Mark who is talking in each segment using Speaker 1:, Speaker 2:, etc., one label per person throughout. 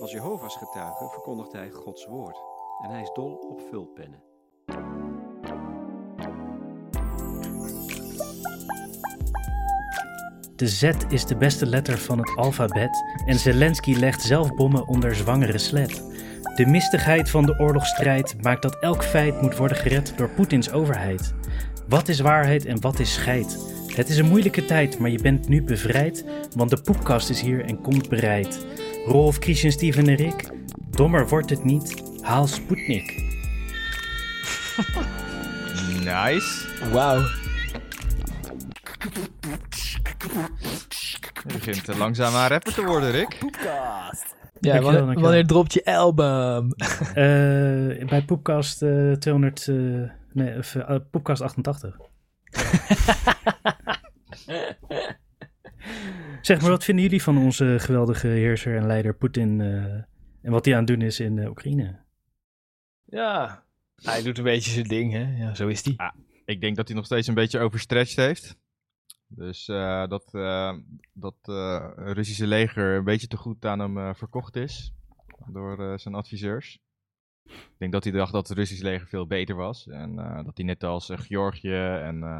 Speaker 1: Als Jehovah's getuige verkondigt hij Gods woord. En hij is dol op vulpennen.
Speaker 2: De Z is de beste letter van het alfabet en Zelensky legt zelf bommen onder zwangere slet. De mistigheid van de oorlogsstrijd maakt dat elk feit moet worden gered door Poetins overheid. Wat is waarheid en wat is scheid? Het is een moeilijke tijd, maar je bent nu bevrijd, want de poepkast is hier en komt bereid. Rolf, Christian, Steven en Rick, dommer wordt het niet, haal Sputnik.
Speaker 3: Nice.
Speaker 4: Wauw.
Speaker 3: Je begint eh, langzaam een rapper te worden, Rick.
Speaker 4: Ja,
Speaker 2: Dankjewel,
Speaker 4: wanneer,
Speaker 2: dankjewel.
Speaker 4: wanneer dropt je album?
Speaker 2: Eh, bij Poepkast eh, 200, eh, nee, of, eh, Poepkast 88. zeg maar, wat vinden jullie van onze geweldige heerser en leider Poetin eh, en wat hij aan het doen is in eh, Oekraïne?
Speaker 4: Ja. Hij doet een beetje zijn ding, hè? Ja, zo is hij.
Speaker 3: Ik denk dat hij nog steeds een beetje overstretched heeft. Dus eh, dat eh, dat eh, Russische leger een beetje te goed aan hem eh, verkocht is. Door eh, zijn adviseurs. Ik denk dat hij dacht dat het Russisch leger veel beter was. En eh, dat hij net als eh, Georgië en eh,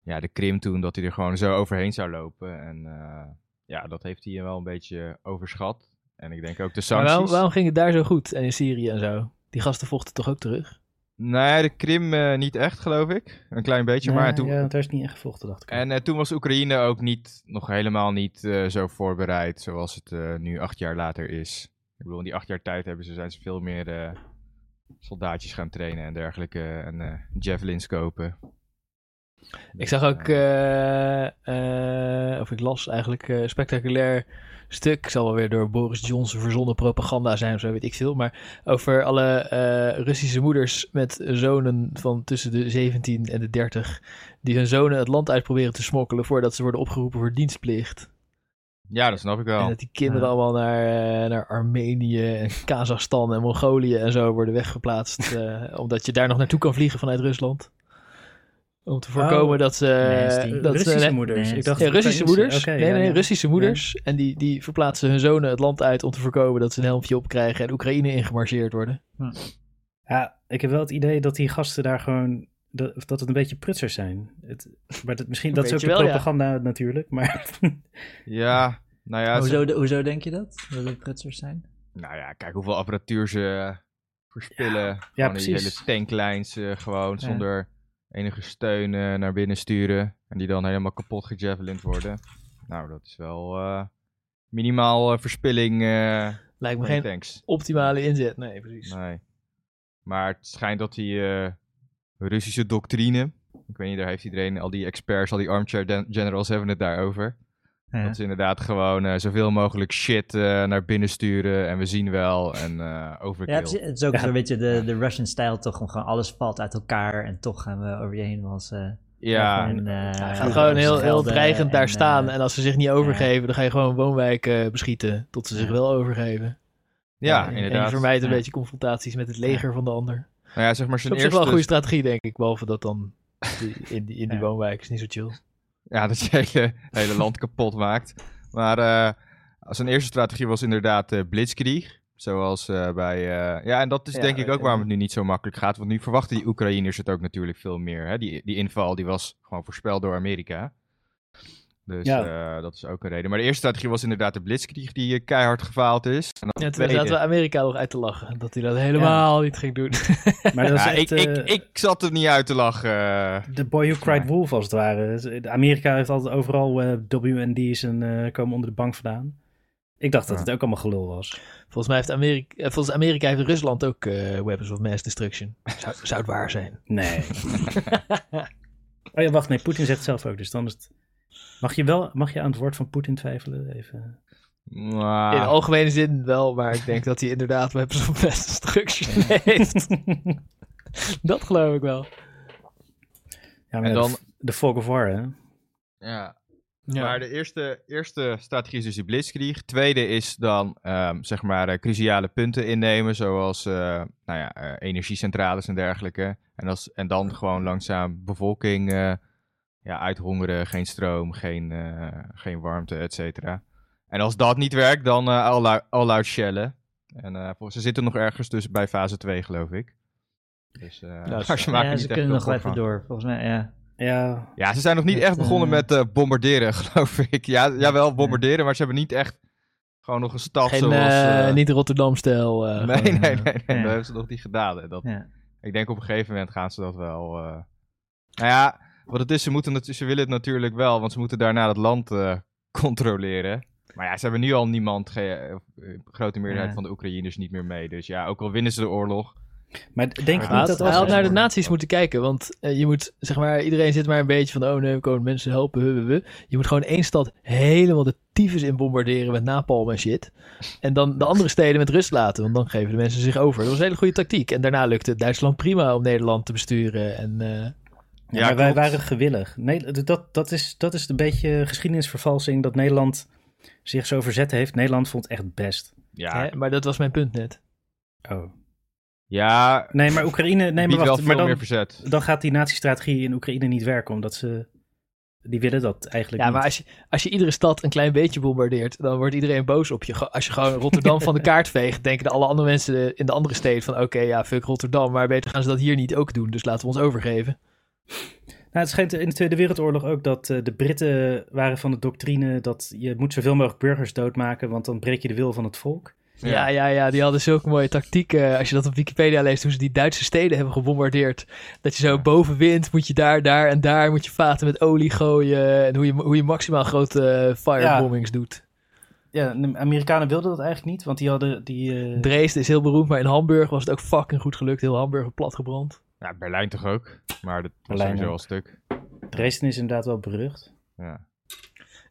Speaker 3: ja, de Krim toen, dat hij er gewoon zo overheen zou lopen. En eh, ja, dat heeft hij wel een beetje overschat. En ik denk ook de
Speaker 4: Maar
Speaker 3: sancties.
Speaker 4: waarom, waarom ging het daar zo goed? En in Syrië en zo? Die gasten vochten toch ook terug?
Speaker 3: Nee, de Krim eh, niet echt, geloof ik. Een klein beetje, maar
Speaker 2: Nou,
Speaker 3: toen...
Speaker 2: Ja, want daar is niet in gevochten, dacht ik.
Speaker 3: En eh, toen was Oekraïne ook niet, nog helemaal niet eh, zo voorbereid zoals het eh, nu acht jaar later is. Ik bedoel, in die acht jaar tijd hebben ze, zijn ze veel meer eh, soldaatjes gaan trainen en dergelijke. En eh javelins kopen. Dus,
Speaker 4: Ik zag ook, eh, eh, of ik las eigenlijk, eh, een spectaculair stuk. Zal wel weer door Boris Johnson verzonnen propaganda zijn of zo, weet ik veel. Maar over alle eh, Russische moeders met zonen van tussen de 17 en de 30. Die hun zonen het land uit proberen te smokkelen voordat ze worden opgeroepen voor dienstplicht.
Speaker 3: Ja, dat snap ik
Speaker 4: En
Speaker 3: wel.
Speaker 4: dat die kinderen
Speaker 2: Ja.
Speaker 4: allemaal naar, eh, naar Armenië en Kazachstan en Mongolië en zo worden weggeplaatst. eh, omdat je daar nog naartoe kan vliegen vanuit Rusland. Om te voorkomen
Speaker 2: Oh,
Speaker 4: dat ze...
Speaker 2: Nasty.
Speaker 4: dat ze-
Speaker 2: Russische
Speaker 4: nee,
Speaker 2: moeders. Ik
Speaker 5: nee.
Speaker 2: dacht
Speaker 4: ja, Russische
Speaker 2: Oekraïnse.
Speaker 4: moeders.
Speaker 2: Oké,
Speaker 4: nee,
Speaker 2: ja,
Speaker 4: nee,
Speaker 2: ja.
Speaker 4: Russische moeders. En die, die verplaatsen hun zonen het land uit om te voorkomen dat ze een helmpje opkrijgen en Oekraïne ingemarcheerd worden.
Speaker 2: Ja, ik heb wel het idee dat die gasten daar gewoon, dat, of dat het een beetje prutsers zijn. Het, maar dat, misschien, dat is ook
Speaker 4: Beetje
Speaker 2: de
Speaker 4: wel, ja.
Speaker 2: propaganda natuurlijk, maar
Speaker 3: Ja, nou
Speaker 4: Oh,
Speaker 3: ja, ze-
Speaker 5: Hoezo, de- hoezo denk je dat? Dat het prutsers zijn?
Speaker 3: nou ja, kijk hoeveel apparatuur ze eh, verspillen. Ja, Die
Speaker 2: precies.
Speaker 3: hele tanklijns eh, gewoon zonder enige steun eh, naar binnen sturen. En die dan helemaal kapot gejavelind worden. Nou, dat is wel eh, minimaal eh, verspilling eh,
Speaker 4: Lijkt me
Speaker 3: van
Speaker 4: geen
Speaker 3: de tanks.
Speaker 4: optimale inzet. Nee, precies.
Speaker 3: Nee. Maar het schijnt dat die eh, Russische doctrine... Ik weet niet, daar heeft iedereen, al die experts, al die armchair gen- generals hebben het daarover.
Speaker 5: Ja.
Speaker 3: Dat ze inderdaad gewoon eh, zoveel mogelijk shit eh, naar binnen sturen en we zien wel en eh, overkill.
Speaker 5: Ja, het is, het is ook
Speaker 2: Ja.
Speaker 5: zo'n beetje de, de Russian style toch, om gewoon alles valt uit elkaar en toch gaan we over je heen als... eh,
Speaker 3: Ja,
Speaker 5: en, eh,
Speaker 4: Hij
Speaker 5: en
Speaker 4: gaat gewoon heel, heel
Speaker 5: schelden
Speaker 4: dreigend daar
Speaker 5: en,
Speaker 4: staan.
Speaker 5: eh,
Speaker 4: En als ze zich niet overgeven, dan ga je gewoon woonwijken beschieten. Tot ze zich wel overgeven.
Speaker 3: ja,
Speaker 4: En- En
Speaker 3: inderdaad.
Speaker 4: je vermijdt een beetje confrontaties met het leger van de ander.
Speaker 3: Nou ja, zeg maar
Speaker 4: Dat
Speaker 3: zijn
Speaker 4: is op zich wel een
Speaker 3: eerste...
Speaker 4: goede strategie, denk ik. Behalve dat dan die- in die, in die woonwijk is niet zo
Speaker 3: Nou,
Speaker 4: chill.
Speaker 3: Ja, dat je hele, hele land kapot maakt. Maar eh, zijn eerste strategie was inderdaad eh, blitzkrieg. Zoals eh, bij... eh, ja, en dat is
Speaker 4: Ja,
Speaker 3: denk ik
Speaker 4: dat-
Speaker 3: ook waarom het nu niet zo makkelijk gaat. Want nu verwachten die Oekraïners het ook natuurlijk veel meer. Hè? Die, die inval die was gewoon voorspeld door Amerika. Dus
Speaker 2: Ja.
Speaker 3: eh, dat is ook een reden. Maar de eerste strategie was inderdaad de blitzkrieg die eh, keihard gefaald is. En dan
Speaker 4: Ja,
Speaker 3: de
Speaker 4: toen
Speaker 3: tweede-
Speaker 4: zaten we Amerika nog uit te lachen. Dat hij dat helemaal niet ging doen.
Speaker 2: Maar dat is
Speaker 3: Ja,
Speaker 2: echt,
Speaker 3: ik,
Speaker 2: eh,
Speaker 3: ik, ik zat er niet uit te lachen. eh.
Speaker 2: de boy who cried wolf als het ware. Amerika heeft altijd overal eh, WND's en eh, komen onder de bank vandaan. Ik dacht dat
Speaker 3: Ja.
Speaker 2: het ook allemaal gelul was.
Speaker 4: Volgens mij heeft Amerika, eh, volgens Amerika heeft Rusland ook eh, weapons of mass destruction. Zou, zou het waar zijn?
Speaker 2: Nee. oh ja, wacht, nee, Poetin zegt het zelf ook, dus dan is het... Mag je, wel, mag je aan het woord van Poetin twijfelen? Even.
Speaker 3: Maar-
Speaker 4: In de algemene zin wel, maar ik denk dat hij inderdaad weapons of mass destruction heeft. Dat geloof ik wel.
Speaker 2: Ja,
Speaker 3: En
Speaker 2: maar
Speaker 3: dan-
Speaker 2: de, de Fog of War, hè?
Speaker 3: ja.
Speaker 4: Ja.
Speaker 3: Maar de eerste, eerste strategie is dus die blitzkrieg. Tweede is dan, ehm, zeg maar, eh, cruciale punten innemen, zoals eh, nou ja, eh, energiecentrales en dergelijke. En, als, en dan gewoon langzaam bevolking eh, ja, uithongeren, geen stroom, geen, eh, geen warmte, et cetera. En als dat niet werkt, dan eh all-out all shellen. En eh, vol- ze zitten nog ergens tussen bij fase 2, geloof ik. Dus, eh
Speaker 4: dat is-
Speaker 3: maar ze maken
Speaker 5: Ja,
Speaker 3: niet
Speaker 5: ze
Speaker 3: echt veel
Speaker 5: kunnen nog wel even
Speaker 3: voortgang.
Speaker 5: door. Volgens mij, ja.
Speaker 2: Ja,
Speaker 3: Ja, ze zijn nog niet
Speaker 5: Met,
Speaker 3: echt begonnen
Speaker 5: eh,
Speaker 3: met eh, bombarderen, geloof ik. Ja, jawel, bombarderen, maar ze hebben niet echt gewoon nog een stad
Speaker 4: Geen,
Speaker 3: zoals...
Speaker 4: eh,
Speaker 3: eh,
Speaker 4: niet Rotterdam-stijl. eh,
Speaker 3: nee, nee,
Speaker 4: gewoon,
Speaker 3: nee,
Speaker 4: eh,
Speaker 3: nee,
Speaker 5: ja.
Speaker 3: dat hebben ze nog niet gedaan. En Dat,
Speaker 5: Ja.
Speaker 3: Ik denk op een gegeven moment gaan ze dat wel... eh, Nou ja, wat het is, ze, moeten, natu- ze willen het natuurlijk wel, want ze moeten daarna het land eh, controleren. Maar ja, ze hebben nu al niemand, ge- eh, eh, grote meerderheid
Speaker 5: Ja.
Speaker 3: van de Oekraïners niet meer mee. Dus ja, ook al winnen ze de oorlog.
Speaker 2: maar denk je
Speaker 3: Maar
Speaker 2: niet
Speaker 4: Hij
Speaker 2: dat
Speaker 4: had,
Speaker 2: als...
Speaker 4: hij had naar de
Speaker 3: Ja.
Speaker 4: naties moeten kijken, want eh, je moet, zeg maar, iedereen zit maar een beetje van, oh nee, we komen mensen helpen, we, we, we. Je moet gewoon één stad helemaal de tyfus in bombarderen met napalm en shit. En dan de andere steden met rust laten, want dan geven de mensen zich over. Dat was een hele goede tactiek. En daarna lukte het Duitsland prima om Nederland te besturen. En, eh,
Speaker 2: Ja,
Speaker 3: Ja,
Speaker 2: maar wij
Speaker 3: klopt.
Speaker 2: waren gewillig. Nee, dat, dat, is, dat is een beetje geschiedenisvervalsing dat Nederland zich zo verzet heeft. Nederland vond het echt best.
Speaker 3: Ja,
Speaker 4: hè, maar dat was mijn punt net.
Speaker 2: Oh.
Speaker 3: ja
Speaker 2: Nee, maar Oekraïne... Nee,
Speaker 3: biedt
Speaker 2: maar
Speaker 3: wel
Speaker 2: wacht,
Speaker 3: veel
Speaker 2: maar dan,
Speaker 3: meer verzet.
Speaker 2: dan gaat die natiestrategie in Oekraïne niet werken, omdat ze... Die willen dat eigenlijk
Speaker 4: Ja,
Speaker 2: niet.
Speaker 4: maar als je, als je iedere stad een klein beetje bombardeert, dan wordt iedereen boos op je. Ge- Als je gewoon Rotterdam van de kaart veegt, denken de alle andere mensen in de andere steden van, oké, ja, fuck Rotterdam, maar beter gaan ze dat hier niet ook doen, dus laten we ons overgeven.
Speaker 2: Nou, het schijnt in de Tweede Wereldoorlog ook dat eh, de Britten waren van de doctrine dat je moet zoveel mogelijk burgers doodmaken, want dan breek je de wil van het volk.
Speaker 4: Ja, ja, ja, die hadden zulke mooie tactieken. eh, Als je dat op Wikipedia leest, hoe ze die Duitse steden hebben gebombardeerd. Dat je zo bovenwind moet je daar, daar en daar moet je vaten met olie gooien. En hoe je, hoe je maximaal grote eh, firebombings doet.
Speaker 2: Ja, de Amerikanen wilden dat eigenlijk niet, want die hadden die... eh,
Speaker 4: Dresden is heel beroemd, maar in Hamburg was het ook fucking goed gelukt. Heel Hamburg platgebrand.
Speaker 3: Ja, Berlijn toch ook? Maar dat was
Speaker 2: Berlijn
Speaker 3: sowieso
Speaker 2: ook.
Speaker 3: al stuk.
Speaker 2: Dresden is inderdaad wel berucht.
Speaker 3: Ja.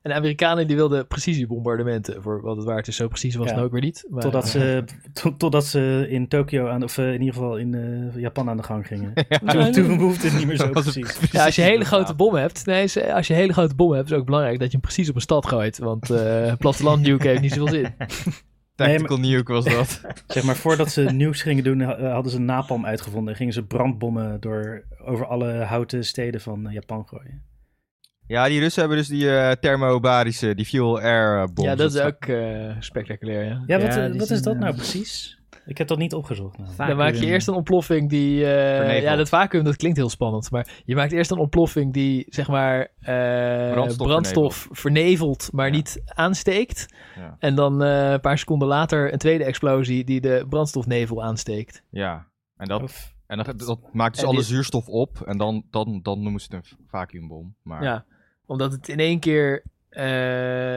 Speaker 4: En de Amerikanen die wilden precisiebombardementen. Voor wat het waard is, zo precies was
Speaker 2: Ja.
Speaker 4: het ook weer niet. Maar,
Speaker 2: Totdat ze, to- totdat ze in Tokio, aan, of eh, in ieder geval in eh, Japan aan de gang gingen. Toen, toen hoefde het niet meer zo
Speaker 3: Dat was het
Speaker 2: precies.
Speaker 4: Ja, als je hele
Speaker 3: precies.
Speaker 4: grote bom hebt, nee, ze- als je hele grote bom hebt, is het ook belangrijk dat je hem precies op een stad gooit. Want eh platteland nuke heeft niet zoveel zin.
Speaker 3: Tactical nuke was dat.
Speaker 2: Zeg maar, voordat ze nieuws gingen doen, ha- eh, hadden ze napalm uitgevonden. En gingen ze brandbommen door, over alle houten steden van eh, Japan gooien.
Speaker 3: ja, die Russen hebben dus die eh thermobarische, die fuel-air bom.
Speaker 4: Ja, dat is ook eh, spectaculair, ja.
Speaker 2: Ja, wat,
Speaker 5: Ja,
Speaker 2: eh,
Speaker 5: die
Speaker 2: wat
Speaker 5: zijn,
Speaker 2: is dat
Speaker 5: eh,
Speaker 2: nou precies? Ik heb dat niet opgezocht. Nou.
Speaker 5: Vaak
Speaker 4: Dan maak je
Speaker 5: doen.
Speaker 4: eerst een ontploffing die... eh,
Speaker 3: Verneveld.
Speaker 4: ja, dat vacuüm, dat klinkt heel spannend. Maar je maakt eerst een ontploffing die, zeg maar, eh,
Speaker 3: Brandstof
Speaker 4: vernevelt, maar
Speaker 3: Ja.
Speaker 4: niet aansteekt.
Speaker 3: Ja.
Speaker 4: En dan eh, een paar seconden later een tweede explosie die de brandstofnevel aansteekt.
Speaker 3: Ja, en dat,
Speaker 2: Of-
Speaker 3: en dat, dat maakt dus
Speaker 4: En
Speaker 3: alle
Speaker 4: die-
Speaker 3: zuurstof op en dan, dan, dan noemen ze het een vacuumbom. Maar
Speaker 4: Ja, omdat het in één keer... eh,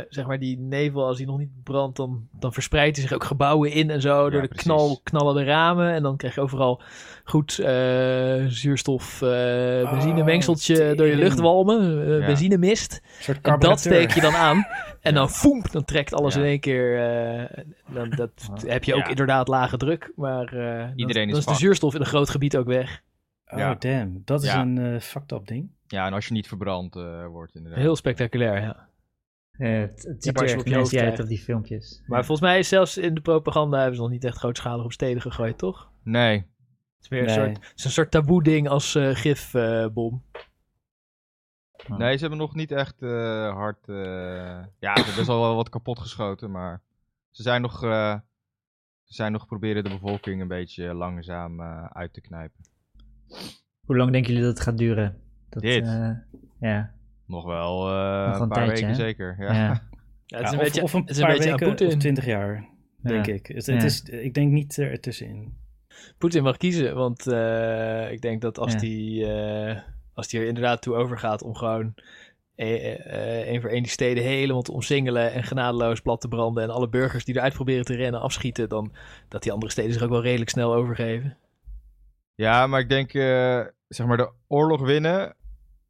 Speaker 4: zeg maar, die nevel, als die nog niet brandt, dan, dan verspreidt hij zich ook gebouwen in en zo. door de
Speaker 3: precies.
Speaker 4: knal, knallen de ramen. En dan krijg je overal goed eh, zuurstof, eh benzinemengseltje
Speaker 2: tering.
Speaker 4: door je lucht walmen. eh,
Speaker 3: Oh, Ja.
Speaker 4: Benzinemist.
Speaker 2: Een soort
Speaker 4: En dat
Speaker 2: carburateur.
Speaker 4: steek je dan aan. En dan foem, dan trekt alles
Speaker 3: Ja.
Speaker 4: in één keer. eh, dan, dat heb je ook
Speaker 3: Ja.
Speaker 4: inderdaad lage druk. Maar eh, dan-
Speaker 3: Iedereen is
Speaker 4: dan is de
Speaker 3: fucked.
Speaker 4: zuurstof in een groot gebied ook weg.
Speaker 2: Oh,
Speaker 3: Ja.
Speaker 2: damn. Dat is
Speaker 3: Ja.
Speaker 2: een eh, fucked up ding.
Speaker 3: ja, en als je niet verbrand eh, wordt inderdaad.
Speaker 4: Heel spectaculair, ja.
Speaker 5: Ja, het, het
Speaker 4: maar
Speaker 5: ziet er
Speaker 4: als je
Speaker 5: echt
Speaker 4: op je hoofd
Speaker 5: nasty uit
Speaker 4: krijgt.
Speaker 5: op die filmpjes.
Speaker 4: Maar volgens mij is zelfs in de propaganda hebben ze nog niet echt grootschalig op steden gegooid, toch?
Speaker 3: Nee,
Speaker 4: Het is meer
Speaker 2: Nee.
Speaker 4: een soort, het is een soort taboe ding als eh gifbom. Oh.
Speaker 3: nee, ze hebben nog niet echt eh, hard... eh, ja, ze hebben best wel wel wat kapot geschoten, maar ze zijn nog... eh, ze zijn nog proberen de bevolking een beetje langzaam eh, uit te knijpen.
Speaker 5: Hoe lang denken jullie dat het gaat duren? Dat,
Speaker 3: Dit?
Speaker 5: eh, ja.
Speaker 3: Nog wel eh,
Speaker 5: Nog
Speaker 3: een
Speaker 5: een
Speaker 3: paar
Speaker 5: tijdje,
Speaker 3: weken
Speaker 5: hè?
Speaker 3: zeker. Ja.
Speaker 5: ja.
Speaker 4: ja, het is
Speaker 2: Ja,
Speaker 4: een
Speaker 2: of,
Speaker 4: beetje,
Speaker 2: of een
Speaker 4: het is een
Speaker 2: paar
Speaker 4: beetje aan
Speaker 2: weken of
Speaker 4: Poetin.
Speaker 2: twintig jaar, denk ik. Het, het
Speaker 5: Ja.
Speaker 2: is, ik denk niet eh, ertussenin.
Speaker 4: Poetin mag kiezen, want eh, ik denk dat als
Speaker 5: Ja.
Speaker 4: die, eh, als die er inderdaad toe overgaat om gewoon eh, een voor één die steden helemaal te omsingelen en genadeloos plat te branden en alle burgers die eruit proberen te rennen afschieten, dan dat die andere steden zich ook wel redelijk snel overgeven.
Speaker 3: Ja, maar ik denk, eh, zeg maar, de oorlog winnen.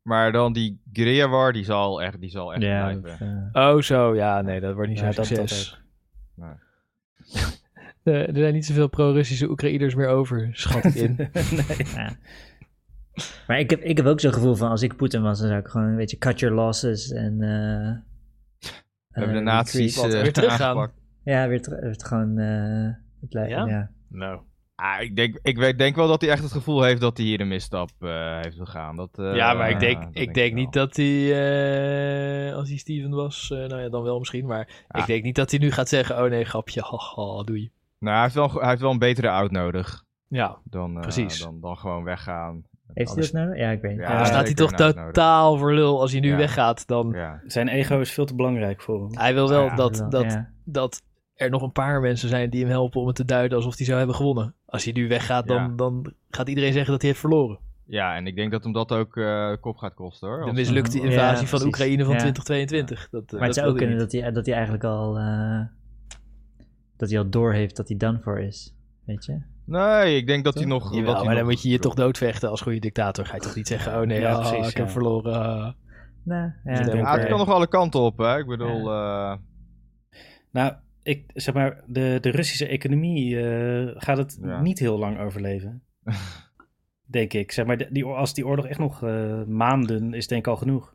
Speaker 3: Maar dan die guerrilla war, die zal echt, die zal echt
Speaker 5: Ja,
Speaker 3: blijven.
Speaker 5: dat, eh,
Speaker 4: Oh zo, ja, nee, dat wordt niet
Speaker 2: Ja,
Speaker 4: zo'n
Speaker 2: dat- dat
Speaker 4: succes.
Speaker 3: ook. Nee.
Speaker 4: Eh, er zijn niet zoveel pro-Russische Oekraïners meer over, schat ik in.
Speaker 2: nee.
Speaker 5: ja. Maar ik heb, ik heb ook zo'n gevoel van als ik Poetin was, dan zou ik gewoon een beetje cut your losses en... eh,
Speaker 3: We hebben de
Speaker 5: eh,
Speaker 3: nazi's
Speaker 5: retreat.
Speaker 3: eh,
Speaker 4: weer teruggaan.
Speaker 3: aangepakt.
Speaker 5: Ja, weer, ter- weer gewoon... eh, het lijkt,
Speaker 4: Ja?
Speaker 5: ja?
Speaker 4: nou.
Speaker 3: Ah, ik denk, ik we- denk wel dat hij echt het gevoel heeft dat hij hier een misstap eh, heeft begaan. Dat, eh,
Speaker 4: ja, maar ik denk,
Speaker 3: dat
Speaker 4: ik denk niet
Speaker 3: wel.
Speaker 4: dat hij, eh, als hij Steven was, eh, nou ja, dan wel misschien. Maar
Speaker 3: Ja.
Speaker 4: ik denk niet dat hij nu gaat zeggen, oh nee, grapje, haha, doei.
Speaker 3: Nou, hij heeft, wel, een go- hij heeft wel een betere out nodig
Speaker 4: Ja,
Speaker 3: dan, eh,
Speaker 4: Precies.
Speaker 3: dan, dan gewoon weggaan.
Speaker 5: Heeft hij
Speaker 3: Anders-
Speaker 5: dat nodig? Ja, ik weet het.
Speaker 3: Ja,
Speaker 4: dan staat hij
Speaker 3: zeker
Speaker 4: toch
Speaker 3: een out nodig.
Speaker 4: totaal voor lul als hij nu
Speaker 3: Ja.
Speaker 4: weggaat. Dan,
Speaker 3: Ja.
Speaker 2: Zijn ego is veel te belangrijk voor hem.
Speaker 4: Hij wil wel
Speaker 3: Ja,
Speaker 4: dat, dat,
Speaker 5: ja.
Speaker 4: dat er nog een paar mensen zijn die hem helpen om het te duiden alsof hij zou hebben gewonnen. Als hij nu weggaat, dan,
Speaker 3: Ja.
Speaker 4: dan gaat iedereen zeggen dat hij heeft verloren.
Speaker 3: ja, en ik denk dat hem dat ook eh, kop gaat kosten hoor.
Speaker 4: De
Speaker 3: Als-
Speaker 4: mislukte
Speaker 5: Ja,
Speaker 4: invasie van
Speaker 5: precies.
Speaker 4: Oekraïne van
Speaker 5: Ja.
Speaker 4: 2022. Dat, eh,
Speaker 5: Maar het
Speaker 4: dat
Speaker 5: zou
Speaker 4: wil
Speaker 5: ook
Speaker 4: hij
Speaker 5: kunnen
Speaker 4: niet.
Speaker 5: dat hij, dat hij eigenlijk al... eh, dat hij al door heeft dat hij done for is. Weet je?
Speaker 3: Nee, ik denk dat hij nog...
Speaker 4: Jawel,
Speaker 3: dat hij
Speaker 4: maar dan
Speaker 3: nog-
Speaker 4: moet je je toch doodvechten als goede dictator. Ga je toch niet zeggen, oh nee,
Speaker 2: Ja,
Speaker 4: ah,
Speaker 2: precies,
Speaker 4: ik
Speaker 2: ja.
Speaker 4: heb verloren. ah.
Speaker 5: Nou, ja.
Speaker 2: Ja,
Speaker 3: Ja, het kan nog alle kanten op, hè. Ik bedoel... eh,
Speaker 2: Nou, ik, zeg maar, de, de Russische economie eh, gaat het
Speaker 3: Ja.
Speaker 2: niet heel lang overleven. denk ik. Zeg maar, de- die, oor- als die oorlog echt nog eh, maanden is, denk ik al genoeg.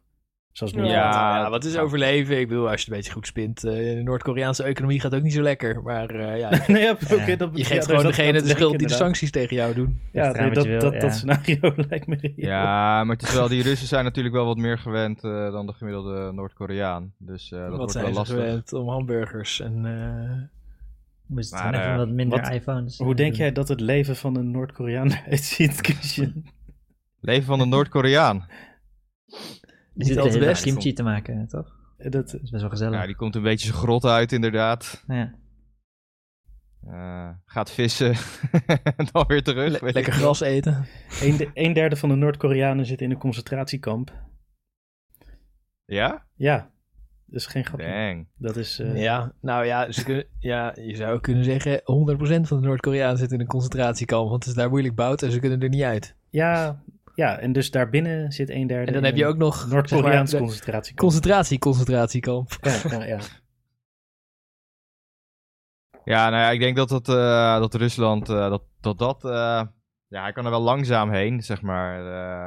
Speaker 2: Zoals nu.
Speaker 3: Ja.
Speaker 4: ja, wat is overleven? Ik bedoel, als je het een beetje goed spint. eh, de Noord-Koreaanse economie gaat ook niet zo lekker. Maar eh, ja,
Speaker 2: nee, ja, oké,
Speaker 5: Ja.
Speaker 2: dat,
Speaker 4: je
Speaker 2: ja,
Speaker 4: geeft
Speaker 2: dus
Speaker 4: gewoon
Speaker 2: dat-
Speaker 4: degene
Speaker 2: dat
Speaker 4: de
Speaker 2: zeg ik
Speaker 4: schuld die de
Speaker 2: inderdaad.
Speaker 4: sancties tegen jou doen.
Speaker 2: Ja,
Speaker 5: Achteraan
Speaker 2: nee,
Speaker 5: wat
Speaker 2: dat,
Speaker 5: je wil,
Speaker 2: dat,
Speaker 5: ja.
Speaker 2: dat scenario lijkt me reëel.
Speaker 3: Ja, maar het is wel, die Russen zijn natuurlijk wel wat meer gewend eh, dan de gemiddelde Noord-Koreaan. Dus eh, dat
Speaker 4: Wat
Speaker 3: wordt wel
Speaker 4: zijn ze
Speaker 3: lastig.
Speaker 4: gewend om hamburgers en... eh,
Speaker 5: Moest het
Speaker 3: Maar,
Speaker 5: gewoon even
Speaker 3: eh,
Speaker 5: wat minder
Speaker 2: wat-
Speaker 5: iPhones. eh,
Speaker 2: Hoe denk jij dat het leven van een Noord-Koreaan uitziet, Christian?
Speaker 3: Leven van een Noord-Koreaan.
Speaker 5: Je
Speaker 4: Niet
Speaker 5: zit de
Speaker 4: altijd
Speaker 5: hele dag
Speaker 4: best.
Speaker 5: kimchi te maken, toch?
Speaker 2: Dat,
Speaker 5: Dat is best wel gezellig.
Speaker 3: Ja,
Speaker 5: Ja,
Speaker 3: die komt een beetje zijn grot uit, inderdaad. Eh, gaat vissen. en dan weer terug.
Speaker 4: le-
Speaker 3: weet ik
Speaker 4: lekker
Speaker 3: wel.
Speaker 4: gras eten.
Speaker 2: een, de- een derde van de Noord-Koreanen zit in een concentratiekamp.
Speaker 3: Ja?
Speaker 2: Ja, dat is geen grapje.
Speaker 3: Dang.
Speaker 2: Dat is... eh,
Speaker 4: Ja, nou ja, ze kunnen- ja, je zou kunnen zeggen 100% van de Noord-Koreanen zit in een concentratiekamp, want het is daar moeilijk bouwt en ze kunnen er niet uit.
Speaker 2: Ja, ja, en dus daarbinnen zit een derde.
Speaker 4: En dan
Speaker 2: in
Speaker 4: heb je
Speaker 2: een
Speaker 4: ook nog
Speaker 2: Noord-Koreaans
Speaker 4: zeg maar, de
Speaker 2: concentratiekamp.
Speaker 4: concentratie, concentratiekamp.
Speaker 2: ja, ja, ja.
Speaker 3: Ja, nou ja, ik denk dat, dat, eh, dat Rusland, eh, dat dat, dat eh, ja, hij kan er wel langzaam heen, zeg maar.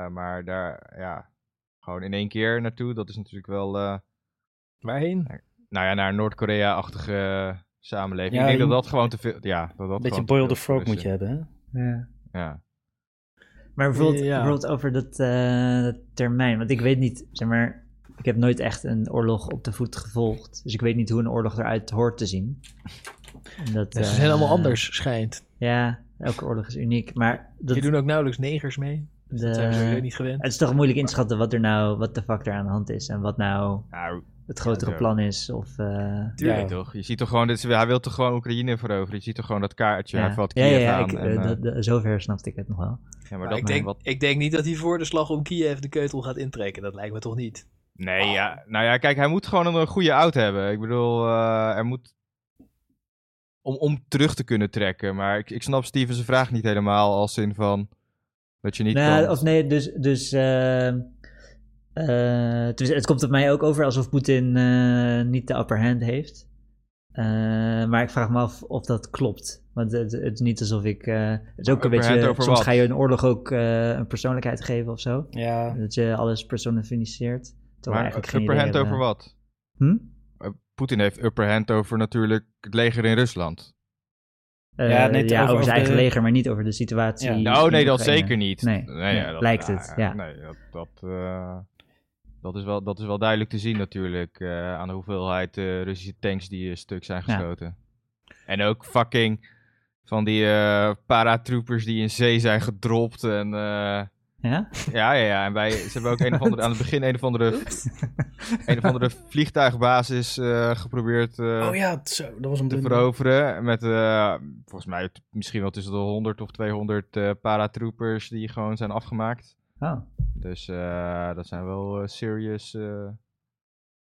Speaker 3: eh, maar daar, ja, gewoon in één keer naartoe, dat is natuurlijk wel, eh,
Speaker 4: Waarheen?
Speaker 3: nou ja, naar een Noord-Korea-achtige eh, samenleving.
Speaker 2: Ja,
Speaker 3: ik denk
Speaker 2: je
Speaker 3: dat
Speaker 2: moet-
Speaker 3: dat gewoon te veel, ja. Dat dat
Speaker 2: Een
Speaker 3: gewoon
Speaker 2: beetje
Speaker 3: te
Speaker 2: boil
Speaker 3: veel
Speaker 2: the
Speaker 3: voor
Speaker 2: frog moet je
Speaker 3: Russen-
Speaker 2: hebben, hè?
Speaker 5: ja.
Speaker 3: Ja.
Speaker 5: Maar bijvoorbeeld,
Speaker 4: Ja.
Speaker 5: bijvoorbeeld over dat, eh, dat termijn. Want ik weet niet, zeg maar, ik heb nooit echt een oorlog op de voet gevolgd. Dus ik weet niet hoe een oorlog eruit hoort te zien. Omdat,
Speaker 4: ze
Speaker 5: eh,
Speaker 4: zijn allemaal dus anders, schijnt.
Speaker 5: Ja, elke oorlog is uniek. Maar dat,
Speaker 4: Die doen ook nauwelijks negers mee. Dus
Speaker 5: de-
Speaker 4: Dat zijn we sowieso niet gewend.
Speaker 5: het is toch moeilijk inschatten wat er nou, wat de fuck er aan de hand is. En wat nou
Speaker 3: Nou,
Speaker 5: het grotere
Speaker 3: Ja, zo.
Speaker 5: plan is. Of, eh,
Speaker 3: tuurlijk toch. Je ziet toch gewoon, dit, is- hij wil toch gewoon Oekraïne veroveren. Je ziet toch gewoon dat kaartje, hij valt
Speaker 5: ja,
Speaker 3: Kiev
Speaker 5: ja, ja,
Speaker 3: aan.
Speaker 5: ik,
Speaker 3: en,
Speaker 5: eh,
Speaker 3: eh,
Speaker 5: dat- Ah, dat- zover snapte ik het nog wel.
Speaker 3: ja, maar
Speaker 4: Maar
Speaker 3: dat,
Speaker 4: ik, denk,
Speaker 3: wat,
Speaker 4: ik denk niet dat hij voor de slag om Kiev de keutel gaat intrekken. Dat lijkt me toch niet.
Speaker 3: Nee, ja. Nou ja, kijk, hij moet gewoon een, eh, goede out hebben. Ik bedoel, eh, er moet... Om, om terug te kunnen trekken. Maar ik, ik snap Steven's vraag niet helemaal als zin van... Dat je niet
Speaker 5: Nou,
Speaker 3: kan...
Speaker 5: of nee, dus. dus eh, eh, tenminste, het komt op mij ook over alsof Poetin eh, niet de upper hand heeft. Eh, maar ik vraag me af of dat klopt. Want het, het is niet alsof ik. eh, het is ook een
Speaker 3: Upper hand
Speaker 5: beetje.
Speaker 3: over
Speaker 5: Soms
Speaker 3: wat?
Speaker 5: ga je een oorlog ook eh, een persoonlijkheid geven of zo.
Speaker 2: Ja,
Speaker 5: Dat je alles personificeert. Terwijl we
Speaker 3: maar
Speaker 5: eigenlijk geen
Speaker 3: upper
Speaker 5: idee
Speaker 3: hand
Speaker 5: hebben.
Speaker 3: over wat?
Speaker 5: Hm?
Speaker 3: Poetin heeft upper hand over natuurlijk het leger in Rusland.
Speaker 5: Eh,
Speaker 2: Ja,
Speaker 5: ja,
Speaker 2: net over-
Speaker 5: over,
Speaker 2: over
Speaker 5: zijn eigen
Speaker 2: de-
Speaker 5: leger, maar niet over de situatie.
Speaker 2: Ja.
Speaker 5: in
Speaker 3: Nou, nee, dat
Speaker 5: Oekraïne.
Speaker 3: zeker niet.
Speaker 5: Nee, nee, lijkt
Speaker 3: nou,
Speaker 5: het, ja.
Speaker 3: Nee, dat... dat eh, Dat is, wel, dat is wel duidelijk te zien natuurlijk, eh, aan de hoeveelheid eh, Russische tanks die eh, stuk zijn
Speaker 5: Ja.
Speaker 3: geschoten. En ook fucking van die eh paratroopers die in zee zijn gedropt. En, eh,
Speaker 5: Ja?
Speaker 3: ja, ja, ja, en wij, ze hebben ook een of andere, aan het begin een of andere, een of andere vliegtuigbasis eh, geprobeerd eh,
Speaker 2: oh ja, t- zo, dat was een
Speaker 3: te
Speaker 2: blunder.
Speaker 3: veroveren. Met eh, volgens mij t- misschien wel tussen de 100 of 200 eh, paratroopers die gewoon zijn afgemaakt.
Speaker 5: Oh,
Speaker 3: Dus eh, dat zijn wel eh, serious eh,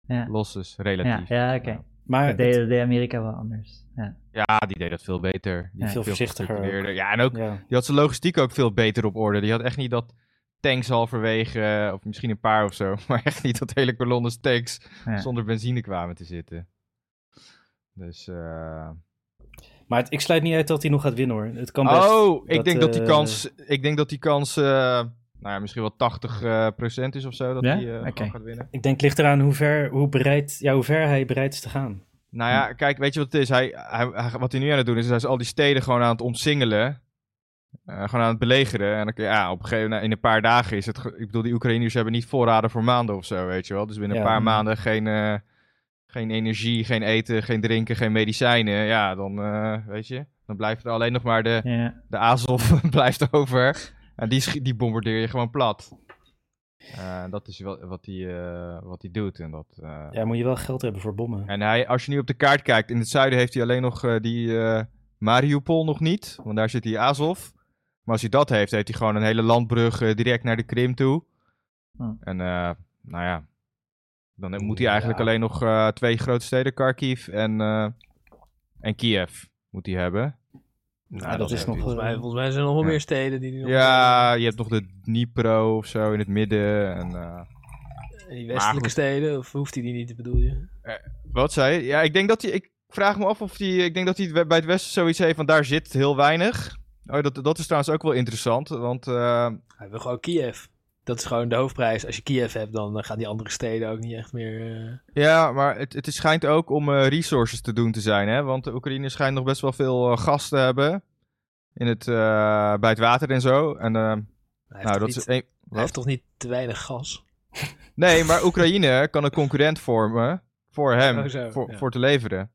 Speaker 5: ja.
Speaker 3: losses,
Speaker 5: Ja,
Speaker 3: relatief.
Speaker 5: ja oké.
Speaker 3: Ja.
Speaker 2: Maar
Speaker 5: Dat deed, dat deed Amerika wel anders. Ja.
Speaker 3: Ja, die deed dat veel beter. Die
Speaker 5: Ja.
Speaker 2: Veel voorzichtiger ook.
Speaker 3: gestructureerder. Ja, en ook
Speaker 2: ja,
Speaker 3: die had zijn logistiek ook veel beter op orde. Die had echt niet dat tanks halverwege, eh, of misschien een paar of zo, maar echt niet dat hele kolonnes tanks
Speaker 5: Ja.
Speaker 3: zonder benzine kwamen te zitten. Dus, eh,
Speaker 2: maar het- ik sluit niet uit dat hij nog gaat winnen, hoor. Het kan best.
Speaker 3: Oh, ik
Speaker 2: dat,
Speaker 3: denk dat die
Speaker 2: eh,
Speaker 3: kans, ik denk dat die kans, eh, nou ja, misschien wel 80 eh, procent is of zo, dat
Speaker 5: Ja?
Speaker 3: hij eh, gewoon
Speaker 5: Oké.
Speaker 3: gaat winnen.
Speaker 2: Ik denk het ligt eraan hoe ver, hoe, bereid, ja, hoe ver hij bereid is te gaan.
Speaker 3: Nou ja, kijk, weet je wat het is? Hij, hij, hij- wat hij nu aan het doen is, hij is al die steden gewoon aan het omsingelen. eh, gewoon aan het belegeren. En dan, kun je- ja, op een gegeven, nou, in een paar dagen is het. ge- Ik bedoel, die Oekraïners hebben niet voorraden voor maanden of zo, weet je wel. Dus binnen een
Speaker 2: Ja.
Speaker 3: paar maanden geen, eh, geen energie, geen eten, geen drinken, geen medicijnen. Ja, dan eh, weet je. Dan blijft er alleen nog maar de,
Speaker 5: Ja.
Speaker 3: de Azov blijft over. En die, schi- die bombardeer je gewoon plat. Eh, dat is wel, wat hij eh, wat die doet. En dat, eh,
Speaker 2: Ja, moet je wel geld hebben voor bommen.
Speaker 3: en hij, als je nu op de kaart kijkt, in het zuiden heeft hij alleen nog eh, die eh, Mariupol nog niet. Want daar zit die Azov. Maar als hij dat heeft, heeft hij gewoon een hele landbrug eh, direct naar de Krim toe.
Speaker 5: Hm.
Speaker 3: En eh, nou ja, dan moet hij eigenlijk alleen nog eh, twee grote steden, Kharkiv en, eh, en Kiev, moet hij hebben.
Speaker 2: Nou, dat, is nog...
Speaker 4: Volgens mij,
Speaker 2: eh,
Speaker 4: volgens mij zijn er nog wel
Speaker 3: Ja.
Speaker 4: meer steden die die nog...
Speaker 3: Ja, je hebt nog de Dnipro of zo in het midden. En, eh,
Speaker 4: En die
Speaker 3: Maar
Speaker 4: westelijke
Speaker 3: goed.
Speaker 4: steden, of hoeft hij die niet, bedoel je?
Speaker 3: Wat zei je? Ja, ik denk dat hij. Ik vraag me af of hij. Ik denk dat hij het bij het Westen zoiets heeft van daar zit heel weinig. Oh, dat, dat is trouwens ook wel interessant. Want eh,
Speaker 4: Hij wil gewoon Kiev. Dat is gewoon de hoofdprijs. Als je Kiev hebt, dan eh, gaan die andere steden ook niet echt meer... eh,
Speaker 3: ja, maar het, het schijnt ook om eh, resources te doen te zijn. Hè? Want de Oekraïne schijnt nog best wel veel eh, gas te hebben. In het, eh, bij het water en zo. En, eh,
Speaker 4: Hij heeft,
Speaker 3: nou, dat
Speaker 4: toch,
Speaker 3: is
Speaker 4: niet,
Speaker 3: een,
Speaker 4: hij heeft toch niet te weinig gas?
Speaker 3: Nee, maar Oekraïne kan een concurrent vormen voor hem,
Speaker 4: Oh, zo,
Speaker 3: voor,
Speaker 4: ja.
Speaker 3: voor te leveren.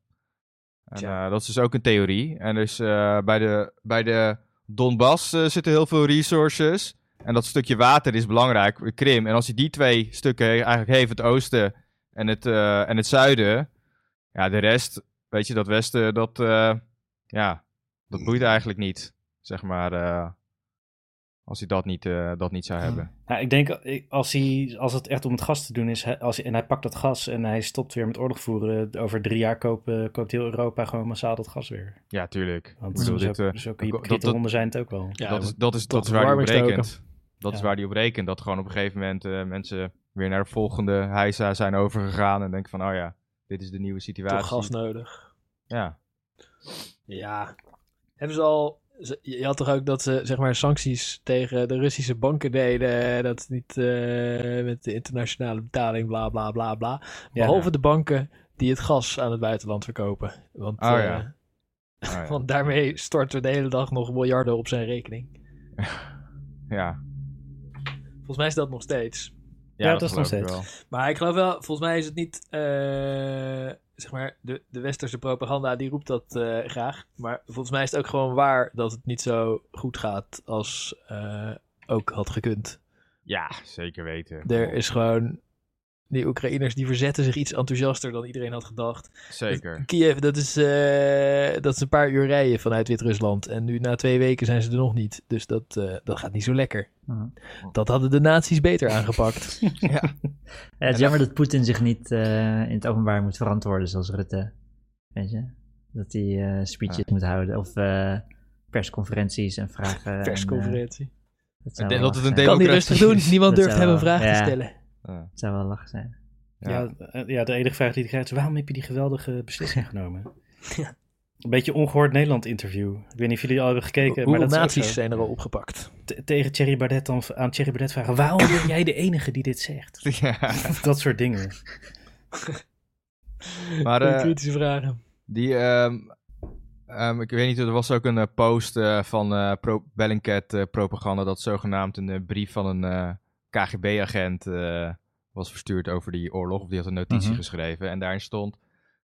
Speaker 3: En,
Speaker 4: Tja.
Speaker 3: eh, dat is dus ook een theorie. En dus eh, bij, de, bij de Donbass eh, zitten heel veel resources. En dat stukje water is belangrijk, eh, Krim. En als je die twee stukken he- eigenlijk heeft, het oosten en het, eh, en het zuiden. Ja, de rest, weet je, dat westen, dat, eh, ja, dat boeit eigenlijk niet. Zeg maar, eh, als hij dat niet, eh, dat niet zou hebben.
Speaker 2: nou, ik denk, eh, als, hij, als het echt om het gas te doen is, hij- als hij, en hij pakt dat gas en hij stopt weer met oorlog voeren, over drie jaar kopen, koopt heel Europa gewoon massaal dat gas weer.
Speaker 3: Ja, tuurlijk.
Speaker 2: Want dus
Speaker 3: Ik bedoel,
Speaker 2: zo,
Speaker 3: dit, eh,
Speaker 2: zo
Speaker 3: dat-
Speaker 2: hypocriete
Speaker 3: dat-
Speaker 2: honden zijn het ook wel.
Speaker 4: Ja,
Speaker 3: dat, is, dat, is, dat
Speaker 4: tot
Speaker 3: is waar die op
Speaker 4: verwarming
Speaker 3: rekent. Dat is
Speaker 2: Ja.
Speaker 3: waar die op rekent. Dat gewoon op een gegeven moment eh, mensen weer naar de volgende heisa zijn overgegaan. En denken van, oh ja, dit is de nieuwe situatie.
Speaker 4: toch gas nodig.
Speaker 3: Ja.
Speaker 4: Ja. Hebben ze al. ze- Je had toch ook dat ze zeg maar sancties tegen de Russische banken deden. Dat ze niet eh, met de internationale betaling, bla bla bla bla. Behalve de banken die het gas aan het buitenland verkopen. Want,
Speaker 3: Oh,
Speaker 4: eh,
Speaker 3: ja. Oh ja.
Speaker 4: want daarmee storten we de hele dag nog miljarden op zijn rekening.
Speaker 3: ja.
Speaker 4: Volgens mij is dat nog steeds.
Speaker 2: Ja, dat is nog
Speaker 3: geloof ik
Speaker 2: steeds.
Speaker 3: wel.
Speaker 4: Maar ik geloof wel, volgens mij is het niet. eh, zeg maar, de, de westerse propaganda die roept dat eh, graag. Maar volgens mij is het ook gewoon waar dat het niet zo goed gaat als eh, ook had gekund.
Speaker 3: Ja, zeker weten.
Speaker 4: Er is gewoon. Die Oekraïners die verzetten zich iets enthousiaster dan iedereen had gedacht.
Speaker 3: Zeker.
Speaker 4: Kiev, dat is, eh, dat is een paar uur rijden vanuit Wit-Rusland. En nu na twee weken zijn ze er nog niet. Dus dat, eh, dat gaat niet zo lekker.
Speaker 5: Mhm.
Speaker 4: Dat hadden de nazi's beter aangepakt.
Speaker 5: Ja, het is jammer dat Poetin zich niet eh, in het openbaar moet verantwoorden zoals Rutte. Weet je? Dat hij eh, speeches moet houden of eh, persconferenties en vragen. en, eh,
Speaker 4: Persconferentie.
Speaker 5: dat zou
Speaker 3: Ik denk
Speaker 5: wel
Speaker 3: dat het een
Speaker 5: lachen zijn.
Speaker 4: kan die
Speaker 3: democratie
Speaker 4: rustig doen.
Speaker 3: is-
Speaker 4: Niemand
Speaker 5: Dat
Speaker 4: durft
Speaker 5: zou
Speaker 4: hem een
Speaker 5: wel-
Speaker 4: vraag te
Speaker 5: ja.
Speaker 4: stellen.
Speaker 3: Ja.
Speaker 5: Het zou wel lachen zijn.
Speaker 2: Ja, eh, ja, de enige vraag die ik krijg is: waarom heb je die geweldige beslissing genomen? Een beetje ongehoord Nederland interview. Ik weet niet of jullie al hebben gekeken, maar
Speaker 4: Hoeveel
Speaker 2: dat is ook
Speaker 4: nazi's
Speaker 2: zo.
Speaker 4: zijn er al opgepakt?
Speaker 2: T- tegen Thierry Baudet dan aan Thierry Baudet vragen: waarom ben jij de enige die dit zegt?
Speaker 3: Ja.
Speaker 2: Dat soort dingen.
Speaker 3: Maar, eh,
Speaker 4: kritische vragen.
Speaker 3: Die, ehm, ehm, ik weet niet, er was ook een eh, post eh, van eh pro Bellingcat eh, propaganda dat zogenaamd een eh, brief van een KGB-agent eh, was verstuurd over die oorlog. Of die had een notitie
Speaker 5: Mhm.
Speaker 3: geschreven en daarin stond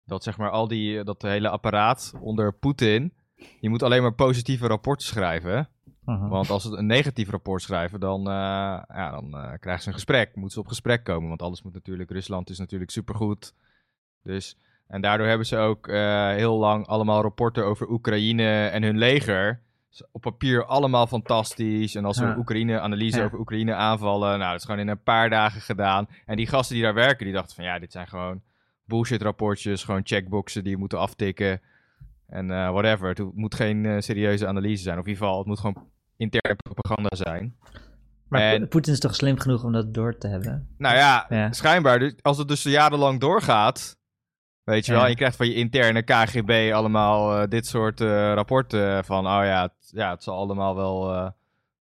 Speaker 3: dat zeg maar al die, eh, dat hele apparaat onder Poetin, je moet alleen maar positieve rapporten schrijven.
Speaker 5: Mhm.
Speaker 3: Want als ze een negatief rapport schrijven, dan, eh, ja, dan eh, krijgen ze een gesprek. Moeten ze op gesprek komen, want alles moet natuurlijk... Rusland is natuurlijk supergoed. Dus, en daardoor hebben ze ook eh, heel lang allemaal rapporten over Oekraïne en hun leger. Dus op papier allemaal fantastisch. En als we
Speaker 5: Ja.
Speaker 3: Oekraïne, analyse
Speaker 5: Ja.
Speaker 3: over Oekraïne aanvallen... Nou, dat is gewoon in een paar dagen gedaan. En die gasten die daar werken, die dachten van... Ja, dit zijn gewoon bullshit rapportjes. Gewoon checkboxen die je moet aftikken. En eh, whatever. Het ho- moet geen eh, serieuze analyse zijn. Of in ieder geval, het moet gewoon interne propaganda zijn.
Speaker 5: Maar
Speaker 3: en-
Speaker 5: Po- Poetin is toch slim genoeg om dat door te hebben?
Speaker 3: Nou ja,
Speaker 5: Ja.
Speaker 3: schijnbaar. Dus als het dus jarenlang doorgaat. Weet je
Speaker 5: Ja.
Speaker 3: wel, en je krijgt van je interne KGB allemaal eh, dit soort eh, rapporten van, oh ja, het, ja, het zal allemaal wel eh,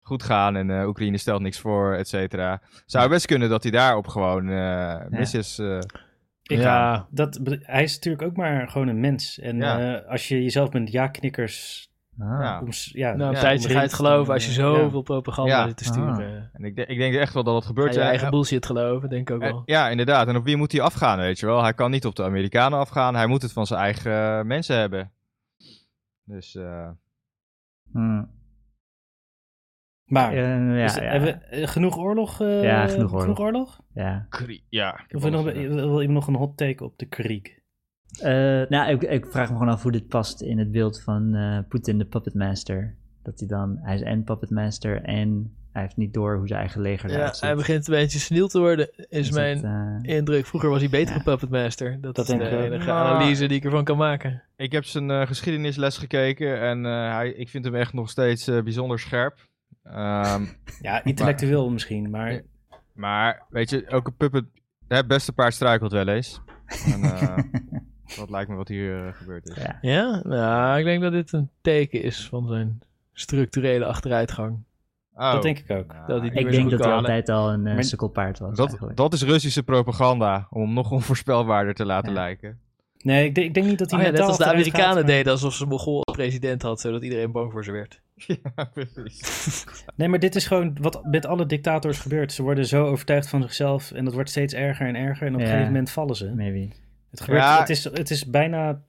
Speaker 3: goed gaan en eh, Oekraïne stelt niks voor, et cetera. Zou best kunnen dat hij daarop gewoon eh, mis is. eh.
Speaker 2: Ik
Speaker 4: ja,
Speaker 2: Dat, hij is natuurlijk ook maar gewoon een mens. En
Speaker 3: Ja.
Speaker 2: eh, als je jezelf met ja-knikkers
Speaker 5: Ah.
Speaker 3: Ja.
Speaker 2: Om s- ja,
Speaker 4: Nou, een
Speaker 3: ja,
Speaker 4: tijdje ga je het
Speaker 2: omringd,
Speaker 4: geloven als je
Speaker 2: eh,
Speaker 4: zoveel propaganda
Speaker 3: Ja.
Speaker 4: zit te sturen.
Speaker 3: En ik, denk- ik denk echt wel dat dat
Speaker 4: Ga
Speaker 3: gebeurt.
Speaker 4: je
Speaker 3: Ja,
Speaker 4: eigen
Speaker 3: en-
Speaker 4: bullshit geloven, denk ik ook
Speaker 3: en-
Speaker 4: wel.
Speaker 3: ja, inderdaad. En op wie moet hij afgaan, weet je wel? Hij kan niet op de Amerikanen afgaan. Hij moet het van zijn eigen eh, mensen hebben. Dus eh,
Speaker 5: Hm.
Speaker 2: Maar,
Speaker 5: Eh, ja,
Speaker 2: is-
Speaker 5: ja,
Speaker 2: hebben we eh, genoeg oorlog? eh,
Speaker 5: Ja, genoeg oorlog. ja.
Speaker 3: Kri- ja. ik heb
Speaker 2: Of wil,
Speaker 3: alles
Speaker 2: nog,
Speaker 3: gedaan.
Speaker 2: eh, wil iemand nog een hot take op de kriek?
Speaker 5: Eh, nou, ik, ik vraag me gewoon af hoe dit past in het beeld van eh Poetin de Puppet Master. Dat hij dan, hij is en Puppet Master en hij heeft niet door hoe zijn eigen leger
Speaker 4: Ja,
Speaker 5: eruit ziet.
Speaker 4: hij begint een beetje seniel te worden, is
Speaker 5: Dus
Speaker 4: mijn
Speaker 5: dat, eh,
Speaker 4: indruk. Vroeger was hij beter op Puppet Master. Dat,
Speaker 2: Dat
Speaker 4: is
Speaker 2: denk
Speaker 4: de
Speaker 2: ik ook.
Speaker 4: enige
Speaker 3: Maar-
Speaker 4: analyse die ik ervan kan maken.
Speaker 3: Ik heb zijn eh, geschiedenisles gekeken en eh, hij, ik vind hem echt nog steeds eh, bijzonder scherp. Ehm,
Speaker 2: Ja, intellectueel misschien, maar
Speaker 3: Ja. maar weet je, ook een puppet, het beste paard struikelt wel eens. En, eh, dat lijkt me wat hier eh, gebeurd is.
Speaker 5: ja.
Speaker 4: Ja, nou, ik denk dat dit een teken is van zijn structurele achteruitgang.
Speaker 3: Oh.
Speaker 2: dat denk ik ook.
Speaker 3: Nou,
Speaker 4: dat hij-
Speaker 5: Ik
Speaker 4: weer
Speaker 5: denk
Speaker 4: zo'n
Speaker 5: dat hij
Speaker 4: kale-
Speaker 5: altijd al een eh,
Speaker 2: Maar-
Speaker 5: sukkelpaard was
Speaker 3: dat,
Speaker 5: eigenlijk.
Speaker 3: dat is Russische propaganda, om hem nog onvoorspelbaarder te laten
Speaker 5: Ja.
Speaker 3: lijken.
Speaker 2: Nee, ik, denk- ik denk niet dat hij
Speaker 4: Oh ja, net
Speaker 2: mentaal
Speaker 4: als de
Speaker 2: achteruit gaat,
Speaker 4: Amerikanen
Speaker 2: maar-
Speaker 4: deden alsof ze een Mongool als president had, zodat iedereen bang voor ze werd.
Speaker 3: ja, precies.
Speaker 2: Nee, maar dit is gewoon wat met alle dictators gebeurt. Ze worden zo overtuigd van zichzelf en dat wordt steeds erger en erger. En op een
Speaker 5: Ja.
Speaker 2: gegeven moment vallen ze.
Speaker 5: Maybe.
Speaker 2: Het, gebeurt,
Speaker 3: Ja.
Speaker 2: het, is, het is bijna...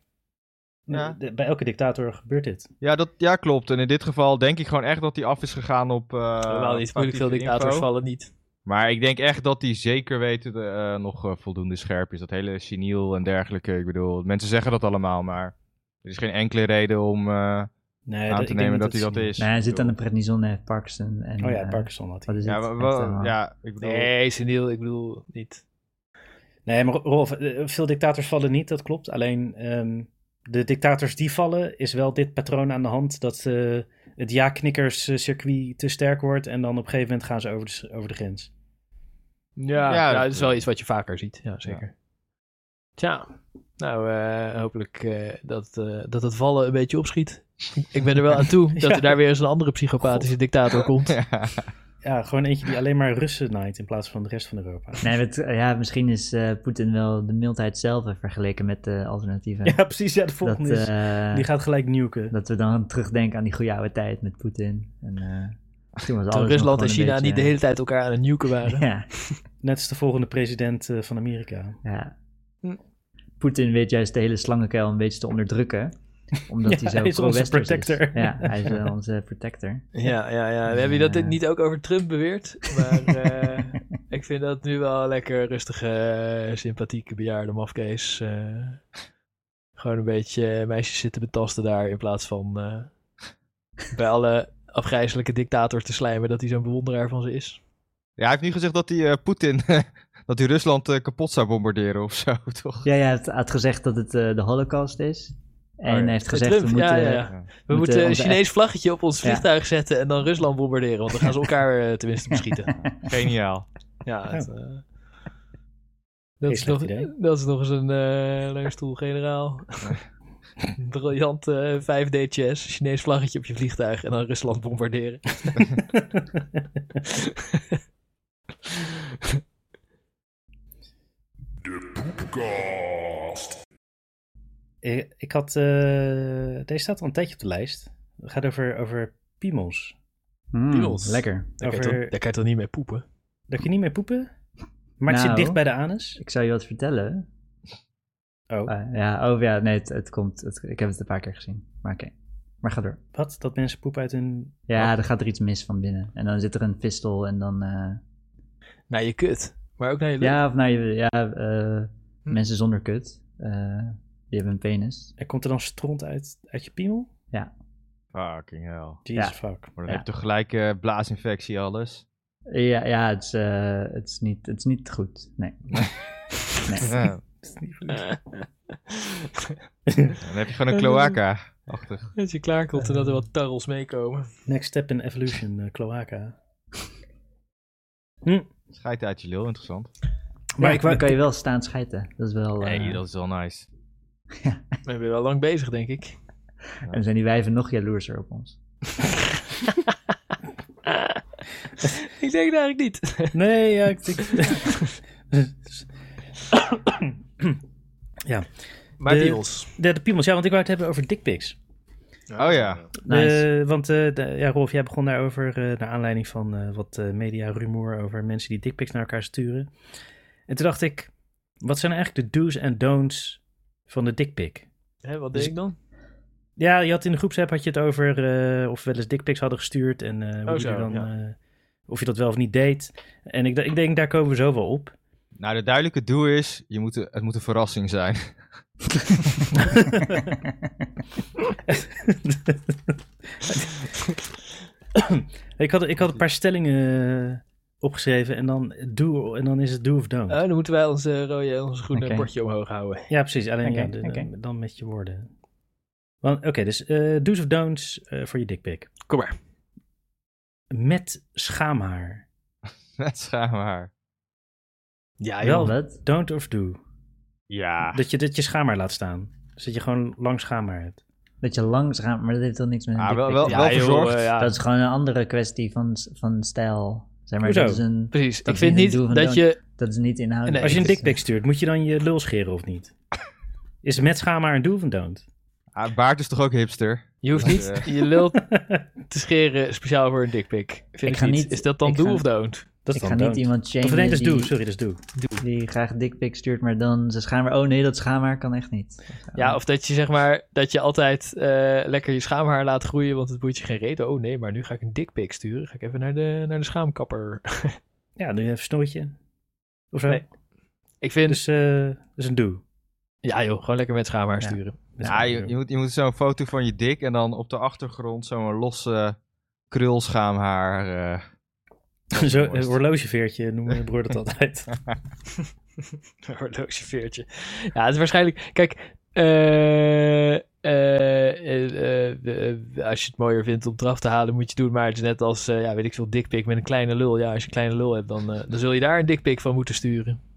Speaker 3: Ja.
Speaker 2: de- Bij elke dictator gebeurt dit.
Speaker 3: Ja, dat ja, klopt. En in dit geval denk ik gewoon echt dat hij af is gegaan op. eh
Speaker 4: Helemaal niet. Moeilijk veel
Speaker 3: factieve
Speaker 4: dictators
Speaker 3: info.
Speaker 4: vallen niet.
Speaker 3: Maar ik denk echt dat hij zeker weten eh, nog eh, voldoende scherp is. Dat hele seniel en dergelijke. Ik bedoel, mensen zeggen dat allemaal, maar er is geen enkele reden om eh,
Speaker 2: Nee,
Speaker 3: aan
Speaker 2: dat-
Speaker 3: te
Speaker 2: ik denk
Speaker 3: nemen dat,
Speaker 2: het
Speaker 3: hij dat
Speaker 2: niet-
Speaker 3: is.
Speaker 5: Nou, hij zit aan de
Speaker 3: een
Speaker 5: prednison en heeft Parkinson. En,
Speaker 2: Oh ja,
Speaker 5: eh,
Speaker 2: Parkinson had hij.
Speaker 5: wat is
Speaker 3: Ja,
Speaker 5: het?
Speaker 3: wel-
Speaker 5: Hij heeft
Speaker 3: wel-
Speaker 5: allemaal-
Speaker 3: ja, ik bedoel.
Speaker 4: Nee, seniel, ik bedoel niet.
Speaker 2: Nee, maar Rolf, eh, veel dictators vallen niet, dat klopt. Alleen ehm, de dictators die vallen, is wel dit patroon aan de hand dat eh, het ja-knikkers-circuit te sterk wordt en dan op een gegeven moment gaan ze over de, s- over de grens.
Speaker 3: Ja,
Speaker 4: Ja, ja,
Speaker 3: dat-
Speaker 4: dat is wel iets wat je vaker ziet. Ja, zeker. Tja, nou, eh, hopelijk eh, dat, eh, dat het vallen een beetje opschiet. ik ben er wel aan toe dat
Speaker 2: Ja.
Speaker 4: er daar weer eens een andere psychopathische dictator komt.
Speaker 3: Ja.
Speaker 2: Ja, gewoon eentje die alleen maar Russen naait in plaats van de rest van Europa.
Speaker 5: Nee, het, ja, misschien is eh, Poetin wel de mildheid zelf eh, vergeleken met de alternatieven.
Speaker 2: Ja, precies. Ja, de
Speaker 5: dat,
Speaker 2: volgende is.
Speaker 5: eh,
Speaker 2: Die gaat gelijk nuken.
Speaker 5: dat we dan terugdenken aan die goede oude tijd met Poetin. En, eh, toen was
Speaker 4: Toen Rusland
Speaker 5: alles
Speaker 4: en
Speaker 5: nog gewoon
Speaker 4: China
Speaker 5: een
Speaker 4: niet de
Speaker 5: beetje-
Speaker 4: hele tijd elkaar aan het nuken waren.
Speaker 5: Ja,
Speaker 2: Net als de volgende president eh, van Amerika.
Speaker 5: ja.
Speaker 4: Hm.
Speaker 5: Poetin weet juist de hele slangenkuil een beetje te onderdrukken. Omdat
Speaker 2: Ja,
Speaker 5: hij zo
Speaker 2: hij is onze
Speaker 5: pro-westers
Speaker 2: protector.
Speaker 5: Ja, hij is eh, onze protector.
Speaker 4: Ja, ja, ja. Heb je dat dit
Speaker 5: Ja.
Speaker 4: niet ook over Trump beweerd? Maar eh, ik vind dat nu wel lekker rustige, eh, sympathieke bejaarde mafkees. eh, gewoon een beetje eh, meisjes zitten betasten daar in plaats van eh, bij alle afgrijzelijke dictators te slijmen dat hij zo'n bewonderaar van ze is.
Speaker 3: Ja, hij heeft nu gezegd dat hij eh, Poetin. dat hij Rusland eh, kapot zou bombarderen of zo, toch?
Speaker 5: Ja, ja, hij had- had gezegd dat het eh, de holocaust is. En
Speaker 3: Oh, ja.
Speaker 5: hij heeft gezegd,
Speaker 4: Trump,
Speaker 5: we moeten...
Speaker 4: ja, ja.
Speaker 3: Ja.
Speaker 4: We
Speaker 5: Moeten
Speaker 4: moeten een
Speaker 5: eh, onze-
Speaker 4: Chinees vlaggetje op ons
Speaker 5: Ja.
Speaker 4: vliegtuig zetten en dan Rusland bombarderen, want dan gaan ze elkaar eh, tenminste beschieten.
Speaker 3: Geniaal.
Speaker 4: Ja, het, eh,
Speaker 2: Geen
Speaker 4: dat, is
Speaker 2: slecht
Speaker 4: nog,
Speaker 2: idee.
Speaker 4: dat is nog eens een eh leunstoel-generaal. Briljant eh, 5D chess, Chinees vlaggetje op je vliegtuig en dan Rusland bombarderen.
Speaker 2: ik, ik had. eh, deze staat al een tijdje op de lijst. Het gaat over, over piemels.
Speaker 5: Mm,
Speaker 4: Piemels.
Speaker 5: lekker.
Speaker 4: Daar, kan je
Speaker 2: Over-
Speaker 4: toch, daar kan je toch niet mee poepen?
Speaker 2: Daar kun je niet mee poepen. Maar het
Speaker 5: Nou.
Speaker 2: zit dicht bij de anus.
Speaker 5: Ik zou je wat vertellen.
Speaker 2: Oh.
Speaker 5: Eh, ja, oh ja, nee, het, het komt. Het, ik heb het een paar keer gezien. Maar oké. Maar ga door.
Speaker 2: Wat? Dat mensen poepen uit hun.
Speaker 5: Ja, er gaat er iets mis van binnen. En dan zit er een pistol en dan... eh,
Speaker 4: Naar Nou, je kut, maar ook naar je lul.
Speaker 5: ja, of nou, je- ja, eh,
Speaker 4: Hm.
Speaker 5: mensen zonder kut. eh, die hebben een penis.
Speaker 2: Er komt er dan stront uit, uit je piemel?
Speaker 3: Fucking hell.
Speaker 2: Jesus
Speaker 5: Ja.
Speaker 2: fuck.
Speaker 3: Maar dan
Speaker 5: Ja.
Speaker 3: heb je tegelijk eh, blaasinfectie, alles.
Speaker 5: Ja, ja het, is, eh, het, is niet, het is niet goed. Nee. nee.
Speaker 3: Ja. Dan heb je gewoon een cloaca. Achtig.
Speaker 4: Dat je klaar komt en dat er wat tarrels meekomen.
Speaker 2: Next step in evolution, eh, cloaca. Hm.
Speaker 3: Schijt uit je lul, interessant.
Speaker 2: Maar
Speaker 5: Ja,
Speaker 2: ik wou-
Speaker 5: dan kan je wel staan schijten. Dat is wel... eh,
Speaker 3: Nee, dat is wel nice.
Speaker 4: Dan ben je wel lang bezig, denk ik.
Speaker 5: En dan zijn die wijven nog jaloerser op ons.
Speaker 4: Ik denk het eigenlijk niet.
Speaker 2: Nee, ja, ik. ik-
Speaker 4: Maar
Speaker 2: De-
Speaker 4: deals.
Speaker 2: De, de piemels, ja, want ik wou het hebben over dickpics.
Speaker 3: Oh ja.
Speaker 5: Nice.
Speaker 2: Eh, want eh, de- ja, Rolf, jij begon daarover eh, naar aanleiding van eh, wat eh, media-rumoer over mensen die dickpics naar elkaar sturen. En toen dacht ik, wat zijn nou eigenlijk de do's en don'ts van de dickpic?
Speaker 4: Hè, wat
Speaker 2: Dus-
Speaker 4: deed ik dan?
Speaker 2: Ja, je had in de groepsapp had je het over eh, of we wel eens dickpics hadden gestuurd en eh, hoe
Speaker 4: Oh,
Speaker 2: je
Speaker 4: zo,
Speaker 2: er dan,
Speaker 4: ja.
Speaker 2: eh, of je dat wel of niet deed. En ik, d- ik denk, daar komen we zo wel op.
Speaker 3: Nou, de duidelijke doel is, je moet, het moet een verrassing zijn.
Speaker 2: ik, had, ik had een paar stellingen eh, opgeschreven en dan, do, en dan is het do of don't.
Speaker 4: Oh, dan moeten wij ons eh, rode en ons groene
Speaker 6: Oké.
Speaker 4: bordje omhoog houden.
Speaker 2: Ja, precies. Alleen
Speaker 6: Oké,
Speaker 2: ja, de-
Speaker 6: oké.
Speaker 2: dan, dan met je woorden. Want- Oké, dus eh, do's of don'ts eh, voor je dikpik.
Speaker 4: Kom maar.
Speaker 2: Met schaamhaar.
Speaker 3: Met schaamhaar.
Speaker 4: Ja,
Speaker 2: Wel.
Speaker 4: joh.
Speaker 5: Wat?
Speaker 2: Don't of do.
Speaker 4: Ah.
Speaker 3: Ja.
Speaker 2: Dat je, dat je schaamhaar laat staan. Dus dat je gewoon lang schaamhaar hebt.
Speaker 5: Dat je langzaam, maar dat heeft toch niks met een
Speaker 3: Ah, wel,
Speaker 5: dikpik
Speaker 3: wel,
Speaker 5: te
Speaker 4: Ja,
Speaker 3: wel
Speaker 4: joh,
Speaker 3: verzorgd.
Speaker 4: eh, ja.
Speaker 5: Dat is gewoon een andere kwestie van, van stijl. Zeg maar,
Speaker 2: Hoezo?
Speaker 5: dat is, een,
Speaker 4: Precies.
Speaker 5: dat
Speaker 4: ik
Speaker 5: is
Speaker 4: vind
Speaker 5: niet het
Speaker 4: niet
Speaker 5: doel van
Speaker 4: dat
Speaker 5: Don't.
Speaker 4: je...
Speaker 5: dat is niet inhoudelijk.
Speaker 4: Nee,
Speaker 2: Als je een
Speaker 4: dat
Speaker 2: dikpik stuurt, moet je dan je lul scheren of niet? Is met schaamhaar een do of een don't?
Speaker 3: Ah, baard is toch ook hipster?
Speaker 4: Je hoeft
Speaker 3: Dat,
Speaker 4: niet
Speaker 3: eh,
Speaker 4: je lul te scheren speciaal voor een dikpik. Vind ik,
Speaker 5: ga
Speaker 4: niet.
Speaker 5: niet-
Speaker 4: Is dat dan
Speaker 5: ik
Speaker 4: do
Speaker 5: ga-
Speaker 4: of don't?
Speaker 2: Dat is
Speaker 5: Ik
Speaker 2: dan
Speaker 5: ga
Speaker 2: don't.
Speaker 5: niet iemand shamen
Speaker 2: Of nee, dus dat is do.
Speaker 5: die,
Speaker 2: Sorry, dat is do.
Speaker 5: die graag dikpik stuurt, maar dan zijn schaamhaar... Oh nee, dat schaamhaar kan echt niet.
Speaker 4: Ja, of dat je zeg maar dat je altijd eh, lekker je schaamhaar laat groeien, want het boeit je geen reet. Oh nee, maar nu ga ik een dikpik sturen. Ga ik even naar de, naar de schaamkapper.
Speaker 2: Ja, nu even snootje. Of zo.
Speaker 4: Nee. Ik vind,
Speaker 2: Dus eh, dat is een do.
Speaker 4: ja joh, gewoon lekker met schaamhaar
Speaker 2: Ja.
Speaker 4: sturen.
Speaker 2: Met
Speaker 3: ja,
Speaker 2: schaamhaar
Speaker 3: je,
Speaker 2: do.
Speaker 3: je moet, je moet zo'n foto van je dik en dan op de achtergrond zo'n losse krulschaamhaar. eh.
Speaker 2: Zo,
Speaker 3: Worst.
Speaker 2: een horlogeveertje noemen mijn broer dat altijd.
Speaker 4: Een horlogeveertje. Ja, het is waarschijnlijk. Kijk, eh, eh, eh, eh, eh, als je het mooier vindt om het eraf te halen, moet je het doen. Maar het is net als, eh, ja, weet ik veel, dikpik met een kleine lul. Ja, als je een kleine lul hebt, dan, eh, dan zul je daar een dikpik van moeten sturen.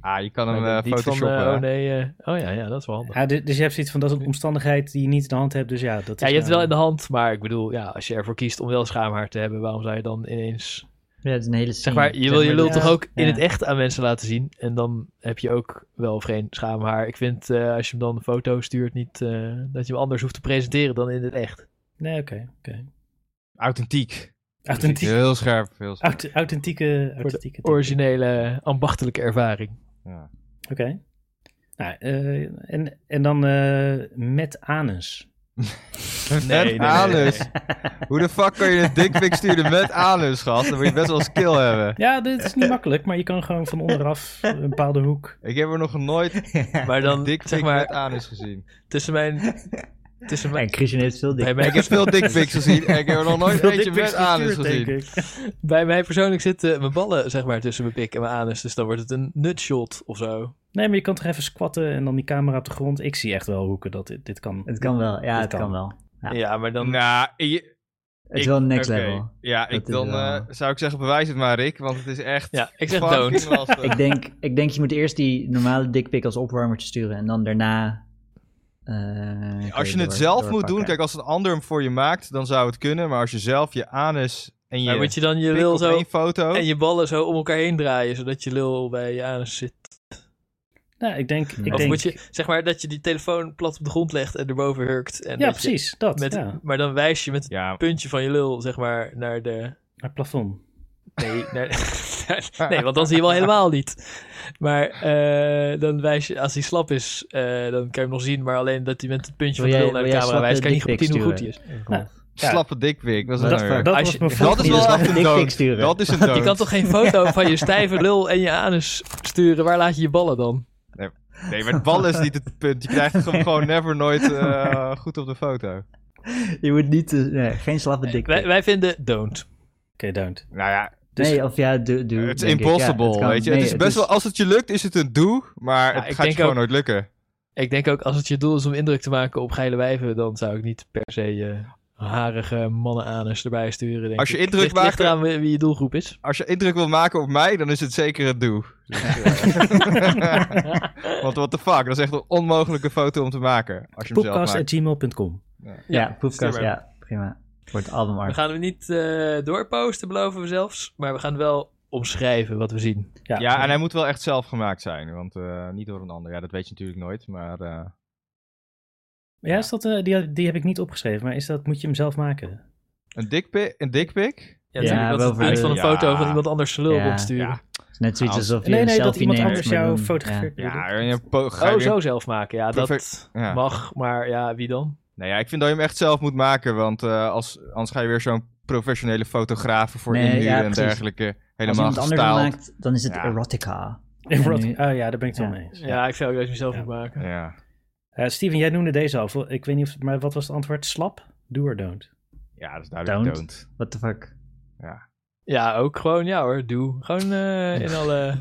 Speaker 3: Ah, je kan hem
Speaker 4: Maar
Speaker 3: eh,
Speaker 4: niet van, eh,
Speaker 3: photoshoppen. hè?
Speaker 4: oh nee, eh, oh ja, ja, dat is wel handig.
Speaker 2: Ja, du- dus je hebt zoiets van, dat is een omstandigheid die je niet in de hand hebt. Dus ja, dat
Speaker 4: Ja,
Speaker 2: is
Speaker 4: je hebt het wel in
Speaker 2: nou-
Speaker 4: de hand, maar ik bedoel, ja, als je ervoor kiest om wel schaamhaar te hebben, waarom zou je dan ineens...
Speaker 5: Ja, het is een hele scene.
Speaker 4: Zeg maar,
Speaker 3: Hmm,
Speaker 4: je
Speaker 5: Zeg
Speaker 4: wil je
Speaker 5: maar,
Speaker 4: lul
Speaker 5: dat-
Speaker 4: toch ook in
Speaker 5: ja.
Speaker 4: het echt aan mensen laten zien en dan heb je ook wel of geen schaamhaar. Ik vind, eh, als je hem dan een foto stuurt, niet eh, dat je hem anders hoeft te presenteren dan in het echt.
Speaker 2: Nee, oké. oké.
Speaker 3: Authentiek.
Speaker 2: Authentiek,
Speaker 3: Heel scherp. Heel scherp.
Speaker 2: aut- authentieke, authentieke tip.
Speaker 4: Originele, ambachtelijke ervaring.
Speaker 3: Ja.
Speaker 2: Oké. Nou, eh, en, en dan eh, met anus.
Speaker 4: nee,
Speaker 3: met
Speaker 4: nee, nee,
Speaker 3: anus. Hoe de fuck kan je een dikpik sturen met anus, gast? Dan moet je best wel skill hebben.
Speaker 2: Ja, dit is niet makkelijk, maar je kan gewoon van onderaf een bepaalde hoek.
Speaker 3: Ik heb er nog nooit
Speaker 4: Maar
Speaker 3: een
Speaker 4: dan,
Speaker 3: dikpik
Speaker 4: zeg maar,
Speaker 3: met anus gezien.
Speaker 4: tussen mijn... Tussen
Speaker 5: Ja,
Speaker 4: mijn
Speaker 5: en Christian heeft veel
Speaker 4: bij,
Speaker 5: dik.
Speaker 3: Ik
Speaker 4: mij,
Speaker 3: heb veel dikpiks gezien en ik heb er nog nooit
Speaker 2: Veel
Speaker 3: eentje
Speaker 2: dickpics
Speaker 3: met anus
Speaker 2: gestuurd,
Speaker 3: gezien.
Speaker 2: denk ik.
Speaker 4: bij mij persoonlijk zitten mijn ballen, zeg maar, tussen mijn pik en mijn anus. Dus dan wordt het een nutshot of zo.
Speaker 2: Nee, maar je kan toch even squatten en dan die camera op de grond. Ik zie echt wel hoeken dat dit, dit kan.
Speaker 5: Het kan wel, ja,
Speaker 2: Dit
Speaker 5: het kan
Speaker 2: kan.
Speaker 5: wel. Ja.
Speaker 4: Ja, maar dan...
Speaker 3: Nou, je-
Speaker 5: Het is
Speaker 3: ik-
Speaker 5: wel next
Speaker 3: oké.
Speaker 5: level.
Speaker 3: Ja, ik
Speaker 5: Dat is
Speaker 3: dan
Speaker 5: wel-
Speaker 3: eh, zou ik zeggen, bewijs het maar, Rick. Want het is echt
Speaker 4: Ja, ik zeg
Speaker 3: fucking
Speaker 4: don't.
Speaker 3: lastig.
Speaker 5: Ik denk, ik denk, je moet eerst die normale dikpik als opwarmertje sturen en dan daarna... eh, kan
Speaker 3: Als je het
Speaker 5: door-
Speaker 3: zelf moet
Speaker 5: doorpakken.
Speaker 3: doen, kijk, als een ander hem voor je maakt, dan zou het kunnen. Maar als je zelf je anus en je,
Speaker 4: Maar moet je dan je
Speaker 3: pik
Speaker 4: lul
Speaker 3: op
Speaker 4: zo
Speaker 3: één foto...
Speaker 4: en je ballen zo om elkaar heen draaien, zodat je lul bij je anus zit?
Speaker 2: Nou, ik denk. Ik
Speaker 4: of
Speaker 2: denk
Speaker 4: moet je, zeg maar, dat je die telefoon plat op de grond legt en erboven hurkt. En
Speaker 2: ja,
Speaker 4: dat je
Speaker 2: precies. Dat.
Speaker 4: Met,
Speaker 2: ja,
Speaker 4: Maar dan wijs je met het
Speaker 3: Ja,
Speaker 4: puntje van je lul, zeg maar, naar de...
Speaker 2: naar het plafond.
Speaker 4: Nee, naar- nee, want dan zie je wel helemaal niet. Maar eh, dan wijs je, als hij slap is, eh, dan kan je hem nog zien. Maar alleen dat hij met het puntje
Speaker 5: Wil
Speaker 4: van de
Speaker 5: jij-
Speaker 4: lul naar de
Speaker 5: wil jij
Speaker 4: camera wijst, kan je niet
Speaker 5: slappe
Speaker 4: goed zien hoe goed hij
Speaker 5: dickpics
Speaker 4: is.
Speaker 2: Ja.
Speaker 3: slappe dikpik. Dat is,
Speaker 2: Dat,
Speaker 3: nou weer-
Speaker 2: dat
Speaker 4: Als
Speaker 2: was
Speaker 4: je-
Speaker 2: mijn
Speaker 4: dat
Speaker 2: volgende
Speaker 3: is wel
Speaker 5: Dus
Speaker 3: echt
Speaker 5: gewoon
Speaker 3: een
Speaker 5: een
Speaker 3: dood.
Speaker 5: dikpik sturen.
Speaker 3: Dat is een dood.
Speaker 4: Je kan toch geen foto van je stijve lul en je anus sturen? Waar laat je je ballen dan?
Speaker 3: Nee, maar het bal is niet het punt. Je krijgt het gewoon- gewoon never nooit eh, goed op de foto.
Speaker 5: Je moet niet, te- nee, geen slappe dikpik.
Speaker 4: Wij, wij vinden don't.
Speaker 2: Oké, don't.
Speaker 3: Nou ja,
Speaker 2: Dus-
Speaker 5: nee, of ja, doe. doe,
Speaker 3: het is
Speaker 5: denk ik. Ja, het
Speaker 3: impossible,
Speaker 5: kan.
Speaker 3: weet je.
Speaker 5: Nee,
Speaker 3: het is best wel, als het je lukt, is het een doe, maar
Speaker 4: Ja,
Speaker 3: het
Speaker 4: ik
Speaker 3: gaat je
Speaker 4: denk
Speaker 3: gewoon
Speaker 4: ook-
Speaker 3: nooit lukken.
Speaker 4: Ik denk ook, als het je doel is om indruk te maken op geile wijven, dan zou ik niet per se eh, harige mannenanus erbij sturen. Denk
Speaker 3: Als je
Speaker 4: ik.
Speaker 3: indruk
Speaker 4: Ligt-
Speaker 3: maakt-
Speaker 4: Ligt eraan wie, wie je doelgroep is.
Speaker 3: Als je indruk wil maken op mij, dan is het zeker een doe. Dus, eh, Want what the fuck, dat is echt een onmogelijke foto om te maken. Als je hem zelf maakt.
Speaker 2: Podcast.gmail.com.
Speaker 5: Ja, poepkast,
Speaker 3: stuur maar.
Speaker 5: ja, prima. Voor het
Speaker 4: We
Speaker 5: albumart.
Speaker 4: gaan hem niet eh, doorposten, beloven we zelfs. Maar we gaan wel omschrijven wat we zien.
Speaker 2: Ja,
Speaker 3: Ja, en hij moet wel echt zelf gemaakt zijn, want eh, niet door een ander. Ja, dat weet je natuurlijk nooit, maar... eh,
Speaker 2: Ja, is dat, eh, die, die heb ik niet opgeschreven, maar is dat, moet je hem zelf maken?
Speaker 3: Een dikpik? Een dikpik?
Speaker 4: Ja,
Speaker 5: Ja,
Speaker 4: natuurlijk,
Speaker 5: wel
Speaker 4: dat het beeld
Speaker 5: voor-
Speaker 4: van een
Speaker 3: Ja.
Speaker 4: foto van iemand anders zijn lul
Speaker 5: Ja.
Speaker 4: rondsturen.
Speaker 3: Ja.
Speaker 5: is net zoiets
Speaker 3: Als-
Speaker 5: alsof je
Speaker 2: Nee,
Speaker 5: een
Speaker 2: nee, dat
Speaker 5: selfie
Speaker 2: iemand
Speaker 5: neemt,
Speaker 2: anders
Speaker 5: maar
Speaker 2: jou
Speaker 5: dan-
Speaker 2: fotografeert. bedoel ik.
Speaker 3: Ja, en je po- ga je
Speaker 4: Oh,
Speaker 3: weer-
Speaker 4: zo zelf maken. Ja, dat
Speaker 3: Perfect. Ja.
Speaker 4: mag. Maar ja, wie dan?
Speaker 3: Nou ja, ik vind dat je hem echt zelf moet maken, want eh, als, anders ga je weer zo'n professionele fotograaf voor
Speaker 5: Nee,
Speaker 3: inhuren
Speaker 5: ja,
Speaker 3: en
Speaker 5: precies.
Speaker 3: dergelijke.
Speaker 5: Als
Speaker 3: Helemaal
Speaker 5: iemand anders hem
Speaker 3: gestaald.
Speaker 5: maakt, dan is het
Speaker 3: Ja.
Speaker 5: erotica.
Speaker 2: En
Speaker 5: Ja,
Speaker 2: wat-
Speaker 5: nu-
Speaker 2: oh ja, daar ben ik het wel
Speaker 5: Ja.
Speaker 2: mee eens.
Speaker 4: Ja, ik zou juist mezelf niet maken.
Speaker 3: Ja.
Speaker 2: Eh, Steven, jij noemde deze al. Vo- Ik weet niet of, maar wat was het antwoord? Slap? Do or don't?
Speaker 3: ja, dat is duidelijk
Speaker 5: Don't.
Speaker 3: don't.
Speaker 5: What the fuck?
Speaker 4: Ja, ook gewoon, ja hoor, doe. Gewoon eh, in alle...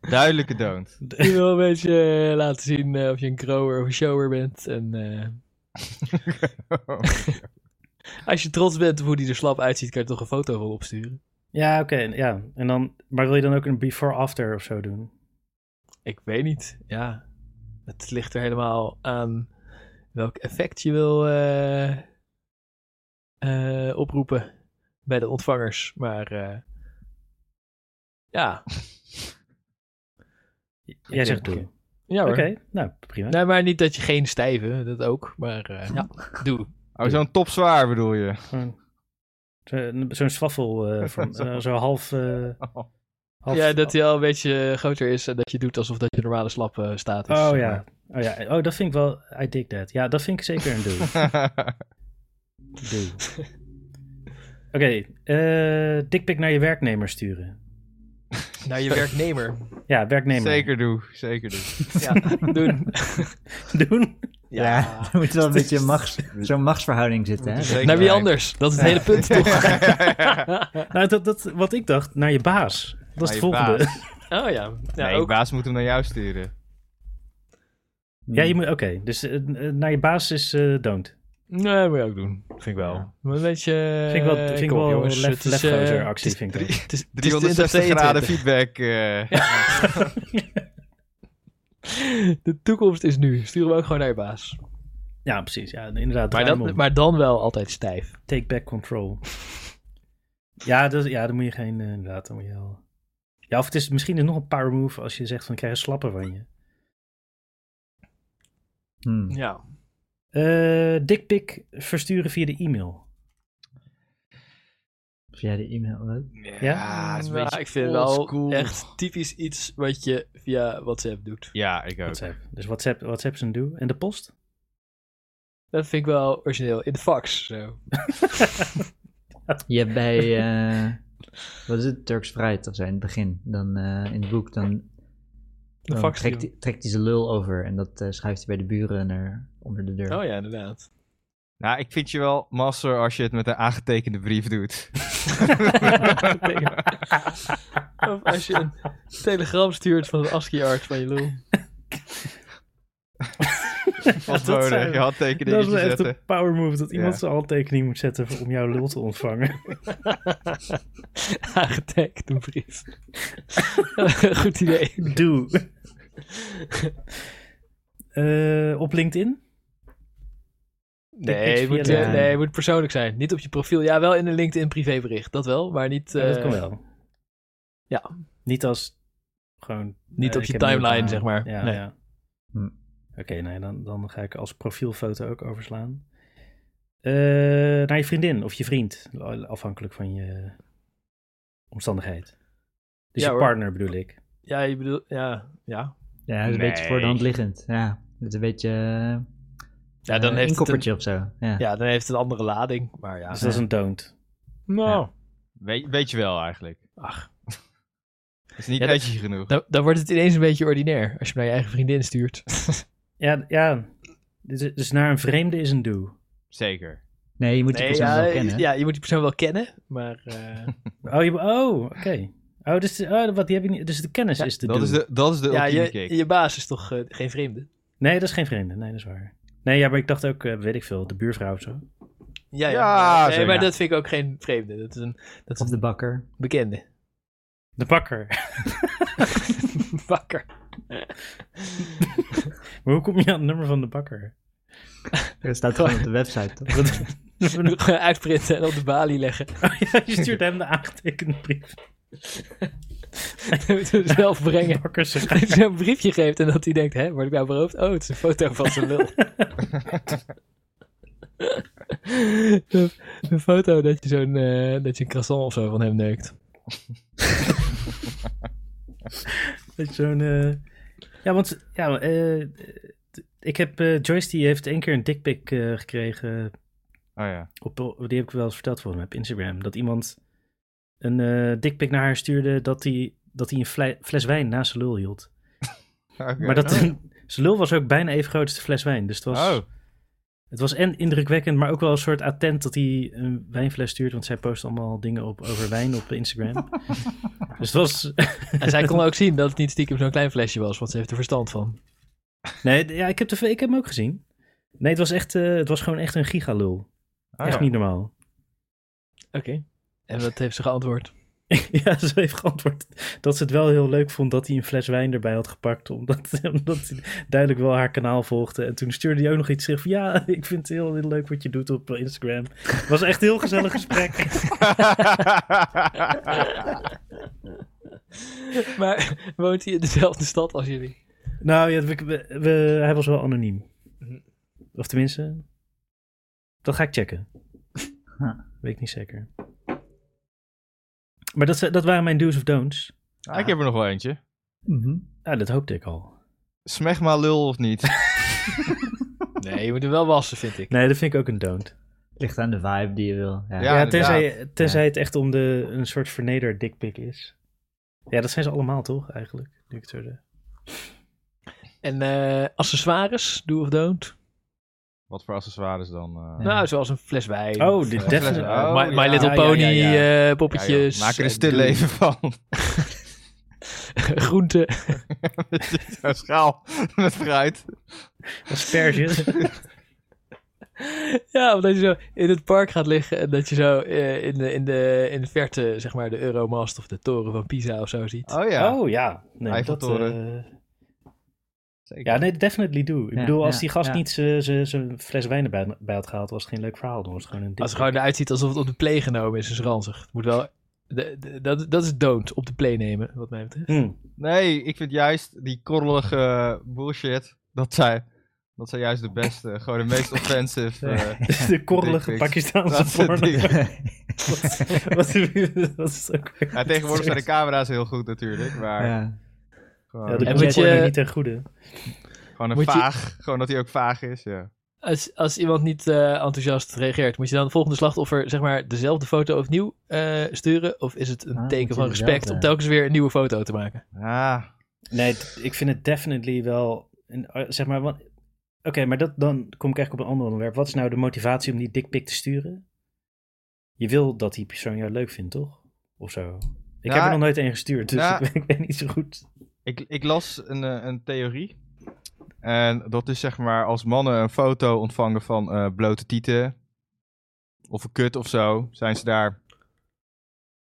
Speaker 3: Duidelijke don't.
Speaker 4: je wil een beetje eh, laten zien eh, of je een grower of een shower bent. En
Speaker 3: Oh,
Speaker 4: eh, als je trots bent op hoe die er slap uitziet, kan je toch een foto van opsturen.
Speaker 2: Ja, oké. ja. En dan, maar wil je dan ook een before-after of zo doen?
Speaker 4: Ik weet niet, ja. Het ligt er helemaal aan welk effect je wil eh, eh, oproepen bij de ontvangers. Maar eh, ja,
Speaker 2: Jij zegt
Speaker 4: oké.
Speaker 2: doen.
Speaker 4: ja
Speaker 2: Oké,
Speaker 4: hoor.
Speaker 2: nou prima.
Speaker 4: Nee, maar niet dat je geen stijve, dat ook. Maar eh, ja, doe.
Speaker 3: Oh, zo'n topzwaar bedoel je?
Speaker 2: Gewoon zo- Zo'n swaffel, eh, vorm. Eh, zo half, eh,
Speaker 3: Oh.
Speaker 2: half-
Speaker 4: ja, dat hij al een beetje eh, groter is en dat je doet alsof dat je normale slap eh, staat is.
Speaker 2: Oh ja. Oh ja, oh dat vind ik wel, I dig that. Ja, dat vind ik zeker een do. do. Oké, eh dikpik naar je werknemer sturen.
Speaker 4: Naar je werknemer.
Speaker 2: Ja, werknemer.
Speaker 3: Nou, zeker doe, zeker doe.
Speaker 4: ja, doen.
Speaker 2: Doen.
Speaker 5: Ja, er moet wel een beetje een machts, zo'n machtsverhouding zitten. Hè?
Speaker 3: Zeker
Speaker 4: Naar wie
Speaker 3: doen.
Speaker 4: anders? Dat is het hele punt toch?
Speaker 2: Nou, dat, dat, wat ik dacht, naar je baas. Dat is
Speaker 3: Naar
Speaker 2: het
Speaker 3: je
Speaker 2: volgende.
Speaker 4: Oh ja. ja
Speaker 3: nee,
Speaker 4: ook.
Speaker 3: baas moet hem naar jou sturen.
Speaker 2: Ja,
Speaker 3: Hmm.
Speaker 2: je moet, oké. Dus eh, eh, naar je baas is eh don't.
Speaker 4: Nee, moet je ook doen. Vind ik wel. Maar een beetje...
Speaker 2: Vind ik wel,
Speaker 4: eh,
Speaker 2: vind ik
Speaker 4: kom op,
Speaker 2: wel
Speaker 4: jongens,
Speaker 2: lef-
Speaker 4: het is,
Speaker 2: lefgozer
Speaker 4: eh,
Speaker 2: actie,
Speaker 4: het is
Speaker 2: vind ik ook.
Speaker 4: drie- het is- het is
Speaker 3: 360 graden
Speaker 4: 2022.
Speaker 3: feedback. eh.
Speaker 4: De toekomst is nu. Stuur hem ook gewoon naar je baas.
Speaker 2: Ja, precies. Ja, inderdaad. draai
Speaker 4: Maar
Speaker 2: hem
Speaker 4: dan,
Speaker 2: om.
Speaker 4: maar dan wel altijd stijf.
Speaker 2: Take back control. ja, dat, ja, dan moet je geen... eh, inderdaad, dan moet je wel... Ja, of het is misschien nog een power move als je zegt van ik krijg een slappe van je.
Speaker 5: Hmm.
Speaker 4: Ja.
Speaker 2: Eh dikpik versturen via de e-mail.
Speaker 5: Via de e-mail. wat?
Speaker 2: Ja,
Speaker 3: het is een
Speaker 4: Nou,
Speaker 3: beetje
Speaker 4: ik vind
Speaker 3: old
Speaker 4: wel
Speaker 3: school.
Speaker 4: echt typisch iets wat je via WhatsApp doet.
Speaker 3: Ja, ik ook.
Speaker 2: WhatsApp. Dus WhatsApp, WhatsApp is een do. En de post?
Speaker 4: Dat vind ik wel origineel. In de fax. Zo.
Speaker 5: Je hebt bij, eh, wat is het, Turks Fruit of zo in het begin, dan eh, in het boek, dan,
Speaker 4: De
Speaker 2: Oh,
Speaker 5: dan
Speaker 4: fax.
Speaker 5: trekt, hij- trekt hij zijn lul over en dat eh, schuift hij bij de buren naar onder de deur.
Speaker 4: Oh ja, inderdaad.
Speaker 3: Nou, ik vind je wel master als je het met een aangetekende brief doet.
Speaker 4: Of als je een telegram stuurt van een ASCII-art van je lul.
Speaker 3: Als
Speaker 2: dat
Speaker 3: nodig,
Speaker 2: zijn-
Speaker 3: je handtekening
Speaker 2: Dat is wel echt
Speaker 3: zetten.
Speaker 2: een power move dat iemand
Speaker 3: Ja.
Speaker 2: zijn handtekening moet zetten voor- om jouw lul te ontvangen.
Speaker 4: Aangetagd een brief. Goed idee.
Speaker 2: do. Eh, op LinkedIn?
Speaker 4: Nee, het
Speaker 2: via
Speaker 4: moet,
Speaker 2: de-
Speaker 4: eh, nee, het moet persoonlijk zijn. Niet op je profiel. Ja, wel in een LinkedIn privébericht. Dat wel, maar niet,
Speaker 2: Ja, dat
Speaker 4: eh,
Speaker 2: kan wel.
Speaker 4: ja.
Speaker 2: Niet als gewoon...
Speaker 4: niet
Speaker 2: eh,
Speaker 4: op
Speaker 2: ik
Speaker 4: je
Speaker 2: heb een
Speaker 4: timeline,
Speaker 2: baan.
Speaker 4: zeg maar.
Speaker 2: Ja,
Speaker 4: nee.
Speaker 2: ja.
Speaker 5: Hm.
Speaker 2: Oké, nee, dan, dan ga ik als profielfoto ook overslaan. Eh, naar je vriendin of je vriend, afhankelijk van je omstandigheid. Dus
Speaker 4: Ja,
Speaker 2: je
Speaker 4: hoor.
Speaker 2: partner bedoel ik.
Speaker 4: ja, je bedoelt, ja, ja.
Speaker 5: Ja, dat is een beetje
Speaker 3: Nee.
Speaker 5: voor de hand liggend. Ja, dat is een beetje eh,
Speaker 4: Ja, dan
Speaker 5: eh,
Speaker 4: heeft
Speaker 5: een
Speaker 4: het een,
Speaker 5: koppertje of zo. Ja.
Speaker 4: ja, dan heeft het een andere lading, maar ja.
Speaker 2: dus dat is een don't.
Speaker 4: Nou,
Speaker 3: Weet, weet je wel eigenlijk.
Speaker 4: ach,
Speaker 3: Het is niet
Speaker 4: Ja,
Speaker 3: ja,
Speaker 4: dat-
Speaker 3: genoeg.
Speaker 4: dan, dan wordt het ineens een beetje ordinair als je naar je eigen vriendin stuurt.
Speaker 2: Ja, ja. Dus, dus naar een vreemde is een do.
Speaker 3: Zeker.
Speaker 5: Nee, je moet die
Speaker 4: Nee,
Speaker 5: persoon
Speaker 4: ja,
Speaker 5: wel kennen.
Speaker 4: ja, je moet die persoon wel kennen, maar eh,
Speaker 2: Oh, je, oh oké. Oh, dus, de- oh, wat, die heb ik niet, dus de kennis is de
Speaker 3: Dat
Speaker 2: do.
Speaker 3: is de, dat is de
Speaker 4: ja,
Speaker 3: ultieme
Speaker 4: je,
Speaker 3: kick.
Speaker 4: je baas is toch eh, geen vreemde?
Speaker 2: Nee, dat is geen vreemde. Nee, dat is waar. Nee, ja, maar ik dacht ook, eh, weet ik veel, de buurvrouw of zo.
Speaker 4: Ja,
Speaker 3: Ja,
Speaker 4: maar- nee,
Speaker 3: zeker.
Speaker 4: maar dat vind ik ook geen vreemde. Dat is een, dat is
Speaker 5: Of
Speaker 4: een
Speaker 5: de bakker.
Speaker 4: bekende.
Speaker 2: De bakker.
Speaker 4: Bakker.
Speaker 2: Maar hoe kom je aan het nummer van de bakker?
Speaker 5: Dat staat gewoon op de website, toch?
Speaker 2: Dat-
Speaker 4: Gewoon Uitprinten en op de balie leggen.
Speaker 2: Oh ja, je stuurt hem de aangetekende brief.
Speaker 4: Hij moet hem zelf brengen.
Speaker 2: Bakker zegt,
Speaker 4: Dat hij zo'n briefje geeft en dat hij denkt, hè, word ik nou beroofd? Oh, het is een foto van zijn lul. een, een foto dat je zo'n eh, dat je een croissant of zo van hem neukt.
Speaker 2: dat is zo'n... eh, Ja, want ja, eh, t- ik heb, eh, Joyce die heeft één keer een dickpic eh, gekregen.
Speaker 3: Oh ja.
Speaker 2: Op, die heb ik wel eens verteld volgens mij op Instagram. Dat iemand een eh dickpic naar haar stuurde dat hij dat hij een fle- fles wijn naast zijn lul hield.
Speaker 3: Oké.
Speaker 2: Maar dat, zijn lul was ook bijna even groot als de fles wijn. Dus het was,
Speaker 3: Oh,
Speaker 2: het was en indrukwekkend, maar ook wel een soort attent dat hij een wijnfles stuurt. Want zij post allemaal dingen op, over wijn op Instagram. dus het was...
Speaker 4: En zij kon ook zien dat het niet stiekem zo'n klein flesje was, want ze heeft er verstand van.
Speaker 2: Nee, d- ja, ik heb, de, ik heb hem ook gezien. Nee, het was, echt, eh, het was gewoon echt een gigalul.
Speaker 3: oh
Speaker 2: echt
Speaker 3: ja.
Speaker 2: niet normaal.
Speaker 4: Oké. En dat heeft ze geantwoord.
Speaker 2: ja, ze heeft geantwoord dat ze het wel heel leuk vond dat hij een fles wijn erbij had gepakt. Omdat, omdat hij duidelijk wel haar kanaal volgde. En toen stuurde hij ook nog iets terug van ja, ik vind het heel, heel leuk wat je doet op Instagram. Het was echt een heel gezellig gesprek.
Speaker 4: Maar woont hij in dezelfde stad als jullie?
Speaker 2: nou ja, we, we- we- hij was wel anoniem. Of tenminste, dat ga ik checken.
Speaker 5: Huh.
Speaker 2: Weet ik niet zeker. Maar dat, zijn- dat waren mijn do's of don'ts.
Speaker 3: Ah, ik heb er nog wel eentje.
Speaker 5: Mhm.
Speaker 2: Ja, dat hoopte ik al.
Speaker 3: Smeg maar lul of niet.
Speaker 4: Nee, je moet hem wel wassen, vind ik.
Speaker 2: Nee, dat vind ik ook een don't.
Speaker 5: Ligt aan de vibe die je wil. Ja.
Speaker 3: Ja.
Speaker 2: Ja, tenzij,
Speaker 3: inderdaad.
Speaker 2: tenzij het echt om de, een soort verneder dikpik is. Ja, dat zijn ze allemaal toch eigenlijk? Nu ik het zo zeg.
Speaker 4: En eh, accessoires, do of don't?
Speaker 3: Wat voor accessoires dan? eh?
Speaker 5: Ja.
Speaker 4: Nou, zoals een fles wijn.
Speaker 2: Oh,
Speaker 4: of,
Speaker 2: dit
Speaker 4: eh,
Speaker 2: definitely.
Speaker 3: Oh,
Speaker 4: My, My
Speaker 3: ja.
Speaker 4: Little
Speaker 2: Ja, ja,
Speaker 4: Pony
Speaker 2: ja, ja.
Speaker 4: eh,
Speaker 3: Ja, joh,
Speaker 4: poppetjes.
Speaker 3: maak er een
Speaker 4: eh,
Speaker 3: stil leven van.
Speaker 4: groente.
Speaker 3: Een schaal met fruit.
Speaker 2: Asperges.
Speaker 4: Ja, omdat je zo in het park gaat liggen en dat je zo eh, in, de, in, de, in de verte, zeg maar, de Euromast of de toren van Pisa of zo ziet.
Speaker 3: Oh ja.
Speaker 2: Oh ja. Nee, dat,
Speaker 3: Eiffeltoren.
Speaker 2: eh,
Speaker 3: Zeker.
Speaker 2: ja, nee, definitely do. Ik
Speaker 5: Ja,
Speaker 2: bedoel, als
Speaker 5: ja,
Speaker 2: die gast
Speaker 5: ja.
Speaker 2: niet zijn- zijn zijn fles wijn erbij bij had gehaald, was het geen leuk verhaal. Dan was het gewoon een
Speaker 4: Als het
Speaker 2: dikpik.
Speaker 4: gewoon eruit ziet alsof het op de play genomen is, is ranzig. Het moet wel... de- de- dat, dat is don't, op de play nemen, wat mij betreft.
Speaker 2: Hmm.
Speaker 3: Nee, ik vind juist die korrelige bullshit, dat zij, dat zij juist de beste, gewoon de meest offensive. eh,
Speaker 2: De korrelige
Speaker 3: Dikpiks. dat
Speaker 2: Pakistaanse
Speaker 3: soort
Speaker 2: porno.
Speaker 3: dingen.
Speaker 2: Wat wat is het ook weer?
Speaker 3: Ja, tegenwoordig zijn de camera's heel goed natuurlijk, maar
Speaker 5: Ja.
Speaker 3: gewoon,
Speaker 2: Ja, de
Speaker 4: En moet
Speaker 2: komt porno
Speaker 4: je-
Speaker 2: niet ten goede.
Speaker 3: gewoon een
Speaker 4: moet je-
Speaker 3: vaag, gewoon dat hij ook vaag is, ja.
Speaker 4: Als, als iemand niet eh, enthousiast reageert, moet je dan het volgende slachtoffer zeg maar dezelfde foto opnieuw eh, sturen? Of is het een
Speaker 5: Ah, moet
Speaker 4: teken
Speaker 5: je
Speaker 4: van
Speaker 5: dezelfde.
Speaker 4: respect om telkens weer een nieuwe foto te maken?
Speaker 3: Ah,
Speaker 2: Nee, t- ik vind het definitely wel. Een, eh, zeg maar, want- oké, maar dat, dan kom ik eigenlijk op een ander onderwerp. Wat is nou de motivatie om die dikpik te sturen? Je wil dat die persoon jou leuk vindt, toch? Of zo. Ik
Speaker 3: Nou,
Speaker 2: heb er nog nooit één gestuurd, dus
Speaker 3: nou-
Speaker 2: ik, weet, ik weet niet zo goed.
Speaker 3: ik, ik las een, eh, een theorie. En dat is zeg maar als mannen een foto ontvangen van eh, blote tieten of een kut of zo, zijn ze daar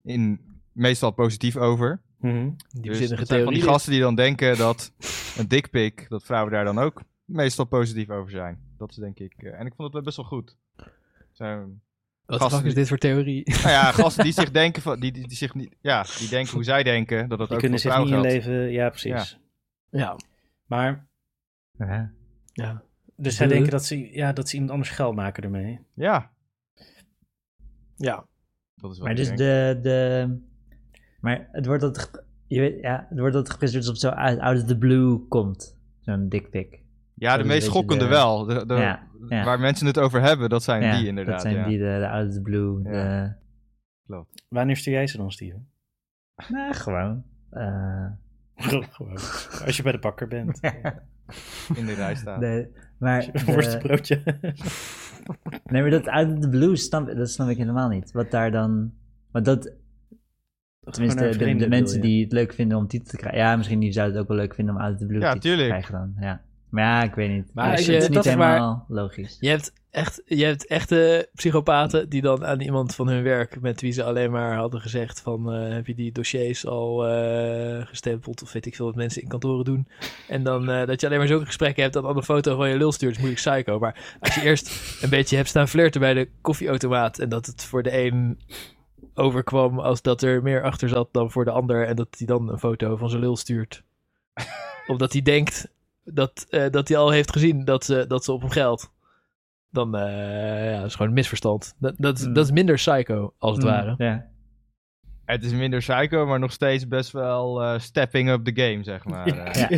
Speaker 3: in, meestal positief over.
Speaker 2: Mhm.
Speaker 4: Die
Speaker 3: Dus
Speaker 4: bezinnige
Speaker 3: dat zijn van die
Speaker 4: theorie.
Speaker 3: gasten die dan denken dat een dikpik, dat vrouwen daar dan ook meestal positief over zijn. Dat is denk ik. eh, en ik vond het wel best wel goed. Zijn,
Speaker 4: Wat de
Speaker 3: gasten
Speaker 4: fuck is
Speaker 3: die-
Speaker 4: dit voor theorie?
Speaker 3: nou ja, gasten die zich denken van, die, die, die zich niet, ja, die denken hoe zij denken dat dat
Speaker 2: Die
Speaker 3: ook
Speaker 2: kunnen
Speaker 3: voor
Speaker 2: zich niet
Speaker 3: vrouwen geldt.
Speaker 2: inleven. Ja, precies.
Speaker 4: ja.
Speaker 2: Maar,
Speaker 5: Ja.
Speaker 4: ja.
Speaker 2: dus zij
Speaker 4: Duh.
Speaker 2: denken dat ze, ja, dat ze iemand anders geld maken ermee.
Speaker 3: Ja,
Speaker 4: Ja.
Speaker 3: dat is wat
Speaker 5: Maar
Speaker 3: ik
Speaker 5: dus
Speaker 3: denk.
Speaker 5: de, de... Maar het wordt dat... ge- Je weet, ja, het wordt dat gepresenteerd alsof het zo uit out of the blue komt. Zo'n dick pic.
Speaker 3: ja, de
Speaker 5: is
Speaker 3: meest
Speaker 5: een
Speaker 3: schokkende
Speaker 5: beetje de-
Speaker 3: wel. De, de-
Speaker 5: ja, ja.
Speaker 3: Waar mensen het over hebben, dat zijn
Speaker 5: Ja,
Speaker 3: die inderdaad.
Speaker 5: Dat zijn
Speaker 3: ja.
Speaker 5: die, de, de out of the blue.
Speaker 3: Ja.
Speaker 5: De,
Speaker 2: Wanneer stuur jij ze dan, Steven?
Speaker 5: nou, gewoon. eh,
Speaker 2: Gewoon. Als je bij de bakker bent.
Speaker 3: in de rij staan.
Speaker 5: de, maar
Speaker 2: Worst
Speaker 5: de,
Speaker 2: broodje.
Speaker 5: nee, maar dat out of the blue, snap, dat snap ik helemaal niet. Wat daar dan... Want dat, Tenminste, de- de, mensen die het leuk vinden om titel te krijgen. Ja, misschien die zouden het ook wel leuk vinden om uit de blue
Speaker 3: Ja,
Speaker 5: titel te
Speaker 3: tuurlijk.
Speaker 5: krijgen dan. Ja. Maar ja, ik weet niet.
Speaker 4: Maar
Speaker 5: Maar
Speaker 4: als
Speaker 5: het
Speaker 4: je-
Speaker 5: is niet
Speaker 4: dat is maar-
Speaker 5: helemaal logisch.
Speaker 4: Je hebt, echt, je hebt echte psychopaten die dan aan iemand van hun werk, met wie ze alleen maar hadden gezegd van eh, heb je die dossiers al eh, gestempeld of weet ik veel wat mensen in kantoren doen. En dan eh, dat je alleen maar zulke gesprekken hebt dat dan een foto van je lul stuurt, is moeilijk psycho. Maar als je eerst een beetje hebt staan flirten bij de koffieautomaat en dat het voor de een overkwam als dat er meer achter zat dan voor de ander. En dat hij dan een foto van zijn lul stuurt. Omdat hij denkt dat, eh, dat hij al heeft gezien dat ze, dat ze op hem geldt. Dan eh ja, dat is gewoon een misverstand. Dat, dat, is-
Speaker 5: Mm.
Speaker 4: dat is minder psycho, als het ware.
Speaker 5: Ja.
Speaker 3: Het is minder psycho, maar nog steeds best wel eh, stepping up the game, zeg maar. eh.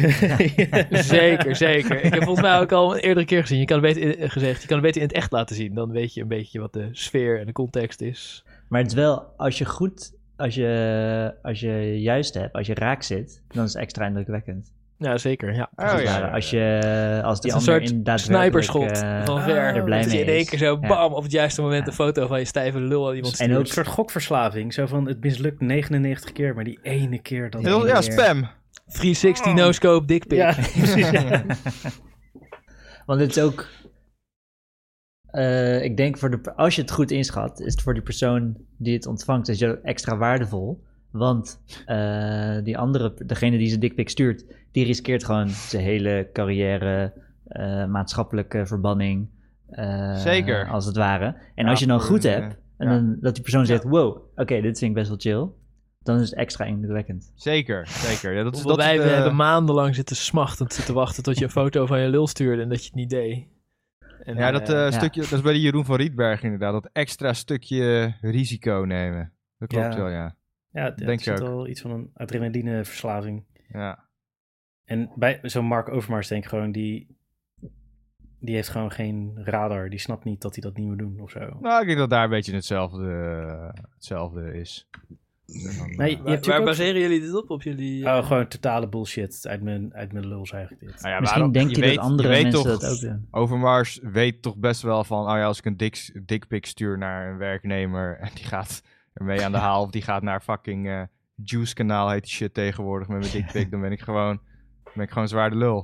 Speaker 5: Ja.
Speaker 4: Zeker, zeker. Ik heb volgens mij ook al een eerdere keer gezien. Je kan het beter, eh, gezegd, je kan het beter in het echt laten zien. Dan weet je een beetje wat de sfeer en de context is.
Speaker 5: Maar het is wel, als je goed, als je, als je juist hebt, als je raak zit, dan is het extra indrukwekkend.
Speaker 4: Ja, zeker. Ja.
Speaker 5: Als,
Speaker 3: Oh
Speaker 5: het
Speaker 3: ja.
Speaker 5: ware. als, je, als die
Speaker 4: Het is een
Speaker 5: ander
Speaker 4: soort
Speaker 5: inderdaad
Speaker 4: Sniperschot
Speaker 5: werkelijk, dus eh,
Speaker 4: van
Speaker 5: er
Speaker 4: ver.
Speaker 5: blij
Speaker 4: dat je
Speaker 5: mee
Speaker 4: in één
Speaker 5: is.
Speaker 4: keer zo
Speaker 5: Ja.
Speaker 4: bam op het juiste moment
Speaker 5: Ja.
Speaker 4: een foto van je stijve lul aan iemand
Speaker 5: En
Speaker 4: stuurt.
Speaker 5: ook-
Speaker 2: Een soort gokverslaving. Zo van, het mislukt 99 keer, maar die ene keer dan...
Speaker 3: Heel, ja, spam.
Speaker 4: 360 no-scope dickpic.
Speaker 2: Ja,
Speaker 4: Ja.
Speaker 2: precies. ja.
Speaker 5: Want het is ook. eh, ik denk voor de. Als je het goed inschat, is het voor die persoon die het ontvangt is het extra waardevol. Want eh, die andere, degene die zijn dikpik stuurt, die riskeert gewoon zijn hele carrière, eh, maatschappelijke verbanning. eh,
Speaker 3: Zeker.
Speaker 5: Als het ware. En
Speaker 3: Ja,
Speaker 5: als je dan
Speaker 3: voor
Speaker 5: goed
Speaker 3: een,
Speaker 5: hebt,
Speaker 3: eh,
Speaker 5: en
Speaker 3: ja.
Speaker 5: dan, dat die persoon zegt: wow, oké, dit vind ik best wel chill. Dan is het extra indrukwekkend.
Speaker 3: Zeker, zeker. Ja, dat is,
Speaker 4: Dat
Speaker 3: dat eh, is
Speaker 4: wij
Speaker 3: de-
Speaker 4: hebben maandenlang zitten smachtend zitten wachten tot je een foto van je lul stuurde en dat je het niet deed. En,
Speaker 3: Ja, dat,
Speaker 4: eh,
Speaker 3: eh, stukje, dat is bij de Jeroen van Rietberg inderdaad. Dat extra stukje risico nemen. Dat klopt
Speaker 2: Ja.
Speaker 3: wel, ja.
Speaker 2: ja het- het
Speaker 3: Denk
Speaker 2: zit
Speaker 3: ik ook.
Speaker 2: wel iets van een adrenalineverslaving.
Speaker 3: ja.
Speaker 2: En bij zo'n Mark Overmars denk ik gewoon, die, die heeft gewoon geen radar. Die snapt niet dat hij dat niet moet doen of zo.
Speaker 3: Nou, ik denk dat daar een beetje hetzelfde, hetzelfde is. Nou
Speaker 2: Nee, je hebt
Speaker 4: waar,
Speaker 2: natuurlijk
Speaker 4: waar
Speaker 2: ook-
Speaker 4: baseren jullie dit op? Op jullie... eh,
Speaker 2: Oh, gewoon totale bullshit uit mijn, uit mijn lul is eigenlijk dit.
Speaker 3: Nou ja,
Speaker 5: Misschien
Speaker 3: waarom-
Speaker 5: denk je,
Speaker 3: weet-
Speaker 5: dat andere
Speaker 3: weet
Speaker 5: mensen
Speaker 3: toch-
Speaker 5: dat ook doen.
Speaker 3: Overmars weet toch best wel van, oh ja, als ik een dik, dikpik stuur naar een werknemer en die gaat ermee aan de haal of die gaat naar fucking eh, Juice kanaal heet die shit tegenwoordig met mijn dikpik, dan ben ik gewoon, ben ik gewoon zwaar de lul.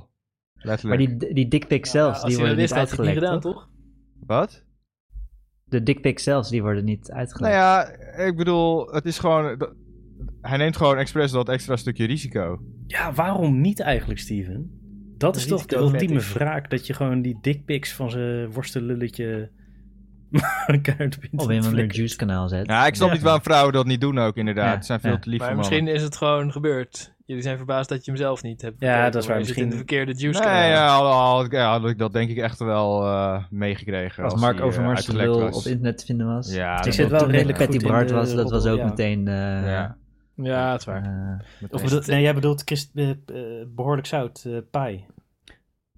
Speaker 5: Maar
Speaker 3: Letterlijk.
Speaker 5: die, die dikpik
Speaker 4: als
Speaker 5: zelfs, die
Speaker 4: je dat
Speaker 5: worden
Speaker 4: wist,
Speaker 5: niet
Speaker 4: had je het niet
Speaker 5: uitgelekt.
Speaker 4: gedaan,
Speaker 5: toch?
Speaker 4: toch?
Speaker 3: Wat?
Speaker 5: De dickpics zelfs, die worden niet uitgelegd.
Speaker 3: Nou ja, ik bedoel, het is gewoon, dat- hij neemt gewoon expres dat extra stukje risico.
Speaker 2: Ja, waarom niet eigenlijk, Steven? Dat is
Speaker 4: Risico
Speaker 2: toch de ultieme
Speaker 4: vetting.
Speaker 2: wraak, dat je gewoon die dickpics van zijn worstenlulletje elkaar op internet
Speaker 5: Of in een
Speaker 2: flikkert.
Speaker 5: juice kanaal zet.
Speaker 3: Ja, ik snap niet waarom vrouwen dat niet doen ook inderdaad.
Speaker 5: Ja,
Speaker 3: Ze zijn veel
Speaker 5: ja.
Speaker 3: te lief
Speaker 4: Maar
Speaker 3: voor
Speaker 4: misschien
Speaker 3: mannen.
Speaker 4: is het gewoon gebeurd. Jullie zijn verbaasd dat je hem zelf niet hebt
Speaker 2: Ja,
Speaker 4: bekeken,
Speaker 2: dat is
Speaker 4: maar
Speaker 2: waar.
Speaker 4: je zit in de
Speaker 2: Misschien-
Speaker 4: verkeerde juice
Speaker 3: Nee,
Speaker 4: kanaal.
Speaker 3: ja, al- al- ja, had ik dat denk ik echt wel eh, meegekregen.
Speaker 5: Als Mark
Speaker 3: die, eh,
Speaker 5: Overmars de
Speaker 3: uitgelekt
Speaker 5: lul
Speaker 3: was.
Speaker 5: op internet te vinden was.
Speaker 3: Ja,
Speaker 2: Dus Ik zit
Speaker 3: dat
Speaker 5: Toen
Speaker 2: wel
Speaker 5: met
Speaker 2: redelijk
Speaker 5: Patty
Speaker 2: goed in
Speaker 5: Bart
Speaker 2: de
Speaker 5: was, dat was ook
Speaker 2: roddel, ja.
Speaker 5: meteen... eh,
Speaker 3: Ja.
Speaker 4: Ja, dat is waar.
Speaker 5: eh,
Speaker 3: Met
Speaker 2: Of
Speaker 3: deze-
Speaker 2: dat, nee, jij bedoelt Christ, eh, eh, behoorlijk zout, eh pie.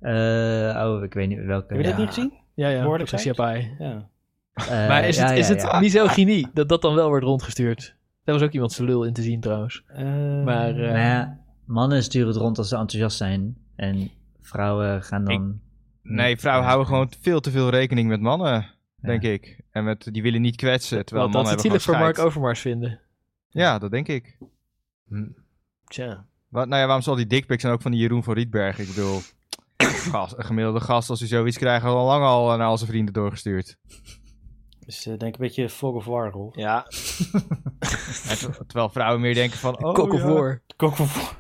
Speaker 5: eh, oh, ik weet niet welke.
Speaker 2: Heb je dat
Speaker 5: ja.
Speaker 2: niet gezien?
Speaker 4: Ja, ja.
Speaker 2: Behoorlijk
Speaker 4: Patricia Pai.
Speaker 2: Ja.
Speaker 5: Eh,
Speaker 4: Maar is het,
Speaker 5: ja,
Speaker 4: is
Speaker 5: ja,
Speaker 4: het Ah.
Speaker 5: ja.
Speaker 4: misogynie dat dat dan wel wordt rondgestuurd? Daar was ook iemand zijn lul in te zien trouwens.
Speaker 2: Eh,
Speaker 4: Maar eh,
Speaker 5: Nou ja, mannen sturen het rond als ze enthousiast zijn. En vrouwen gaan dan...
Speaker 3: Nee, vrouwen houden gewoon veel te veel rekening met mannen, denk ik. En met, die willen niet kwetsen, terwijl
Speaker 4: wat dat ze
Speaker 3: mannen
Speaker 4: het
Speaker 3: hebben
Speaker 4: zielig voor
Speaker 3: gewoon
Speaker 4: Mark
Speaker 3: scheid.
Speaker 4: Overmars vinden.
Speaker 3: Ja, dat denk ik.
Speaker 4: Tja.
Speaker 3: Wat, nou ja, waarom zal die dickpics en ook van die Jeroen van Rietberg? Ik bedoel, gast, een gemiddelde gast als hij zoiets krijgt, had al lang al eh, naar al zijn vrienden doorgestuurd.
Speaker 2: Dus eh, denk een beetje fog of war, Roel.
Speaker 4: Ja.
Speaker 3: En ter- terwijl vrouwen meer denken van, oh
Speaker 4: Kok of
Speaker 3: ja,
Speaker 4: war.
Speaker 2: Kok of war.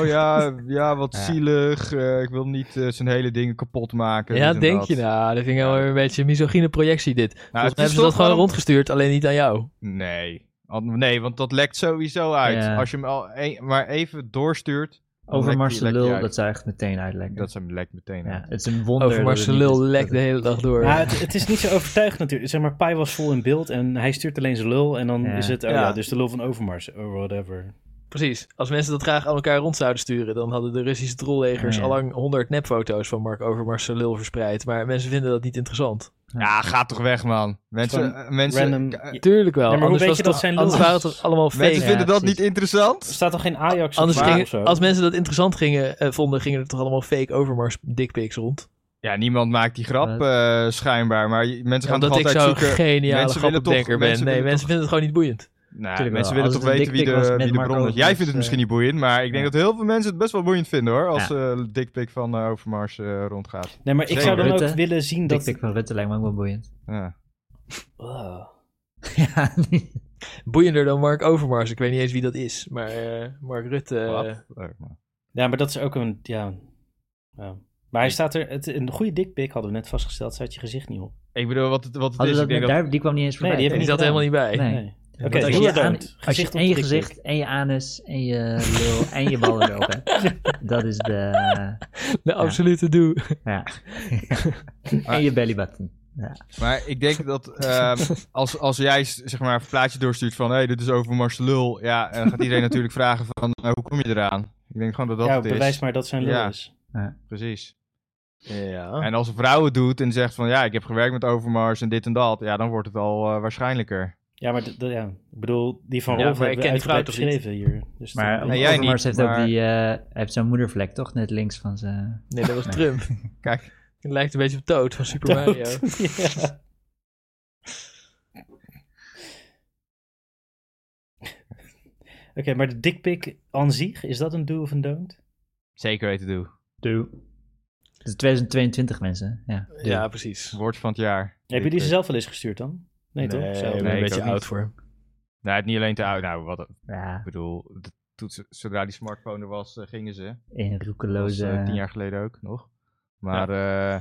Speaker 3: Oh ja, ja wat
Speaker 5: Ja.
Speaker 3: zielig. eh, ik wil niet eh, zijn hele dingen kapot maken.
Speaker 4: Ja,
Speaker 3: dit en
Speaker 4: denk
Speaker 3: dat. Nou,
Speaker 4: je nou. Dat vind ik wel weer een beetje een misogyne projectie dit. Volgens mij
Speaker 3: het is
Speaker 4: hebben ze dat
Speaker 3: toch
Speaker 4: gewoon
Speaker 3: wel-
Speaker 4: rondgestuurd, alleen niet aan jou.
Speaker 3: Nee. An- Nee, want dat lekt sowieso uit.
Speaker 5: Ja.
Speaker 3: Als je hem al e- maar even doorstuurt. dan
Speaker 5: Overmars
Speaker 3: lekt
Speaker 5: de
Speaker 3: die- lekt die
Speaker 5: lul,
Speaker 3: uit.
Speaker 5: dat zou echt meteen uitlekken.
Speaker 3: Dat zijn lekt meteen
Speaker 5: ja,
Speaker 3: uit.
Speaker 5: het is een wonder.
Speaker 4: Overmars
Speaker 5: dat
Speaker 4: zijn
Speaker 5: het niet
Speaker 4: lul
Speaker 5: is-
Speaker 4: lekt de
Speaker 5: dat
Speaker 4: hele dag door.
Speaker 2: Maar het, het is niet zo overtuigd natuurlijk. Zeg maar, Pai was vol in beeld en hij stuurt alleen zijn lul. En dan
Speaker 5: Ja.
Speaker 2: is het, oh ja.
Speaker 4: Ja.
Speaker 2: dus de lul van Overmars. Or whatever.
Speaker 4: Precies. Als mensen dat graag aan elkaar rond zouden sturen, dan hadden de Russische trollegers
Speaker 5: Ja.
Speaker 4: allang 100 nepfoto's van Mark Overmars zijn lul verspreid. Maar mensen vinden dat niet interessant.
Speaker 3: Ja, ga toch weg, man. Mensen,
Speaker 2: Gewoon
Speaker 3: eh, mensen,
Speaker 2: random-
Speaker 3: k- eh,
Speaker 4: Tuurlijk wel.
Speaker 2: Ja, maar hoe
Speaker 4: anders
Speaker 2: weet je
Speaker 4: was het
Speaker 2: dat
Speaker 4: toch-
Speaker 2: zijn lul
Speaker 4: anders
Speaker 2: is?
Speaker 4: waren het toch allemaal fake.
Speaker 3: mensen vinden dat
Speaker 5: precies.
Speaker 3: niet
Speaker 2: Er
Speaker 3: interessant.
Speaker 2: staat toch geen Ajax op
Speaker 4: Anders
Speaker 2: waar
Speaker 4: gingen-
Speaker 2: of zo?
Speaker 4: als mensen dat interessant gingen, eh, vonden, gingen er toch allemaal fake Overmars dickpics rond.
Speaker 3: Ja, niemand maakt die grap
Speaker 5: Wat?
Speaker 3: eh, schijnbaar. Maar je- mensen gaan toch
Speaker 4: Omdat ik
Speaker 3: altijd
Speaker 4: zo'n
Speaker 3: zoeken.
Speaker 4: geniale
Speaker 3: mensen willen toch-
Speaker 4: grappendenker ben.
Speaker 3: mensen
Speaker 4: nee,
Speaker 3: willen
Speaker 4: mensen vinden het gewoon niet boeiend.
Speaker 3: Nou,
Speaker 5: Tuurlijk
Speaker 3: mensen
Speaker 5: wel.
Speaker 3: willen
Speaker 5: Als
Speaker 3: toch
Speaker 5: het een
Speaker 3: weten wie
Speaker 5: dikpik was
Speaker 3: de,
Speaker 5: met
Speaker 3: wie de
Speaker 5: Marco
Speaker 3: bron is. Jij
Speaker 5: Overmars,
Speaker 3: vindt het misschien
Speaker 5: eh,
Speaker 3: niet boeiend, maar ik denk
Speaker 5: ja.
Speaker 3: dat heel veel mensen het best wel boeiend vinden hoor. Als
Speaker 5: Ja.
Speaker 3: eh dikpik van eh, Overmars eh, rondgaat.
Speaker 2: Nee, maar ik
Speaker 3: Zeker.
Speaker 2: zou dan ook
Speaker 5: Rutte.
Speaker 2: willen zien dat...
Speaker 5: Dikpik van Rutte lijkt me ook wel boeiend.
Speaker 3: Ja.
Speaker 2: Wow.
Speaker 5: ja, die-
Speaker 4: Boeiender dan Mark Overmars. Ik weet niet eens wie dat is. Maar eh, Mark Rutte. eh,
Speaker 3: Wat? Leuk, man.
Speaker 2: Ja, maar dat is ook een... Ja. ja. Maar hij staat er... Het, een goede dikpik hadden we net vastgesteld. Staat je gezicht niet op.
Speaker 3: Ik bedoel, wat het, wat het
Speaker 5: Hadden
Speaker 3: is,
Speaker 5: we
Speaker 3: ik
Speaker 5: dat
Speaker 3: denk
Speaker 5: met
Speaker 3: dat...
Speaker 5: daar, die kwam niet eens
Speaker 2: Nee,
Speaker 5: voorbij.
Speaker 2: die heb
Speaker 4: die
Speaker 2: niet
Speaker 4: zat er
Speaker 2: gedaan.
Speaker 4: helemaal niet bij.
Speaker 5: Nee.
Speaker 2: Nee.
Speaker 6: Oké,
Speaker 5: als
Speaker 6: heel
Speaker 5: je, aan,
Speaker 6: bedankt.
Speaker 5: als je
Speaker 6: Gezicht op
Speaker 5: en je
Speaker 6: de dikpik.
Speaker 5: gezicht en je anus en je lul en je ballen erop hebt. Dat is de...
Speaker 4: De absolute doe.
Speaker 5: Ja. en je belly button.
Speaker 3: Maar ik denk dat ehm, als, als jij s- zeg maar een plaatje doorstuurt van... hé, hey, dit is over Mars Lul. Ja, en dan gaat iedereen natuurlijk vragen van... eh, hoe kom je eraan? Ik denk gewoon dat dat
Speaker 2: ja,
Speaker 3: het is.
Speaker 2: bewijs maar dat zijn lul
Speaker 3: Ja.
Speaker 2: is.
Speaker 3: Precies.
Speaker 6: Ja.
Speaker 3: En als een vrouw het doet en zegt van... ja, ik heb gewerkt met Overmars en dit en dat... ja, dan wordt het al eh, waarschijnlijker.
Speaker 2: Ja, maar d- d- ja, ik bedoel, die van
Speaker 6: Ja,
Speaker 2: Rolf
Speaker 6: maar ik
Speaker 2: hebben we
Speaker 6: ken die vrouw
Speaker 2: uitgebreid
Speaker 6: toch niet?
Speaker 2: beschreven hier. Dus
Speaker 5: Maar
Speaker 2: dat-
Speaker 3: Nee, jij
Speaker 5: Overmars
Speaker 3: niet,
Speaker 5: heeft ook
Speaker 3: maar-
Speaker 5: die... eh, heeft zo'n moedervlek toch? Net links van zijn...
Speaker 4: Nee, dat was Trump.
Speaker 3: Kijk.
Speaker 4: Het lijkt een beetje op Toad van Super Mario.
Speaker 2: Ja. Oké, maar de dikpik aan zich, is dat een do of een don't?
Speaker 3: Zeker weten doe.
Speaker 5: Doe. Het is 2022 mensen, ja.
Speaker 4: Ja, precies.
Speaker 3: Woord van het jaar.
Speaker 2: Heb je die ze zelf wel eens gestuurd dan? Nee, toch? Zelf.
Speaker 3: nee,
Speaker 4: ben een
Speaker 3: ik
Speaker 4: beetje
Speaker 3: ook niet.
Speaker 4: oud voor.
Speaker 3: Nee, het niet alleen te oud. Nou, wat ik
Speaker 5: Ja,
Speaker 3: bedoel... de- Toen, ze- zodra die smartphone er was, eh, gingen ze.
Speaker 5: in
Speaker 3: Dat was
Speaker 5: roekeloze...
Speaker 3: eh, tien jaar geleden ook nog. Maar eh,
Speaker 4: Toen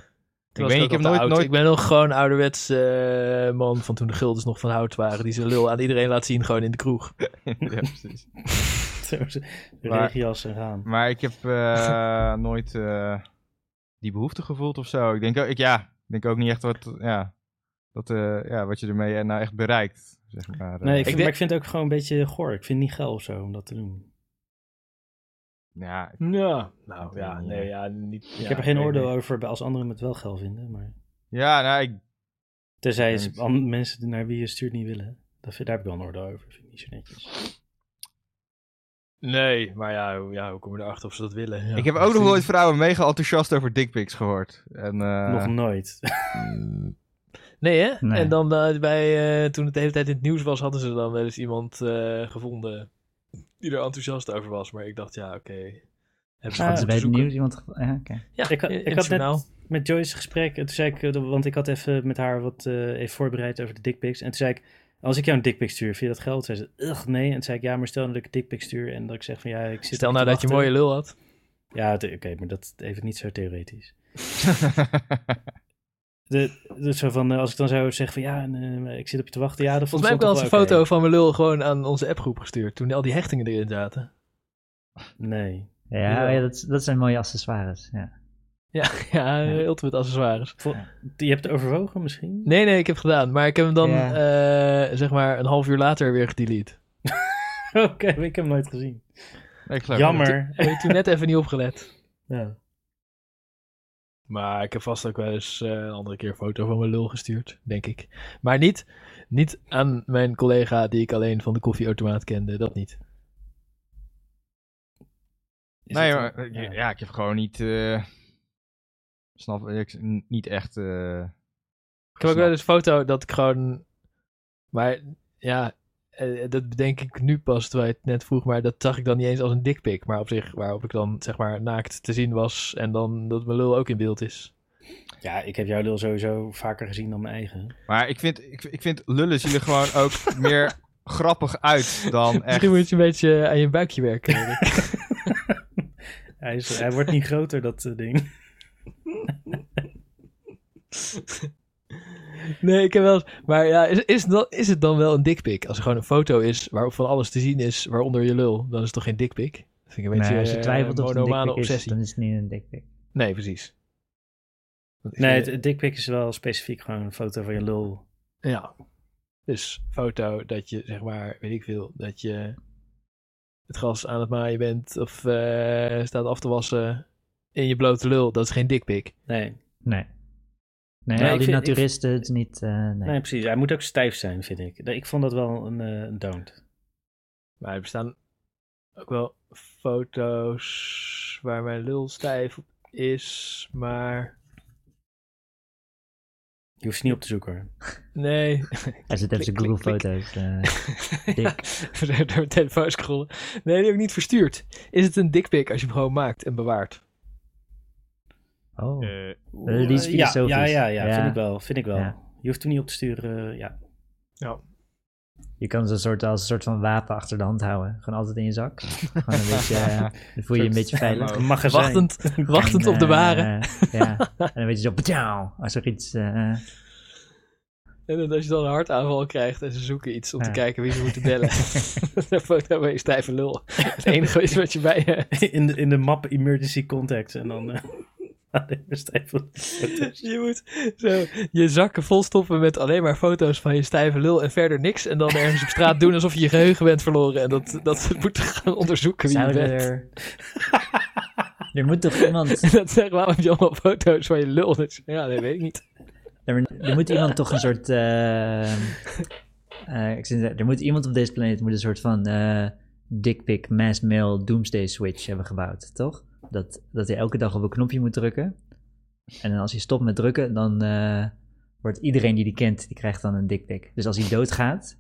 Speaker 3: ik weet
Speaker 4: was
Speaker 3: niet,
Speaker 4: ook
Speaker 3: ik heb
Speaker 4: al te
Speaker 3: nooit,
Speaker 4: oud.
Speaker 3: nooit...
Speaker 4: Ik ben nog gewoon ouderwets eh, man van toen de guldens nog van hout waren. Die zijn lul aan iedereen laat zien gewoon in de kroeg.
Speaker 3: ja, precies.
Speaker 2: Zo, ze-
Speaker 3: Maar-
Speaker 2: Regenjas en raam.
Speaker 3: Maar ik heb eh, nooit eh, die behoefte gevoeld of zo. Ik denk ook, ik, ja, ik denk ook niet echt wat, ja, dat, eh, ja, wat je ermee eh, nou echt bereikt. Zeg maar. eh.
Speaker 2: Nee, ik vind,
Speaker 4: denk-
Speaker 2: maar ik vind het ook gewoon een beetje goor. Ik vind het niet geil of zo om dat te doen.
Speaker 3: ja,
Speaker 6: Ja. Nou
Speaker 3: weet
Speaker 6: ja,
Speaker 3: niet,
Speaker 6: nee,
Speaker 3: eh.
Speaker 6: ja, niet.
Speaker 2: ik heb er geen oordeel over bij- als anderen het wel geil vinden. Maar...
Speaker 3: ja, nou, ik,
Speaker 2: Tenzij
Speaker 3: Ja,
Speaker 2: ze-
Speaker 3: niet.
Speaker 2: an- mensen naar wie je stuurt niet willen. Dat vind, daar heb ik wel een oordeel over. Vind ik niet zo netjes.
Speaker 4: Nee, maar ja, hoe- ja, hoe kom je erachter of ze dat willen? Ja.
Speaker 3: ik heb ook nog nooit vrouwen mega enthousiast over dickpics gehoord. En, eh,
Speaker 2: Nog nooit.
Speaker 4: Nee, hè?
Speaker 5: Nee.
Speaker 4: En dan eh, bij, eh, toen het de hele tijd in het nieuws was, hadden ze dan wel eens iemand eh, gevonden die er enthousiast over was. Maar ik dacht, ja, oké. Hebben ze
Speaker 2: Ah,
Speaker 4: gewoon
Speaker 5: Hadden ze
Speaker 4: moeten
Speaker 5: bij het
Speaker 4: zoeken.
Speaker 5: nieuws iemand... gevo- Ja, oké.
Speaker 4: Ja,
Speaker 2: Ik
Speaker 4: ik,
Speaker 2: had- ik
Speaker 4: in
Speaker 2: had
Speaker 4: het journaal.
Speaker 2: met Joyce gesprek. En toen zei ik, eh, dat- want ik had even met haar wat eh, even voorbereid over de dickpics. En toen zei ik, als ik jou een dickpic stuur, vind je dat geld? Zei ze, ugh, nee. En toen zei ik, ja, maar stel nou dat ik een dickpic stuur en dat ik zeg van, ja, ik zit...
Speaker 4: Stel
Speaker 2: er
Speaker 4: nou
Speaker 2: te
Speaker 4: dat je een mooie
Speaker 2: wachten.
Speaker 4: lul had.
Speaker 2: Ja, het- oké, maar dat even niet zo theoretisch. De, dus zo van, eh, als ik dan zou zeggen van, ja, en, eh, ik zit op je te wachten. Ja, dat
Speaker 4: Volgens mij heb ik wel
Speaker 2: stond
Speaker 4: eens een
Speaker 2: toch wel
Speaker 4: foto
Speaker 2: oké.
Speaker 4: van mijn lul gewoon aan onze appgroep gestuurd. Toen al die hechtingen erin zaten.
Speaker 2: Nee.
Speaker 5: Ja, oh ja dat, dat zijn mooie accessoires, ja.
Speaker 4: Ja, ja, eh, ultimate accessoires.
Speaker 2: Je hebt het overwogen misschien?
Speaker 4: Nee, nee, ik heb het gedaan. Maar ik heb hem dan,
Speaker 5: Ja.
Speaker 4: eh, zeg maar, een half uur later weer gedelete.
Speaker 2: oké, ik heb hem nooit gezien.
Speaker 3: Nou, ik geloof
Speaker 2: Jammer.
Speaker 4: Ik heb toen net even niet opgelet.
Speaker 2: Ja.
Speaker 4: Maar ik heb vast ook wel eens eh, een andere keer een foto van mijn lul gestuurd, denk ik. Maar niet, niet aan mijn collega die ik alleen van de koffieautomaat kende. Dat niet.
Speaker 2: Is
Speaker 3: nee,
Speaker 2: het-
Speaker 3: maar, eh, ja. ik heb gewoon niet. eh, snap ik, n- niet echt. eh,
Speaker 4: Ik heb ook
Speaker 3: Snap.
Speaker 4: wel eens een foto dat ik gewoon. Maar ja, eh, dat bedenk ik nu pas terwijl je het net vroeg. Maar dat zag ik dan niet eens als een dikpik. Maar op zich, waarop ik dan zeg maar naakt te zien was. En dan dat mijn lul ook in beeld is.
Speaker 2: Ja, ik heb jouw lul sowieso vaker gezien dan mijn eigen.
Speaker 3: maar ik vind, ik, ik vind lullen zien er gewoon ook meer grappig uit dan echt.
Speaker 4: Misschien moet je een beetje aan je buikje werken. Erik.
Speaker 2: Hij, is, hij wordt niet groter, dat eh, ding.
Speaker 4: nee, ik heb wel. eens- Maar ja, is, is, dat, is het dan wel een dikpik? Als er gewoon een foto is waarop van alles te zien is, waaronder je lul, dan is het toch geen dikpik? Dat vind ik een beetje
Speaker 5: Nee, als je
Speaker 4: eh,
Speaker 5: twijfelt of het een
Speaker 4: monomane
Speaker 5: dikpik is,
Speaker 4: obsessie.
Speaker 5: dan is het niet een dikpik.
Speaker 4: Nee, precies. Want ik
Speaker 2: Nee,
Speaker 4: vind-
Speaker 2: het, het dikpik is wel specifiek gewoon een foto van je lul.
Speaker 4: Ja. Dus foto dat je, zeg maar, weet ik veel, dat je het gras aan het maaien bent of eh, staat af te wassen in je blote lul. Dat is geen dikpik.
Speaker 2: Nee,
Speaker 5: Nee. Nee,
Speaker 2: Nee,
Speaker 5: al
Speaker 2: ik
Speaker 5: die
Speaker 2: vind-
Speaker 5: naturisten, het is niet... eh, nee.
Speaker 2: nee, precies. Hij moet ook stijf zijn, vind ik. Ik vond dat wel een, eh, een don't.
Speaker 4: Maar er bestaan ook wel foto's waar mijn lul stijf op is, maar
Speaker 2: Je hoeft ze niet op te zoeken hoor.
Speaker 4: nee.
Speaker 5: Hij zit even zijn
Speaker 4: Klik,
Speaker 5: Google
Speaker 4: klik, klik.
Speaker 5: foto's. eh.
Speaker 4: ja, we zijn door mijn telefoon scrollen. Nee, die heb ik niet verstuurd. Is het een dikpik als je hem gewoon maakt en bewaart?
Speaker 5: oh.
Speaker 3: eh,
Speaker 5: Eh, die is
Speaker 2: Eh, ja,
Speaker 5: filosofisch.
Speaker 2: ja, ja, ja,
Speaker 5: Ja.
Speaker 2: vind ik wel. Vind ik wel.
Speaker 5: Ja.
Speaker 2: Je hoeft hem niet op te sturen. eh, ja.
Speaker 4: Ja.
Speaker 5: Je kan zo'n soort als een soort van wapen achter de hand houden. Gewoon altijd in je zak. Gewoon een beetje, eh, dan voel je je een beetje veilig.
Speaker 2: Een magazijn.
Speaker 4: Wachtend, wachtend op de
Speaker 5: En,
Speaker 4: ware.
Speaker 5: eh, ja. En dan weet je zo, ptjauw, als er iets... eh,
Speaker 4: En dan als je dan een hartaanval krijgt en ze zoeken iets om te
Speaker 2: Ja.
Speaker 4: kijken wie ze moeten bellen. dan vond ik dat wel een stijve lul. Het enige is wat je bij je...
Speaker 2: In de, in de map emergency contacts. En dan... eh, alleen maar stijf-
Speaker 4: Je moet zo je zakken volstoppen met alleen maar foto's van je stijve lul en verder niks. En dan ergens op straat doen alsof je je geheugen bent verloren. En dat, dat moet gaan onderzoeken wie je
Speaker 5: Zouden
Speaker 4: bent.
Speaker 5: er... er moet toch iemand...
Speaker 4: En dat zeggen, waarom heb je allemaal foto's van je lul? Dat is- ja, dat weet ik niet.
Speaker 5: Er, er moet iemand toch een soort... eh, eh, ik zit- er moet iemand op deze planeet moet een soort van... eh dickpic mass mail doomsday switch hebben gebouwd, toch? Dat, dat hij elke dag op een knopje moet drukken. En dan als hij stopt met drukken, dan eh, wordt iedereen die die kent, die krijgt dan een dickpic. Dus als hij doodgaat,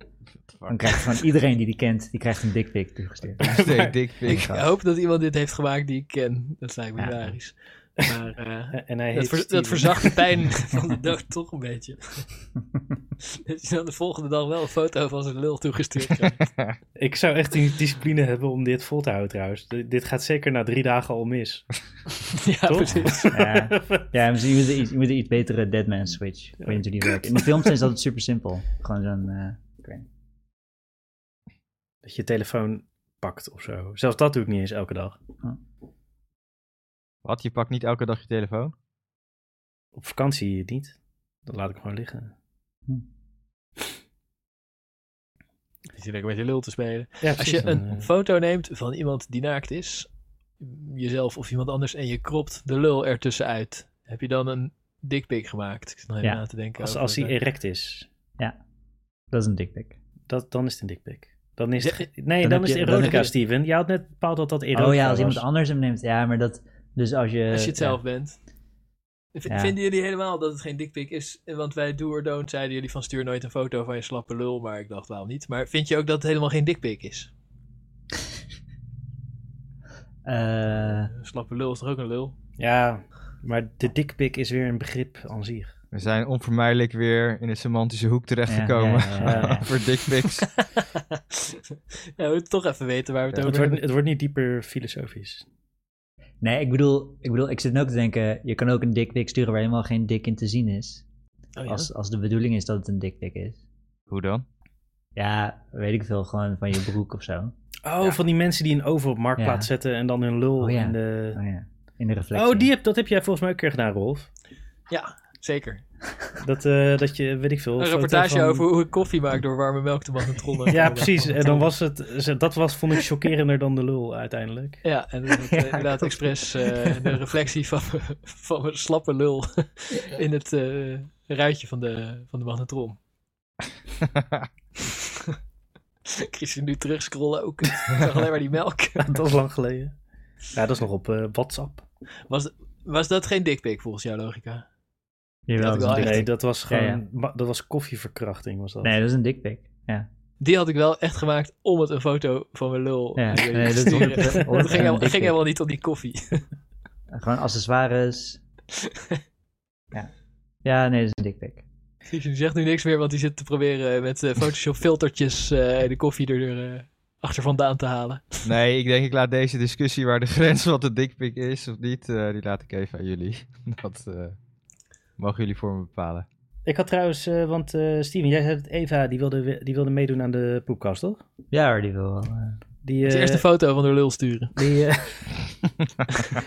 Speaker 5: dan krijgt gewoon iedereen die die kent, die krijgt een dickpic toegestuurd.
Speaker 3: Stay dick
Speaker 4: Ik
Speaker 3: pic.
Speaker 4: Oh. hoop dat iemand dit heeft gemaakt die ik ken. Dat lijkt me
Speaker 5: Ja.
Speaker 4: hilarisch. Maar eh,
Speaker 2: En hij
Speaker 4: dat,
Speaker 2: heet
Speaker 4: ver-
Speaker 2: Steven.
Speaker 4: dat verzacht de pijn van de dood toch een beetje. dat je dan de volgende dag wel een foto van zijn lul toegestuurd krijgt.
Speaker 2: Ik zou echt die discipline hebben om dit vol te houden trouwens. D- dit gaat zeker na drie dagen al mis.
Speaker 4: ja,
Speaker 2: Toch?
Speaker 4: precies.
Speaker 5: Ja, Dus, eh, ja misschien moet er iets, moet er iets betere Deadman Switch. Ik weet niet hoe die werkt. In de films is dat super simpel. Gewoon zo'n... eh, ik weet niet.
Speaker 2: Dat je telefoon pakt of zo. Zelfs dat doe ik niet eens elke dag.
Speaker 3: Wat, je pakt niet elke dag je telefoon?
Speaker 2: Op vakantie niet. Dan laat ik hem gewoon liggen.
Speaker 4: Je zit lekker met je lul te spelen.
Speaker 2: Ja,
Speaker 4: Als
Speaker 2: precies,
Speaker 4: je
Speaker 2: dan, eh,
Speaker 4: een foto neemt van iemand die naakt is, jezelf of iemand anders, en je kropt de lul ertussenuit, heb je dan een dikpik gemaakt? Ik zit nog even
Speaker 5: Ja.
Speaker 4: na te denken.
Speaker 2: als,
Speaker 4: over-
Speaker 2: als hij erect is,
Speaker 5: Dat is een dickpic.
Speaker 2: dat, dan is het een dikpik. Dan is het,
Speaker 4: Ja,
Speaker 2: ge- nee,
Speaker 5: dan
Speaker 2: dan,
Speaker 5: heb
Speaker 2: is
Speaker 5: je-
Speaker 2: het
Speaker 5: dan
Speaker 2: erotica,
Speaker 5: heb je-
Speaker 2: Steven. Je had net bepaald dat dat erotica
Speaker 5: Oh ja, als
Speaker 2: was.
Speaker 5: iemand anders hem neemt. Ja, maar dat... Dus als je...
Speaker 4: Als je
Speaker 2: Eh,
Speaker 4: het zelf bent. V-
Speaker 5: Ja.
Speaker 4: Vinden jullie helemaal dat het geen dikpik is? Want wij do or don't zeiden jullie van stuur nooit een foto van je slappe lul, maar ik dacht waarom niet. Maar vind je ook dat het helemaal geen dikpik is?
Speaker 5: ja. Eh,
Speaker 4: Een slappe lul is toch ook een lul?
Speaker 2: Ja, maar de dikpik is weer een begrip aan zich.
Speaker 3: We zijn onvermijdelijk weer in een semantische hoek terechtgekomen.
Speaker 5: Ja, ja, ja, ja.
Speaker 3: Voor dick pics.
Speaker 4: ja, we moeten toch even weten waar we het
Speaker 2: Het wordt,
Speaker 4: over hebben.
Speaker 2: het wordt niet dieper filosofisch.
Speaker 5: nee, ik bedoel, ik bedoel, ik zit nu ook te denken, je kan ook een dickpic sturen waar helemaal geen dik in te zien is.
Speaker 4: Oh ja.
Speaker 5: als, als de bedoeling is dat het een dickpic is.
Speaker 3: Hoe dan?
Speaker 5: Ja, weet ik veel, gewoon van je broek of zo.
Speaker 2: Oh, van die mensen die een oven op marktplaats
Speaker 5: Ja.
Speaker 2: zetten en dan hun lul
Speaker 5: Oh ja.
Speaker 2: in de...
Speaker 5: Oh ja, in de reflectie.
Speaker 2: Oh, die heb, dat heb jij volgens mij ook een keer gedaan, Rolf.
Speaker 4: ja, zeker.
Speaker 2: Dat, eh, dat je, weet ik veel...
Speaker 4: Een
Speaker 2: foto
Speaker 4: reportage
Speaker 2: van-
Speaker 4: over hoe ik koffie maak door warme melk te magnetron.
Speaker 2: Ja, precies. En dan was het... ze- Dat was, vond ik, chockerender dan de lul uiteindelijk.
Speaker 4: Ja, en dan heb ik, eh, inderdaad expres eh, de reflectie van, mijn- van mijn slappe lul in het eh, ruitje van de, van de magnetron. Ik zie ze nu terugscrollen ook. Ik zag alleen maar die melk.
Speaker 2: dat was lang geleden. Ja, dat is nog op eh, WhatsApp.
Speaker 4: Was, was dat geen dikpik volgens jouw logica?
Speaker 5: Jawel,
Speaker 4: had ik
Speaker 5: dat is
Speaker 4: wel
Speaker 5: een
Speaker 4: echt.
Speaker 2: Nee,
Speaker 5: dickpic.
Speaker 2: dat was gewoon...
Speaker 5: Oh, Ja, ja.
Speaker 2: ma- Dat was koffieverkrachting, was dat.
Speaker 5: Nee, dat is een dickpic. Ja.
Speaker 4: Die had ik wel echt gemaakt om het een foto van mijn lul
Speaker 5: Ja,
Speaker 4: aan jullie te
Speaker 5: nee, dat is
Speaker 4: sturen.
Speaker 5: honderd- honderd
Speaker 4: Het ging, helemaal-
Speaker 5: een
Speaker 4: ging
Speaker 5: dikpik.
Speaker 4: helemaal niet om die koffie.
Speaker 5: Gewoon accessoires. ja. ja, nee, dat is een dickpic.
Speaker 4: Dus je zegt nu niks meer, want die zit te proberen met eh, Photoshop filtertjes eh, de koffie er eh, achter vandaan te halen.
Speaker 3: Nee, ik denk ik laat deze discussie waar de grens wat de dick pic is of niet, eh, die laat ik even aan jullie. Dat eh, mogen jullie voor me bepalen.
Speaker 2: Ik had trouwens... eh, want eh, Steven, jij zei het Eva, die wilde, we- die wilde meedoen aan de poepkast, toch?
Speaker 5: Ja hoor, die wil wel. eh.
Speaker 2: Die,
Speaker 4: Dus eerst
Speaker 2: eh,
Speaker 4: een foto van de lul sturen.
Speaker 2: Die, eh,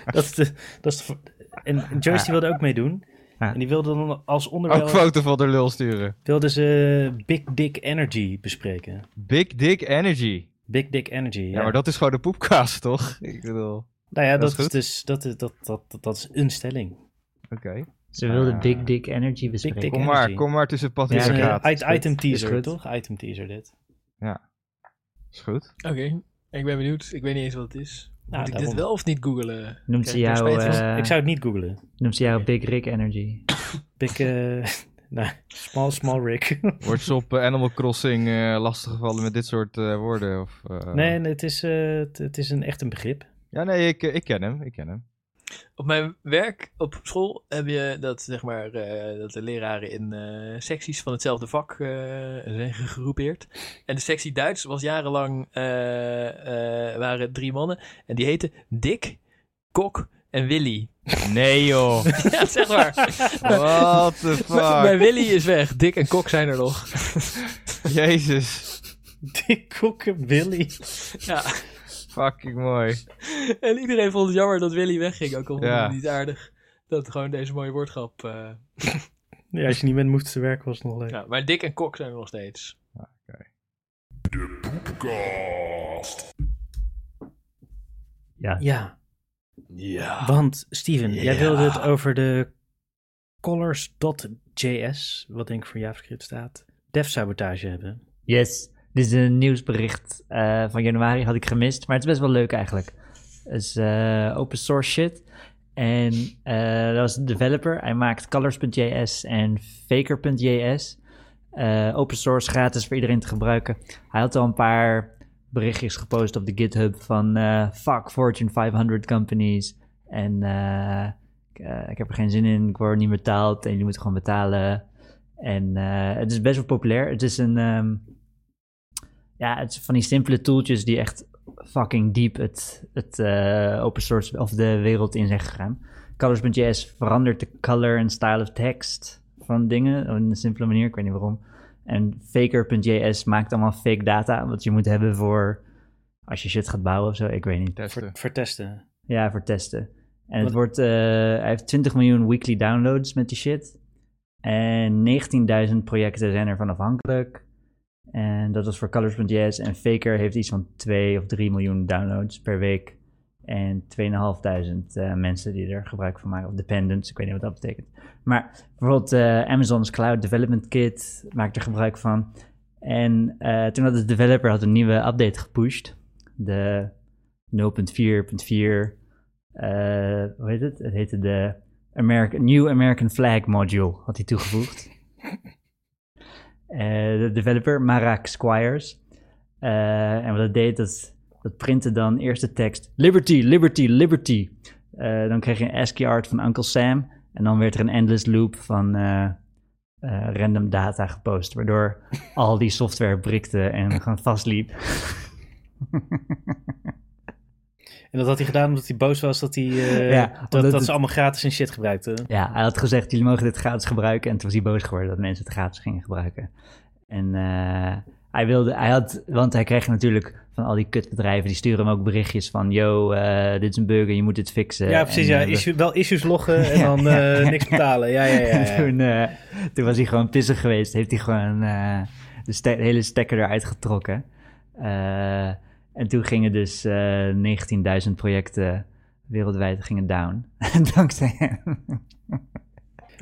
Speaker 2: dat is de, dat is de- en Joyce die wilde ook meedoen.
Speaker 5: Ja.
Speaker 2: En die wilde dan als
Speaker 3: Ook
Speaker 2: onderwerp
Speaker 3: foto van de lul sturen.
Speaker 2: wilde ze Big Dick Energy bespreken.
Speaker 3: Big dick energy.
Speaker 2: Big Dick Energy. Ja,
Speaker 3: Ja, maar dat is gewoon de poepkaas, toch? Ik bedoel,
Speaker 2: nou ja,
Speaker 3: dat
Speaker 2: dat,
Speaker 3: is
Speaker 2: is
Speaker 3: goed.
Speaker 2: dus dat, is- dat, dat, dat, dat is een stelling.
Speaker 3: oké.
Speaker 5: Ze wilde
Speaker 3: Ah.
Speaker 5: Big Dick Energy bespreken.
Speaker 2: Dick
Speaker 3: Kom maar,
Speaker 2: energy.
Speaker 3: kom maar tussen pad en
Speaker 5: Ja,
Speaker 2: Dus, eh,
Speaker 5: oké.
Speaker 3: straat.
Speaker 2: it- item
Speaker 5: Is
Speaker 2: teaser,
Speaker 5: goed.
Speaker 2: toch? Item teaser dit.
Speaker 3: Is goed.
Speaker 4: Oké, ik ben benieuwd. Ik weet niet eens wat het is. Moet
Speaker 2: Nou,
Speaker 4: ik dit
Speaker 2: daarom.
Speaker 4: wel of niet googlen?
Speaker 5: Noemt
Speaker 4: Kijk,
Speaker 5: ze
Speaker 4: daar
Speaker 5: jou,
Speaker 4: spijt van.
Speaker 5: eh,
Speaker 2: Ik zou het niet googlen.
Speaker 5: noemt ze jou Big Rick Energy?
Speaker 2: Big, eh, nou, small, small Rick.
Speaker 3: Wordt ze op eh, Animal Crossing eh, lastiggevallen met dit soort eh, woorden? Of, eh,
Speaker 2: nee, nee, het is, eh, het, het is een, echt een begrip.
Speaker 3: Ja, nee, ik, eh, ik ken hem. Ik ken hem.
Speaker 4: Op mijn werk, op school, heb je dat, zeg maar, eh, dat de leraren in eh, secties van hetzelfde vak eh, zijn gegroepeerd. En de sectie Duits was jarenlang, eh, eh, waren drie mannen. En die heten Dick, Kok en Willy.
Speaker 3: Nee joh.
Speaker 4: ja, zeg maar.
Speaker 3: What the
Speaker 4: Bij
Speaker 3: fuck.
Speaker 4: Willy is weg. Dick en Kok zijn er nog.
Speaker 3: Jezus.
Speaker 2: Dick Kokken Willy.
Speaker 4: Ja.
Speaker 3: Fucking mooi.
Speaker 4: En iedereen vond het jammer dat Willy wegging. Ook al vond
Speaker 3: Ja.
Speaker 4: het niet aardig. Dat gewoon deze mooie woordgrap. eh,
Speaker 2: Ja, als je niet met moest te werken was het nog leuk.
Speaker 4: ja. Maar Dick en Kok zijn er nog steeds.
Speaker 2: Ja.
Speaker 6: Ja.
Speaker 2: want Steven, jij
Speaker 6: Ja.
Speaker 2: wilde het over de colors.js, wat denk ik voor JavaScript staat, dev-sabotage hebben.
Speaker 5: Yes, dit is een nieuwsbericht eh, van januari, had ik gemist. Maar het is best wel leuk eigenlijk. Het is eh, open source shit. En eh, dat was een developer. Hij maakt colors.js en faker.js. Eh, open source, gratis voor iedereen te gebruiken. Hij had al een paar berichtjes gepost op de GitHub van... eh, fuck Fortune 500 companies. En eh, ik, eh, ik heb er geen zin in, ik word niet betaald en jullie moeten gewoon betalen. En eh, het is best wel populair. Het is een... ehm, ja, het is van die simpele tooltjes die echt fucking diep het, het eh, open source of de wereld in zijn gegaan. Colors.js verandert de color en style of text van dingen op een simpele manier, ik weet niet waarom. En faker.js maakt allemaal fake data, wat je moet hebben voor als je shit gaat bouwen of zo, ik weet niet.
Speaker 3: Testen.
Speaker 2: Voor testen.
Speaker 5: Ja, voor testen. En
Speaker 2: Wat-
Speaker 5: het wordt, eh, hij heeft 20 miljoen weekly downloads met die shit. En 19.000 projecten zijn ervan afhankelijk. En dat was voor Colors.js. En Faker heeft iets van 2 of 3 miljoen downloads per week. En 2.500 eh, mensen die er gebruik van maken. Of dependents, ik weet niet wat dat betekent. Maar bijvoorbeeld eh, Amazon's Cloud Development Kit maakt er gebruik van. En eh, toen had de developer had een nieuwe update gepusht. De 0.4.4 eh hoe heet het? Het heette de American, New American Flag Module, had hij toegevoegd. Eh, de developer, Marak Squires. Eh, en wat het deed, dat, dat printte dan eerst de tekst Liberty, Liberty, Liberty. Eh, dan kreeg je een ASCII art van Uncle Sam. En dan werd er een endless loop van eh, eh, random data gepost. Waardoor al die software brikte en gewoon vastliep.
Speaker 2: En dat had hij gedaan omdat hij boos was dat, hij, eh,
Speaker 5: Ja,
Speaker 2: dat,
Speaker 5: omdat
Speaker 2: dat
Speaker 5: het-
Speaker 2: ze allemaal gratis en shit gebruikten.
Speaker 5: Ja, hij had gezegd, jullie mogen dit gratis gebruiken. En toen was hij boos geworden dat mensen het gratis gingen gebruiken. En eh, hij wilde, hij had, want hij kreeg natuurlijk van al die kutbedrijven, die sturen hem ook berichtjes van, yo, eh, dit is een bug en je moet dit fixen.
Speaker 2: Ja, precies.
Speaker 5: En,
Speaker 2: Ja.
Speaker 5: eh,
Speaker 2: Issue- wel issues loggen en
Speaker 5: Ja,
Speaker 2: dan
Speaker 5: ja,
Speaker 2: eh,
Speaker 5: ja,
Speaker 2: niks
Speaker 5: ja.
Speaker 2: betalen. Ja, ja, ja.
Speaker 5: en
Speaker 2: ja.
Speaker 5: toen, eh, toen was hij gewoon pissig geweest. Heeft hij gewoon eh, de ste- hele stekker eruit getrokken. Eh, en toen gingen dus eh, 19.000 projecten wereldwijd gingen down. Dankzij hem.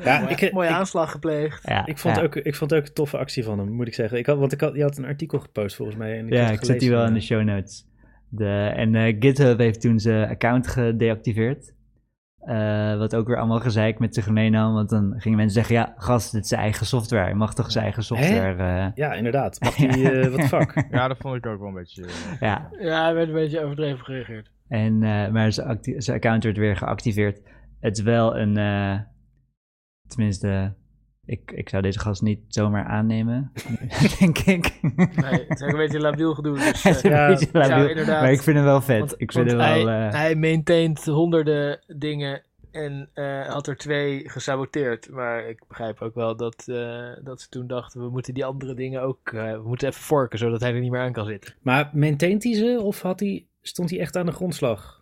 Speaker 2: Ja, ik, eh, ik,
Speaker 4: Mooie aanslag gepleegd.
Speaker 5: Ja,
Speaker 2: ik vond
Speaker 5: ja.
Speaker 2: ook, ik vond ook een toffe actie van hem, moet ik zeggen. Ik had, want ik had, je had een artikel gepost volgens mij. En ik had
Speaker 5: Ja,
Speaker 2: het
Speaker 5: ik zet die
Speaker 2: gelezen.
Speaker 5: wel in de show notes. De, en eh, GitHub heeft toen zijn account gedeactiveerd. Eh, wat ook weer allemaal gezeik met zich meenam. Want dan gingen mensen zeggen: Ja, gast, dit is zijn eigen software. Hij mag toch zijn eigen software. eh,
Speaker 2: Ja, inderdaad. Mag die, eh, wat fuck?
Speaker 3: Ja, dat vond ik ook wel een beetje... eh,
Speaker 5: ja.
Speaker 4: Ja, hij werd een beetje overdreven gereageerd.
Speaker 5: En, eh, maar zijn, acti- zijn account werd weer geactiveerd. Het is wel een. eh, tenminste, ik, ik zou deze gast niet zomaar aannemen. denk ik.
Speaker 4: Nee, het is ook een beetje labiel gedoe. Dus,
Speaker 5: Hij is een
Speaker 4: eh,
Speaker 2: Ja,
Speaker 5: beetje labiel,
Speaker 4: ja, inderdaad.
Speaker 5: maar ik vind hem wel vet.
Speaker 4: want-
Speaker 5: ik vind hem
Speaker 4: want
Speaker 5: wel.
Speaker 4: hij,
Speaker 5: eh,
Speaker 4: hij maintaint honderden dingen en eh, had er twee gesaboteerd. Maar ik begrijp ook wel dat, eh, dat ze toen dachten, we moeten die andere dingen ook, eh, we moeten even vorken, zodat hij er niet meer aan kan zitten.
Speaker 2: Maar maintaint hij ze of had hij, stond hij echt aan de grondslag?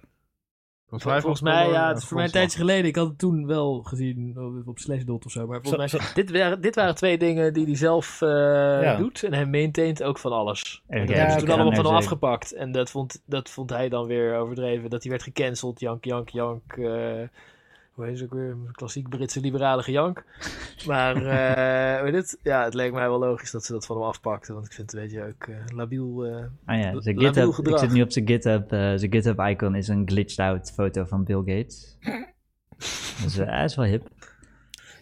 Speaker 3: Volgens mij,
Speaker 4: Volgens, mij, ja, het is
Speaker 3: eh,
Speaker 4: voor mij
Speaker 3: grondslag.
Speaker 4: een tijdje geleden. Ik had het toen wel gezien op- op Slashdot of zo. Maar volgens
Speaker 2: Zo-
Speaker 4: mij, dit waren, dit waren twee dingen die hij zelf eh, doet. En hij maintaint ook van alles.
Speaker 5: Even
Speaker 4: En dat
Speaker 5: kijken,
Speaker 4: hebben ze
Speaker 2: ja,
Speaker 4: toen
Speaker 2: oké.
Speaker 4: allemaal
Speaker 5: Ja,
Speaker 4: van hem
Speaker 5: nee,
Speaker 4: afgepakt. En dat vond, dat vond hij dan weer overdreven. Dat hij werd gecanceld. Jank, jank, jank. eh, hoe heet ze ook weer? Klassiek Britse liberale gejank. Maar eh, weet het? Ja, het leek mij wel logisch dat ze dat van hem afpakten. Want ik vind het een beetje ook eh, labiel. eh,
Speaker 5: Ah ja,
Speaker 4: La-
Speaker 5: zijn
Speaker 4: labiel
Speaker 5: GitHub, ik
Speaker 4: gedrag.
Speaker 5: zit nu op zijn GitHub. eh, zijn GitHub-icon is een glitched-out foto van Bill Gates. dus eh, hij is wel hip.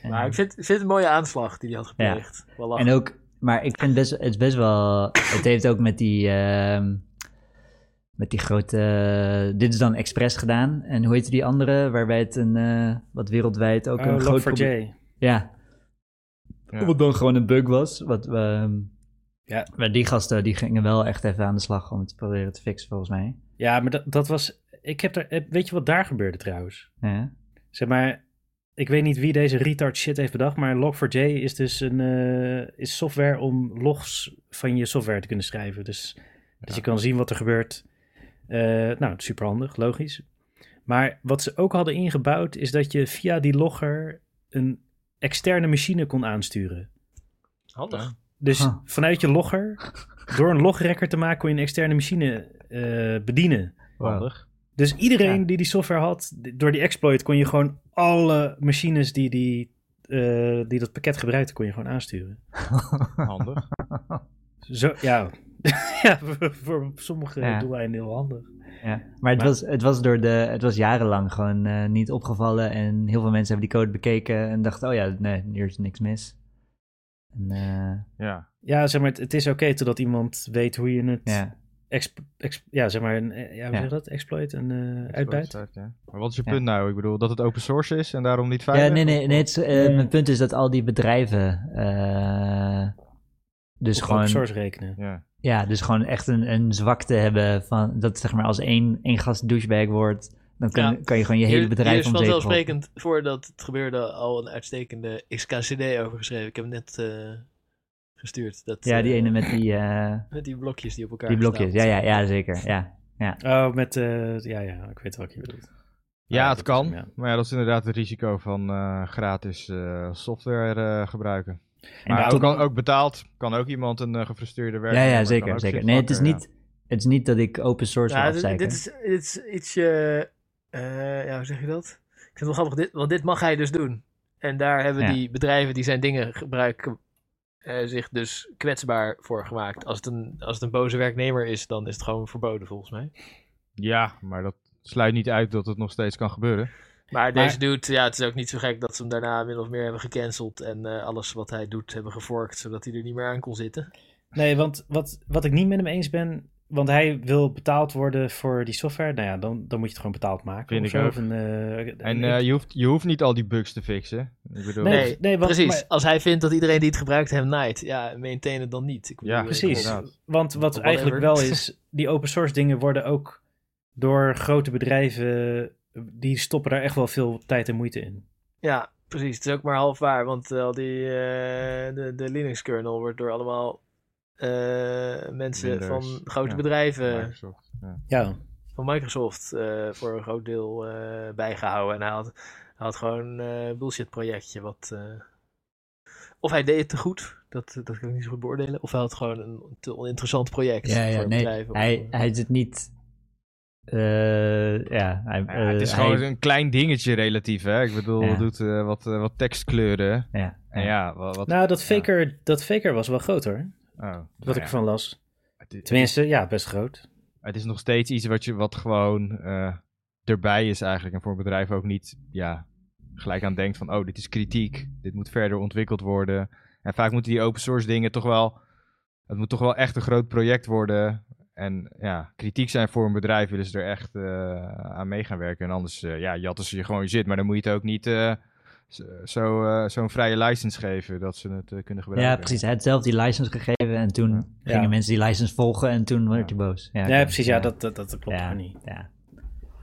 Speaker 5: En,
Speaker 4: maar ik vind, ik vind het een mooie aanslag die hij had
Speaker 5: Ja.
Speaker 4: gepleegd. Wel lachen.
Speaker 5: en ook, maar ik vind best, het is best wel... Het heeft ook met die, ehm, met die grote... eh, dit is dan expres gedaan. En hoe heette die andere? Waarbij het een, eh, wat wereldwijd ook een
Speaker 2: Oh,
Speaker 5: groot
Speaker 2: Log4j.
Speaker 5: probleem... Ja.
Speaker 3: Ja.
Speaker 5: Wat dan gewoon een bug was. Wat, ehm,
Speaker 2: Ja.
Speaker 5: Maar die gasten die gingen wel echt even aan de slag om het te proberen te fixen volgens mij.
Speaker 2: Ja, maar dat, dat was... Ik heb er, eh, weet je wat daar gebeurde trouwens?
Speaker 5: Ja.
Speaker 2: Zeg maar, ik weet niet wie deze retard shit heeft bedacht, maar Log4j is dus een eh, is software om logs van je software te kunnen schrijven. Dus dat je kan zien wat er gebeurt. Eh, nou, super handig, logisch. Maar wat ze ook hadden ingebouwd is dat je via die logger een externe machine kon aansturen.
Speaker 4: Handig.
Speaker 2: Dus
Speaker 5: Huh.
Speaker 2: vanuit je logger, door een logrekker te maken, kon je een externe machine eh, bedienen.
Speaker 4: Handig.
Speaker 2: Dus iedereen
Speaker 5: Ja.
Speaker 2: die die software had, d- door die exploit kon je gewoon alle machines die, die, eh, die dat pakket gebruikten, kon je gewoon aansturen.
Speaker 3: Handig.
Speaker 2: Zo, ja. ja, voor- voor sommige
Speaker 5: Ja.
Speaker 2: doeleinden heel handig.
Speaker 5: Ja, maar het,
Speaker 2: Maar-
Speaker 5: was, het, was door de, het was jarenlang gewoon eh, niet opgevallen. En heel veel mensen hebben die code bekeken en dachten: oh ja, nee, hier is niks mis. En, eh,
Speaker 3: Ja.
Speaker 2: Ja, zeg maar, het, het is oké totdat iemand weet hoe je het...
Speaker 5: ja.
Speaker 2: exp- exp- ja, zeg maar, een, eh, ja, hoe
Speaker 5: Ja.
Speaker 2: zeg je dat? Exploit en eh uitbuit?
Speaker 3: Ja. Maar wat is je
Speaker 5: Ja.
Speaker 3: punt nou? Ik bedoel, dat het open source is en daarom niet veilig?
Speaker 5: ja, nee, nee. nee het, is, eh,
Speaker 2: Mm.
Speaker 5: Mijn punt is dat al die bedrijven. eh, dus
Speaker 2: Of
Speaker 5: gewoon.
Speaker 2: open source rekenen.
Speaker 3: Ja.
Speaker 5: Ja, dus gewoon echt een, een zwakte hebben. Van, dat zeg maar als één, één gast douchebag wordt. dan kan,
Speaker 4: Ja.
Speaker 5: kan je gewoon je hele
Speaker 4: Hier
Speaker 5: bedrijf
Speaker 4: is
Speaker 5: om zeep helpen.
Speaker 4: vanzelfsprekend, voordat het gebeurde, al een uitstekende XKCD over geschreven. Ik heb hem net eh, gestuurd. Dat,
Speaker 5: Ja, die
Speaker 4: eh,
Speaker 5: ene met die, eh,
Speaker 4: Met die blokjes die op elkaar
Speaker 5: die blokjes. Ja,
Speaker 4: gestapeld
Speaker 5: ja, ja, zeker. Ja.
Speaker 2: Oh, met... eh, ja, ja, ik weet wat je bedoelt. Ah,
Speaker 3: ja,
Speaker 2: dat
Speaker 3: het
Speaker 2: is
Speaker 3: kan.
Speaker 2: hem, ja.
Speaker 3: Maar ja, dat is inderdaad het risico van eh, gratis eh, software eh, gebruiken.
Speaker 5: En
Speaker 3: maar
Speaker 5: tot-
Speaker 3: ook, kan, ook betaald kan ook iemand een eh, gefrustreerde werker.
Speaker 5: Ja, ja,
Speaker 3: maar kan
Speaker 5: zeker,
Speaker 3: ook
Speaker 5: zeker.
Speaker 3: shit
Speaker 5: Nee, het is,
Speaker 3: vakken,
Speaker 5: niet, het is niet dat ik open source wil
Speaker 4: Nou, dit,
Speaker 5: afzeiken.
Speaker 4: dit is, dit is ietsje. eh, ja, hoe zeg je dat? Ik vind het wel grappig, dit, want dit mag hij dus doen. En daar hebben
Speaker 5: Ja.
Speaker 4: die bedrijven die zijn dingen gebruiken. eh, zich dus kwetsbaar voor gemaakt. Als het, een, als het een boze werknemer is, dan is het gewoon verboden volgens mij.
Speaker 3: Ja, maar dat sluit niet uit dat het nog steeds kan gebeuren.
Speaker 4: Maar deze dude, ja, het is ook niet zo gek dat ze hem daarna min of meer hebben gecanceld. En eh, alles wat hij doet hebben geforkt, zodat hij er niet meer aan kon zitten.
Speaker 2: Nee, want wat, wat ik niet met hem eens ben. Want hij wil betaald worden voor die software. Nou ja, dan, dan moet je het gewoon betaald maken.
Speaker 3: Vind
Speaker 2: of
Speaker 3: ik
Speaker 2: zo.
Speaker 3: ook.
Speaker 2: Of een, eh,
Speaker 3: En
Speaker 2: ik-
Speaker 3: eh, je, hoeft, je hoeft niet al die bugs te fixen. Ik bedoel,
Speaker 2: nee,
Speaker 4: nee,
Speaker 2: nee, want,
Speaker 4: precies.
Speaker 2: maar-
Speaker 4: Als hij vindt dat iedereen die het gebruikt hem naait, ja, maintain het dan niet. Ik bedoel,
Speaker 3: Ja,
Speaker 4: eh,
Speaker 2: precies.
Speaker 4: kom op.
Speaker 3: inderdaad.
Speaker 2: want wat
Speaker 4: Of
Speaker 2: eigenlijk wel
Speaker 4: whatever.
Speaker 2: is, die open source dingen worden ook door grote bedrijven. Die stoppen daar echt wel veel tijd en moeite in.
Speaker 4: Ja, precies. Het is ook maar half waar, want eh, al die, eh, de, de Linux-kernel wordt door allemaal eh, mensen
Speaker 3: Windows,
Speaker 4: van grote
Speaker 3: ja.
Speaker 2: Eh,
Speaker 4: bedrijven,
Speaker 3: Microsoft, ja.
Speaker 2: Ja,
Speaker 4: van Microsoft, eh, voor een groot deel eh, bijgehouden. En hij had, hij had gewoon eh, een bullshit-projectje. Wat, eh, Of hij deed het te goed, dat, dat kan ik niet zo goed beoordelen. Of hij had gewoon een te oninteressant project
Speaker 5: ja, ja,
Speaker 4: voor
Speaker 5: nee.
Speaker 4: bedrijven.
Speaker 5: Hij, hij zit niet. eh, ja, hij,
Speaker 3: Ja, het is
Speaker 5: eh,
Speaker 3: gewoon
Speaker 5: hij-
Speaker 3: een klein dingetje relatief, hè. Ik bedoel,
Speaker 5: Ja.
Speaker 3: het doet eh, wat, eh, wat tekstkleuren.
Speaker 5: ja,
Speaker 3: En
Speaker 5: ja.
Speaker 3: ja, wat... wat
Speaker 2: nou, dat
Speaker 3: ja.
Speaker 2: faker, dat faker was wel groot hoor.
Speaker 3: Oh, nou
Speaker 2: Wat
Speaker 3: ja.
Speaker 2: ik ervan las.
Speaker 3: Het, is,
Speaker 2: Tenminste, ja, best groot.
Speaker 3: het is nog steeds iets wat, je, wat gewoon eh, erbij is eigenlijk. En voor een bedrijf ook niet ja, gelijk aan denkt van... Oh, dit is kritiek. Dit moet verder ontwikkeld worden. En vaak moeten die open source dingen toch wel... Het moet toch wel echt een groot project worden. En ja, kritiek zijn voor een bedrijf willen ze er echt eh, aan mee gaan werken. En anders eh, ja, jatten ze je gewoon je zit. Maar dan moet je het ook niet... eh, zo- zo, eh, zo'n vrije license geven dat ze het eh, kunnen gebruiken.
Speaker 5: ja, precies. Hij had zelf die license gegeven en toen
Speaker 3: Ja.
Speaker 5: gingen
Speaker 2: Ja.
Speaker 5: mensen die license volgen en toen werd hij boos. Ja,
Speaker 2: ja,
Speaker 5: oké.
Speaker 2: precies. Ja, dat, dat, dat klopt
Speaker 5: Ja.
Speaker 2: gewoon niet.
Speaker 5: Ja.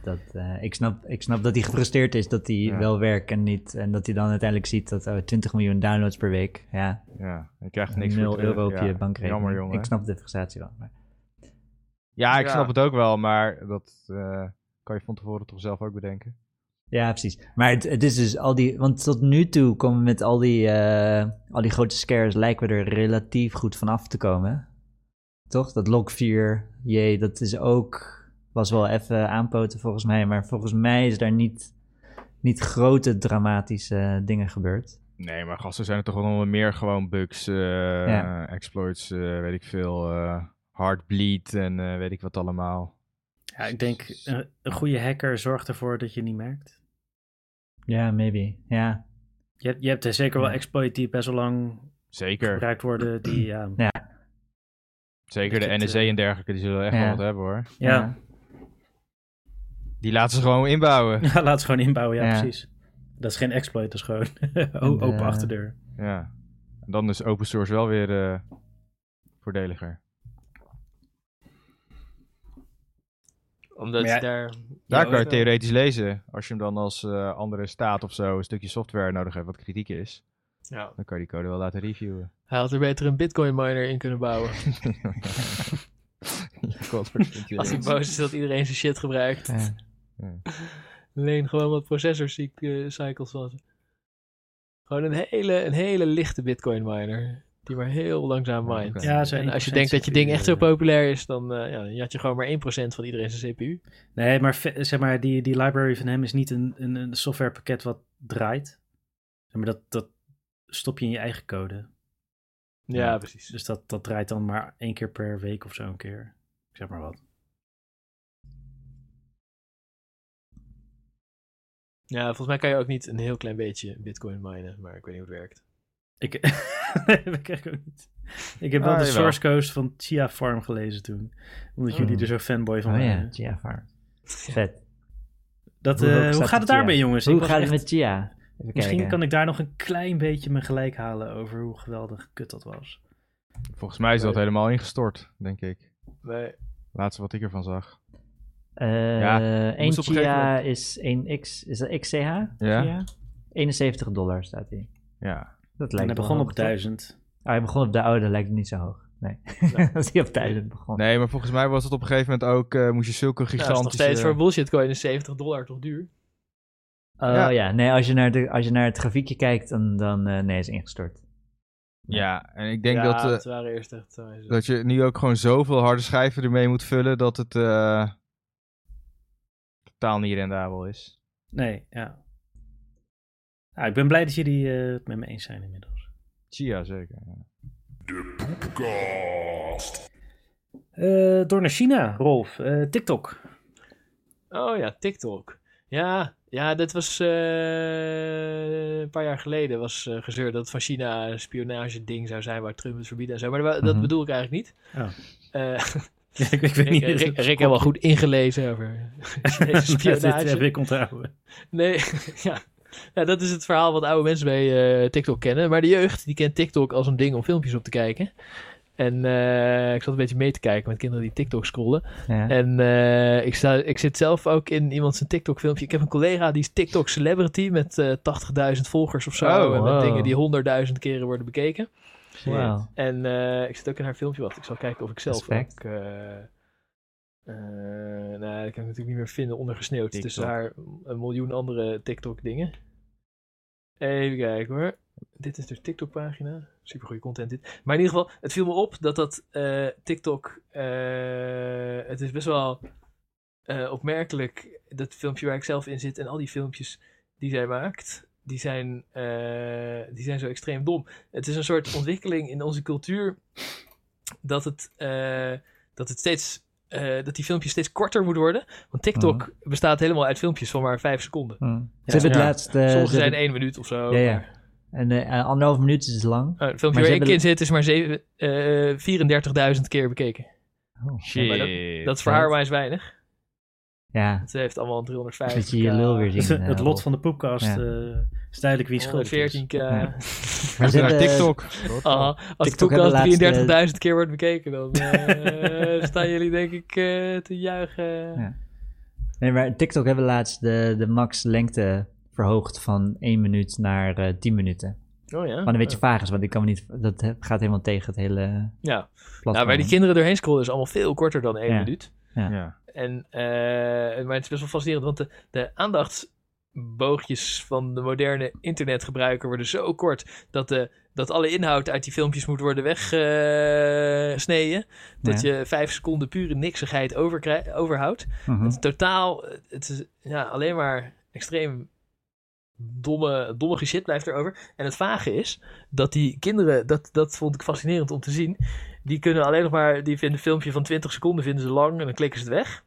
Speaker 5: Dat, eh, ik, snap, ik snap dat hij gefrustreerd is dat hij
Speaker 3: Ja.
Speaker 5: wel werkt en niet. En dat hij dan uiteindelijk ziet dat oh, 20 miljoen downloads per week. Ja,
Speaker 3: Ja, je krijgt niks voor
Speaker 5: 0
Speaker 3: terug.
Speaker 5: euro op
Speaker 3: Ja,
Speaker 5: je bankrekening.
Speaker 3: Jammer, jongen.
Speaker 5: Ik snap de frustratie wel. Maar,
Speaker 3: Ja, ik
Speaker 4: Ja.
Speaker 3: snap het ook wel, maar dat eh, kan je van tevoren toch zelf ook bedenken.
Speaker 5: ja, precies. Maar het, het is dus al die. Want tot nu toe komen we met al die, eh, al die grote scares. lijken we er relatief goed vanaf te komen. Toch? Dat log 4. Jee, dat is ook. Was wel even aanpoten volgens mij. Maar volgens mij is daar niet, niet grote dramatische eh, dingen gebeurd.
Speaker 3: Nee, maar gasten zijn er toch wel nog meer gewoon bugs, eh,
Speaker 5: Ja.
Speaker 3: exploits, eh, weet ik veel, eh heartbleed en eh, weet ik wat allemaal.
Speaker 2: Ja, ik denk, een, een goede hacker zorgt ervoor dat je het niet merkt.
Speaker 5: Ja, maybe. Ja,
Speaker 2: Je hebt, je hebt er zeker wel
Speaker 5: Ja.
Speaker 2: exploit die best wel lang
Speaker 3: Zeker,
Speaker 2: gebruikt worden. Die, ja.
Speaker 5: Ja.
Speaker 3: zeker de
Speaker 2: Dat het,
Speaker 3: NSA en dergelijke, die zullen echt
Speaker 5: Ja.
Speaker 3: wel wat hebben hoor.
Speaker 2: Ja.
Speaker 3: Die laten ze gewoon inbouwen.
Speaker 2: Ja, laat het gewoon inbouwen, ja,
Speaker 5: Ja.
Speaker 2: precies. Dat is geen exploit, dat is gewoon o-
Speaker 5: En,
Speaker 2: open
Speaker 5: eh,
Speaker 2: achterdeur.
Speaker 3: ja. En dan is open source wel weer eh, voordeliger.
Speaker 7: Omdat
Speaker 2: Maar ja,
Speaker 7: je daar...
Speaker 3: Daar
Speaker 7: Ja,
Speaker 3: kan je
Speaker 7: ook, eh,
Speaker 3: theoretisch lezen. Als je hem dan als eh, andere staat of zo een stukje software nodig hebt wat kritiek is,
Speaker 7: Ja.
Speaker 3: dan kan je die code wel laten reviewen.
Speaker 4: Hij had er beter een bitcoin miner in kunnen bouwen.
Speaker 3: Ja, God, wat vind je
Speaker 4: Als hij
Speaker 3: dit?
Speaker 4: boos is dat iedereen zijn shit gebruikt.
Speaker 3: Ja. Ja.
Speaker 4: Leen gewoon wat processorcycles van ze. Gewoon een hele, een hele lichte bitcoin miner. Die maar heel langzaam
Speaker 3: Ja,
Speaker 4: mine.
Speaker 3: oké.
Speaker 2: Ja, zo
Speaker 4: En
Speaker 2: 1%
Speaker 4: als je denkt dat je ding echt zo
Speaker 2: CPU, eh,
Speaker 4: populair is, dan eh ja, dan had je gewoon maar 1% van iedereen zijn CPU.
Speaker 2: Nee, maar ve- zeg maar, die, die library van hem is niet een, een, een softwarepakket wat draait. Zeg maar dat, dat stop je in je eigen code.
Speaker 4: Ja,
Speaker 2: Ja.
Speaker 4: precies.
Speaker 2: Dus dat, dat draait dan maar één keer per week of zo een keer. Ik zeg maar wat.
Speaker 4: Ja, volgens mij kan je ook niet een heel klein beetje bitcoin minen, maar ik weet niet hoe het werkt.
Speaker 2: Ik, nee, dat krijg ik ook niet. Ik heb wel
Speaker 3: Ah,
Speaker 2: de
Speaker 3: jawel.
Speaker 2: source code van Chia Farm gelezen toen. Omdat
Speaker 4: Oh.
Speaker 2: jullie er zo fanboy van
Speaker 5: Oh ja,
Speaker 2: waren.
Speaker 5: Chia Farm. Vet.
Speaker 2: Dat,
Speaker 5: Hoe
Speaker 2: eh,
Speaker 5: hoog
Speaker 2: hoe
Speaker 5: staat
Speaker 2: gaat
Speaker 5: de
Speaker 2: het
Speaker 5: Chia?
Speaker 2: daarmee, jongens? Ik
Speaker 5: Hoe
Speaker 2: was
Speaker 5: gaat
Speaker 2: echt-
Speaker 5: het met Chia? Even
Speaker 2: Misschien
Speaker 5: kijken.
Speaker 2: kan ik daar nog een klein beetje mijn gelijk halen over hoe geweldig kut dat was.
Speaker 3: Volgens mij is dat helemaal ingestort, denk ik.
Speaker 4: Nee.
Speaker 3: Laatste wat ik ervan zag.
Speaker 5: Eh,
Speaker 3: Ja,
Speaker 5: één
Speaker 3: moest op een gegeven
Speaker 5: Chia is 1x, is dat XCH? Chia? 71 dollar staat hij.
Speaker 3: Ja.
Speaker 5: Dat
Speaker 2: en
Speaker 5: lijkt
Speaker 2: hij
Speaker 5: wel
Speaker 2: begon
Speaker 5: hoog,
Speaker 2: op
Speaker 5: toch?
Speaker 2: duizend.
Speaker 5: Oh, hij begon op de oude, lijkt het niet zo hoog. Nee,
Speaker 4: nou,
Speaker 5: als hij op 1000 begon.
Speaker 3: Nee, maar volgens mij was het op een gegeven moment ook, eh, moest je zulke
Speaker 4: Nou, dat Oh. is nog
Speaker 3: gigantische...
Speaker 4: steeds voor bullshitcoin is 70 dollar toch duur?
Speaker 5: Oh
Speaker 3: Ja.
Speaker 5: ja, nee, als je, naar de, als je naar het grafiekje kijkt, dan, dan eh, nee, is ingestort.
Speaker 3: Ja, en ik denk
Speaker 4: ja,
Speaker 3: dat, eh,
Speaker 4: het waren eerst echt... eh, zo-
Speaker 3: dat je nu ook gewoon zoveel harde schijven ermee moet vullen dat het eh, totaal niet rendabel is.
Speaker 2: Nee, ja. Nou, ik ben blij dat jullie eh, het met me eens zijn inmiddels.
Speaker 3: Chia zeker. ja.
Speaker 2: Eh, door naar China, Rolf. Eh, TikTok.
Speaker 4: Oh ja, TikTok. Ja, ja dat was eh, een paar jaar geleden was eh, gezeur dat het van China een spionageding zou zijn waar Trump het verbiedt en zo. Maar dat, dat
Speaker 3: Mhm.
Speaker 4: bedoel ik eigenlijk niet.
Speaker 2: Oh.
Speaker 4: Eh,
Speaker 2: ik, ik weet
Speaker 4: Rick,
Speaker 2: niet. eh,
Speaker 4: Rick, Rick heeft wel goed ingelezen over Chinese
Speaker 2: Ja, dit
Speaker 4: spionage.
Speaker 2: heb ik onthouden.
Speaker 4: Nee, ja. ja. Dat is het verhaal wat oude mensen bij eh, TikTok kennen. Maar de jeugd, die kent TikTok als een ding om filmpjes op te kijken. En eh, ik zat een beetje mee te kijken met kinderen die TikTok scrollen.
Speaker 5: Ja.
Speaker 4: En eh, ik, sta, ik zit zelf ook in iemand zijn TikTok-filmpje. Ik heb een collega die is TikTok-celebrity met eh 80.000 volgers of zo.
Speaker 3: Oh,
Speaker 4: en met
Speaker 5: wow.
Speaker 4: dingen die 100.000 keren worden bekeken.
Speaker 5: Wow.
Speaker 4: En eh, ik zit ook in haar filmpje. Wacht, ik zal kijken of ik zelf
Speaker 5: Respect.
Speaker 4: ook... eh, eh, nou, dat kan ik natuurlijk niet meer vinden ondergesneeuwd.
Speaker 3: TikTok.
Speaker 4: Tussen haar een miljoen andere TikTok-dingen. Even kijken hoor. Dit is de TikTok-pagina. Super goede content dit. Maar in ieder geval, het viel me op dat dat eh, TikTok... eh, het is best wel eh, opmerkelijk, dat filmpje waar ik zelf in zit... en al die filmpjes die zij maakt... Die zijn, eh, die zijn zo extreem dom. Het is een soort ontwikkeling in onze cultuur... dat het, eh, dat het steeds... eh, dat die filmpjes steeds korter moeten worden. Want TikTok
Speaker 5: Mhm.
Speaker 4: bestaat helemaal uit filmpjes van maar vijf seconden.
Speaker 5: Hm. Ze hebben het
Speaker 4: ja.
Speaker 5: laatst... eh,
Speaker 4: Sommige
Speaker 5: ze
Speaker 4: zijn
Speaker 5: hebben-
Speaker 4: één minuut of zo.
Speaker 5: Ja, ja.
Speaker 4: maar-
Speaker 5: En eh, anderhalf minuut is lang.
Speaker 4: Oh, het filmpje
Speaker 5: Maar
Speaker 4: waar
Speaker 5: ze
Speaker 4: ik
Speaker 5: hebben-
Speaker 4: in zit is maar zeven- eh 34.000 keer bekeken.
Speaker 5: Oh.
Speaker 4: maar Dat is voor haar wijs weinig.
Speaker 5: Ja,
Speaker 4: Ze heeft allemaal
Speaker 5: dat
Speaker 4: 350.
Speaker 5: je je lul weer ziet. eh,
Speaker 2: het lot
Speaker 5: Rolf.
Speaker 2: van de podcast
Speaker 5: Ja.
Speaker 2: eh, is duidelijk wie schuld is.
Speaker 4: 114k.
Speaker 5: dus? Ja.
Speaker 3: Maar
Speaker 5: ze
Speaker 3: naar
Speaker 5: hebben-
Speaker 3: TikTok.
Speaker 4: Ah, als de
Speaker 5: Oh, TikTok hebben
Speaker 4: podcast
Speaker 5: laatst,
Speaker 4: 33.000 keer wordt bekeken, dan eh, staan jullie denk ik eh, te juichen.
Speaker 5: Ja. Nee, maar TikTok hebben laatst de, de max lengte verhoogd van 1 minuut naar eh 10 minuten.
Speaker 4: Oh ja.
Speaker 5: Wat een beetje vaag is, want ik kan me niet... Dat he- gaat helemaal tegen het hele
Speaker 4: Ja.
Speaker 5: platform.
Speaker 4: Nou, waar die kinderen doorheen scrollen is allemaal veel korter dan één
Speaker 5: Ja.
Speaker 4: minuut.
Speaker 3: Ja.
Speaker 4: En, eh, maar het is best wel fascinerend, want de, de aandachtsboogjes van de moderne internetgebruiker worden zo kort dat, de, dat alle inhoud uit die filmpjes moet worden weggesneden. dat je vijf seconden pure niksigheid overkrij- overhoudt.
Speaker 5: Mhm.
Speaker 4: Het is totaal, het is ja, alleen maar extreem domme, dommige shit blijft erover. En het vage is dat die kinderen, dat, dat vond ik fascinerend om te zien. Die kunnen alleen nog maar, die vinden een filmpje van 20 seconden vinden ze lang en dan klikken ze het weg.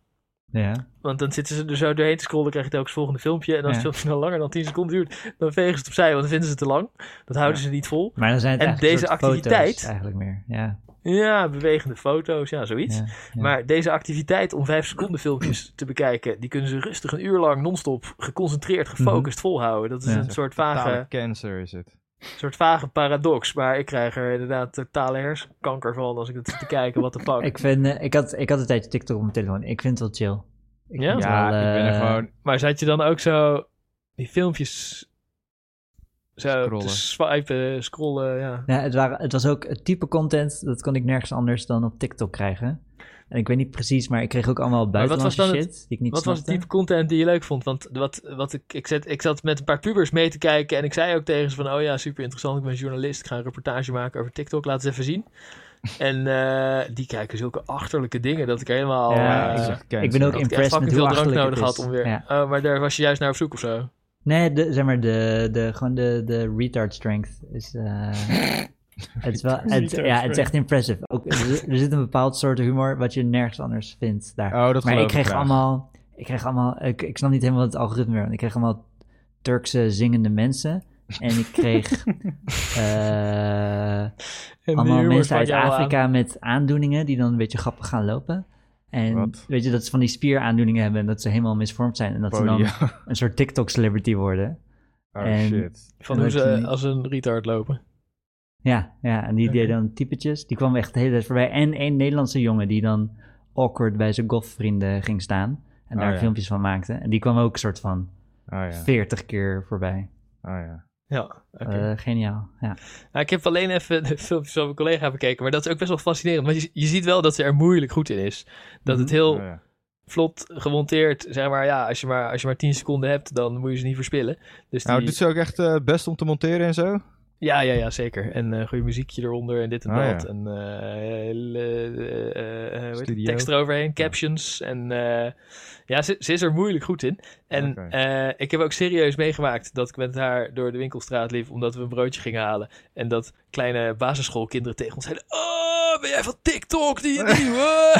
Speaker 5: Ja.
Speaker 4: Want dan zitten ze er zo doorheen te scrollen, krijg je telkens het volgende filmpje. En als het
Speaker 5: Ja.
Speaker 4: filmpje dan langer dan 10 seconden duurt, dan vegen ze het opzij, want dan vinden ze het te lang. Dat houden ze niet vol.
Speaker 5: Maar dan zijn het
Speaker 4: En
Speaker 5: eigenlijk
Speaker 4: deze
Speaker 5: een soort
Speaker 4: activiteit-
Speaker 5: Foto's eigenlijk meer, ja.
Speaker 4: Ja, bewegende foto's, ja, zoiets.
Speaker 5: ja, ja.
Speaker 4: Maar deze activiteit om 5 seconden filmpjes te bekijken, die kunnen ze rustig een uur lang non-stop geconcentreerd, gefocust volhouden. Dat is
Speaker 5: Mhm. Ja.
Speaker 4: een soort
Speaker 3: Totale
Speaker 4: vage,
Speaker 3: cancer is het.
Speaker 4: soort vage paradox. Maar ik krijg er inderdaad totale hersenkanker van als ik het zit te kijken, wat de fuck.
Speaker 5: Ik, vind, eh, ik, had, ik had een tijdje TikTok op mijn telefoon. Ik vind het wel chill.
Speaker 4: Ja?
Speaker 5: vind
Speaker 3: Ja,
Speaker 5: wel,
Speaker 3: ik ben er
Speaker 5: eh,
Speaker 3: gewoon...
Speaker 4: Maar zat je dan ook zo die filmpjes zo
Speaker 3: Scrollen.
Speaker 4: te swipen, scrollen, ja.
Speaker 5: Ja, het, waren, het was ook het type content, dat kon ik nergens anders dan op TikTok krijgen. En ik weet niet precies, maar ik kreeg ook allemaal
Speaker 4: wat was
Speaker 5: buitenlandse
Speaker 4: dan
Speaker 5: shit
Speaker 4: het-
Speaker 5: die ik niet
Speaker 4: Wat was het
Speaker 5: snapte.
Speaker 4: type content die je leuk vond? Want wat, wat ik, ik, zat, ik zat met een paar pubers mee te kijken en ik zei ook tegen ze van... Oh ja, super interessant, ik ben journalist, ik ga een reportage maken over TikTok, laat eens even zien. En eh, die kijken zulke achterlijke dingen dat ik helemaal...
Speaker 5: Ja,
Speaker 4: eh,
Speaker 5: ik-
Speaker 3: dat is
Speaker 4: dat
Speaker 3: echt
Speaker 5: ik
Speaker 3: cancer.
Speaker 5: ben ook
Speaker 4: ik echt
Speaker 5: impressed met
Speaker 4: fucking
Speaker 5: hoe
Speaker 4: veel drank
Speaker 5: achterlijk het
Speaker 4: nodig
Speaker 5: is.
Speaker 4: had om weer...
Speaker 5: Ja.
Speaker 4: Oh, maar daar was je juist naar op zoek of zo.
Speaker 5: Nee, de, zeg maar, de, de, gewoon de, de retard strength is... eh, het, is wel, het,
Speaker 2: Retard
Speaker 5: ja, het is echt impressive. Ook, er, er zit een bepaald soort humor wat je nergens anders vindt daar.
Speaker 3: Oh, dat
Speaker 5: maar
Speaker 3: geloof
Speaker 5: ik kreeg
Speaker 3: graag.
Speaker 5: allemaal... Ik kreeg allemaal... Ik, ik snap niet helemaal het algoritme meer. want Ik kreeg allemaal Turkse zingende mensen. En ik kreeg... eh,
Speaker 4: En
Speaker 5: allemaal
Speaker 4: die humor
Speaker 5: mensen
Speaker 4: sprak
Speaker 5: uit
Speaker 4: je allemaal aan.
Speaker 5: Afrika met aandoeningen die dan een beetje grappig gaan lopen. En
Speaker 3: Wat?
Speaker 5: weet je dat ze van die spieraandoeningen hebben en dat ze helemaal misvormd zijn. En dat ze
Speaker 3: Polio.
Speaker 5: dan een soort TikTok-celebrity worden.
Speaker 3: Oh
Speaker 5: en-
Speaker 3: shit.
Speaker 4: Van
Speaker 5: En
Speaker 4: hoe
Speaker 5: dat je
Speaker 4: ze
Speaker 5: niet-
Speaker 4: als een retard lopen.
Speaker 5: Ja, ja en die
Speaker 4: Oké.
Speaker 5: deden dan typetjes. Die kwam echt de hele tijd voorbij. En één Nederlandse jongen die dan awkward bij zijn golfvrienden ging staan. En
Speaker 3: Oh,
Speaker 5: daar
Speaker 3: ja.
Speaker 5: filmpjes van maakte. En die kwam ook een soort van
Speaker 3: Oh ja,
Speaker 5: 40 keer voorbij.
Speaker 3: oh ja.
Speaker 4: Ja, oké.
Speaker 5: Eh, geniaal, ja.
Speaker 4: Nou, ik heb alleen even de filmpjes van mijn collega bekeken, maar dat is ook best wel fascinerend. Want je, je ziet wel dat ze er moeilijk goed in is. Dat
Speaker 5: Mhm,
Speaker 4: het heel
Speaker 3: Oh ja.
Speaker 4: vlot gemonteerd, zeg maar, ja, als je maar, als je maar 10 seconden hebt, dan moet je ze niet verspillen. Dus die,
Speaker 3: Nou, doet ze ook echt eh, het best om te monteren en zo?
Speaker 4: ja, ja, ja, zeker. En eh goede muziekje eronder en dit en
Speaker 3: Ah,
Speaker 4: dat.
Speaker 3: ja.
Speaker 4: En eh, hele, eh, eh, hoe heet het?
Speaker 3: Studio.
Speaker 4: tekst eroverheen, captions. En eh, ja, ze, ze is er moeilijk goed in. En
Speaker 3: Oké.
Speaker 4: eh, ik heb ook serieus meegemaakt dat ik met haar door de winkelstraat liep, omdat we een broodje gingen halen. En dat kleine basisschoolkinderen tegen ons zeiden, oh, ben jij van TikTok? Die, die, wow."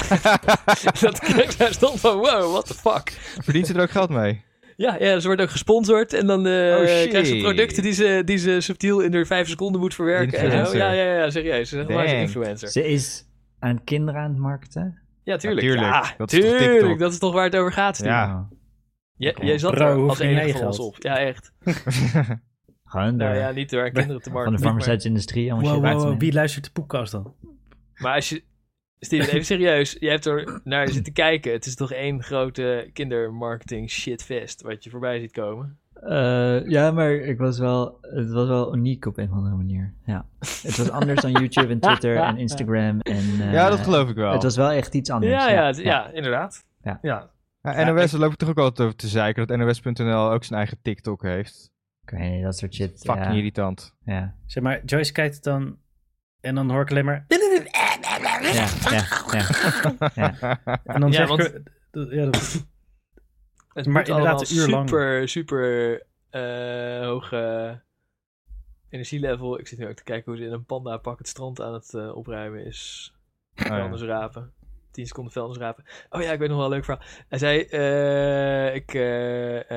Speaker 4: dat ik daar stond van, wow, what the fuck.
Speaker 3: Verdient ze er ook geld mee?
Speaker 4: Ja, ja, ze wordt ook gesponsord en dan eh
Speaker 3: Oh, shit.
Speaker 4: krijgt ze producten die ze, die ze subtiel in de vijf seconden moet verwerken. en zo.
Speaker 3: Influencer.
Speaker 4: Ja, ja, ja, serieus. Ze is echt waar een
Speaker 3: Dang.
Speaker 4: influencer.
Speaker 5: Ze is aan kinderen aan het markten.
Speaker 4: Ja, tuurlijk.
Speaker 3: Ja,
Speaker 4: Ja,
Speaker 3: tuurlijk.
Speaker 4: tuurlijk.
Speaker 3: Dat is toch TikTok?
Speaker 4: dat is toch waar het over gaat, Steve.
Speaker 3: Ja.
Speaker 5: Nou,
Speaker 4: J- jij zat
Speaker 2: Bro,
Speaker 4: er
Speaker 2: hoe
Speaker 4: als
Speaker 2: verdien
Speaker 4: enige
Speaker 2: jij
Speaker 4: van ons
Speaker 2: geld?
Speaker 4: op. Ja, echt.
Speaker 5: Gewoon
Speaker 4: Nou
Speaker 5: door-
Speaker 4: ja, niet door aan kinderen te markten.
Speaker 5: van de
Speaker 4: maar-
Speaker 5: farmaceutische industrie. allemaal
Speaker 2: Wow, wow,
Speaker 5: shit maken ze
Speaker 2: wow,
Speaker 5: mee.
Speaker 2: wie luistert de podcast dan?
Speaker 4: Maar als je... Steven, even serieus. Jij hebt er naar zitten kijken. Het is toch één grote kindermarketing shitfest wat je voorbij ziet komen.
Speaker 5: Eh, ja, maar ik was wel, het was wel uniek op een of andere manier. Ja. Het was anders dan YouTube en Twitter en Instagram. En, eh,
Speaker 3: ja, dat geloof ik wel.
Speaker 5: Het was wel echt
Speaker 2: Oh,
Speaker 5: iets anders.
Speaker 4: Ja, ja, het- ja, inderdaad.
Speaker 5: Ja.
Speaker 4: ja.
Speaker 3: Ja, NOS, daar loop ik toch ook altijd over te zeiken dat NOS.nl ook zijn eigen TikTok heeft.
Speaker 5: Ik weet niet, dat soort shit.
Speaker 3: Fucking
Speaker 5: ja,
Speaker 3: irritant.
Speaker 5: ja,
Speaker 2: Zeg maar, Joyce kijkt dan en dan hoor ik alleen maar...
Speaker 5: ja, ja, ja.
Speaker 2: En dan
Speaker 4: Ja,
Speaker 2: zeg
Speaker 4: want-
Speaker 2: ik... dat- Ja, dat,
Speaker 4: Het
Speaker 2: Maar
Speaker 4: maar moet
Speaker 2: inderdaad,
Speaker 4: allemaal
Speaker 2: een uur lang.
Speaker 4: super, super eh hoge energielevel. Ik zit nu ook te kijken hoe ze in een panda pak het strand aan het eh, opruimen is. Vuilnis rapen. 10 seconden vuilnis rapen. Oh ja, ik weet nog wel een leuk verhaal. Hij zei, eh, ik, eh,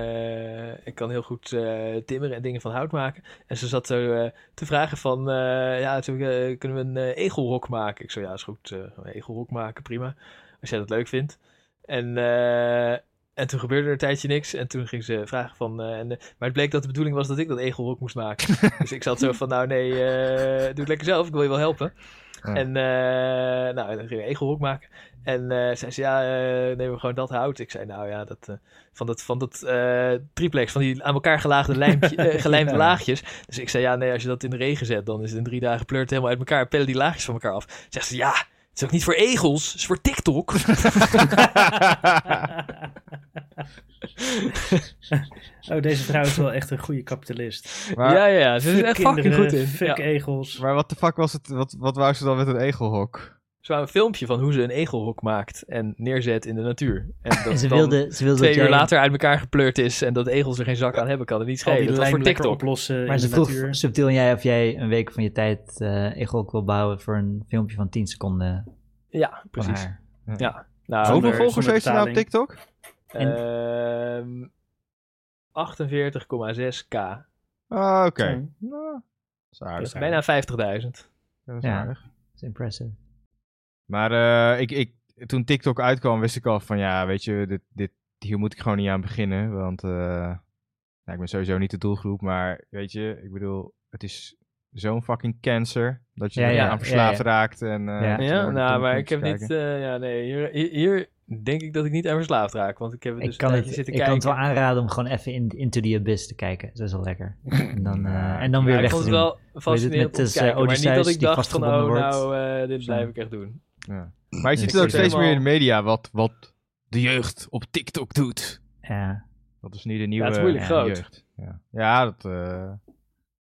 Speaker 4: eh, ik kan heel goed eh, timmeren en dingen van hout maken. En ze zat zo eh, te vragen van, eh, ja, toen, eh, kunnen we een eh, egelhok maken? Ik zo, ja, is goed. eh, een egelhok maken, prima. Als jij dat leuk vindt. En, eh, en toen gebeurde er een tijdje niks. En toen ging ze vragen van... eh, en, eh, maar het bleek dat de bedoeling was dat ik dat egelhok moest maken. dus ik zat zo van, nou nee, eh, doe het lekker zelf. Ik wil je wel helpen.
Speaker 3: Ja.
Speaker 4: En eh, nou, en dan ging ik egelhok maken. En eh, zei ze, ja, eh nemen we gewoon dat hout. Ik zei, nou ja, dat, eh, van dat, van dat eh, triplex, van die aan elkaar gelaagde lijmpje, eh, gelijmde
Speaker 2: Ja.
Speaker 4: laagjes. Dus ik zei, ja, nee, als je dat in de regen zet, dan is het in drie dagen pleurt het helemaal uit elkaar. Pellen die laagjes van elkaar af. Zegt ze, ja, het is ook niet voor egels, het is voor TikTok.
Speaker 2: oh, deze vrouw is wel echt een goede kapitalist.
Speaker 3: Maar,
Speaker 4: ja, ja, ja, ze is
Speaker 2: Fuck
Speaker 4: er echt fucking
Speaker 2: kinderen,
Speaker 4: goed in.
Speaker 2: Fuck
Speaker 4: Ja.
Speaker 2: egels.
Speaker 3: maar wat de fuck was het? Wat, wat wou ze dan met een egelhok?
Speaker 4: Ze wou een filmpje van hoe ze een egelhok maakt en neerzet in de natuur. En dat
Speaker 5: Ze
Speaker 4: dan
Speaker 5: wilde, ze wilde
Speaker 4: twee
Speaker 5: dat
Speaker 4: uur
Speaker 5: jij-
Speaker 4: later uit elkaar gepleurd is en dat egels er geen zak aan hebben, kan het niet
Speaker 2: Al
Speaker 4: schelen.
Speaker 2: die
Speaker 4: Dat was
Speaker 2: lijm
Speaker 4: voor
Speaker 2: lekker
Speaker 4: TikTok.
Speaker 2: oplossen
Speaker 5: Maar
Speaker 2: in
Speaker 5: ze
Speaker 2: de
Speaker 5: vroeg
Speaker 2: natuur.
Speaker 5: subtiel aan jij of jij een week van je tijd eh egel wil bouwen voor een filmpje van 10 seconden van
Speaker 4: Ja, precies.
Speaker 5: haar.
Speaker 4: Ja. Nou,
Speaker 3: Hoeveel
Speaker 2: Zonder-
Speaker 3: volgers
Speaker 2: zonder
Speaker 3: heeft ze nou op
Speaker 2: betaling.
Speaker 3: TikTok?
Speaker 4: ehm, 48,6k.
Speaker 3: Ah, oké.
Speaker 2: Ja.
Speaker 3: Nou, dat is aardig.
Speaker 4: Dus bijna 50.000.
Speaker 3: Dat is
Speaker 5: Ja.
Speaker 3: aardig.
Speaker 5: Dat is impressive.
Speaker 3: Maar eh, ik, ik, toen TikTok uitkwam, wist ik al van ja, weet je, dit, dit, hier moet ik gewoon niet aan beginnen. Want eh, nou, ik ben sowieso niet de doelgroep. Maar weet je, ik bedoel, het is zo'n fucking cancer dat je
Speaker 5: Ja,
Speaker 3: er
Speaker 5: ja,
Speaker 3: aan
Speaker 5: ja,
Speaker 3: verslaafd
Speaker 5: ja.
Speaker 3: raakt. En, eh,
Speaker 5: Ja.
Speaker 3: dat je
Speaker 4: Ja,
Speaker 3: naar de
Speaker 4: nou, maar ik
Speaker 3: filmpjes
Speaker 4: heb niet...
Speaker 3: kijken.
Speaker 4: eh, ja, nee, hier, hier, hier denk ik dat ik niet aan verslaafd raak. Want ik heb het dus
Speaker 5: ik kan,
Speaker 4: een
Speaker 5: het,
Speaker 4: tijdje zitten
Speaker 5: ik kan
Speaker 4: kijken.
Speaker 5: het wel aanraden om gewoon even in, Into the Abyss te kijken. Dat is wel lekker. En dan, eh, en
Speaker 4: Maar
Speaker 5: dan weer weg
Speaker 4: ik
Speaker 5: te
Speaker 4: vond
Speaker 5: doen.
Speaker 4: het wel fascinerend
Speaker 5: met
Speaker 4: om te
Speaker 5: dus, eh,
Speaker 4: kijken, maar niet dat
Speaker 5: Odysseus
Speaker 4: ik
Speaker 5: die
Speaker 4: dacht van, oh,
Speaker 5: vastgebonden wordt?
Speaker 4: nou, eh, dit
Speaker 5: Zo.
Speaker 4: blijf ik echt doen. eh,
Speaker 3: Maar je ziet
Speaker 5: Ik
Speaker 3: het ook
Speaker 5: vind
Speaker 3: steeds
Speaker 4: hem
Speaker 3: meer in
Speaker 4: al-
Speaker 3: de media wat, wat de jeugd op TikTok doet.
Speaker 5: Ja.
Speaker 3: Dat is nu de nieuwe
Speaker 4: het is moeilijk
Speaker 3: eh,
Speaker 4: groot.
Speaker 3: jeugd. Ja, ja dat eh,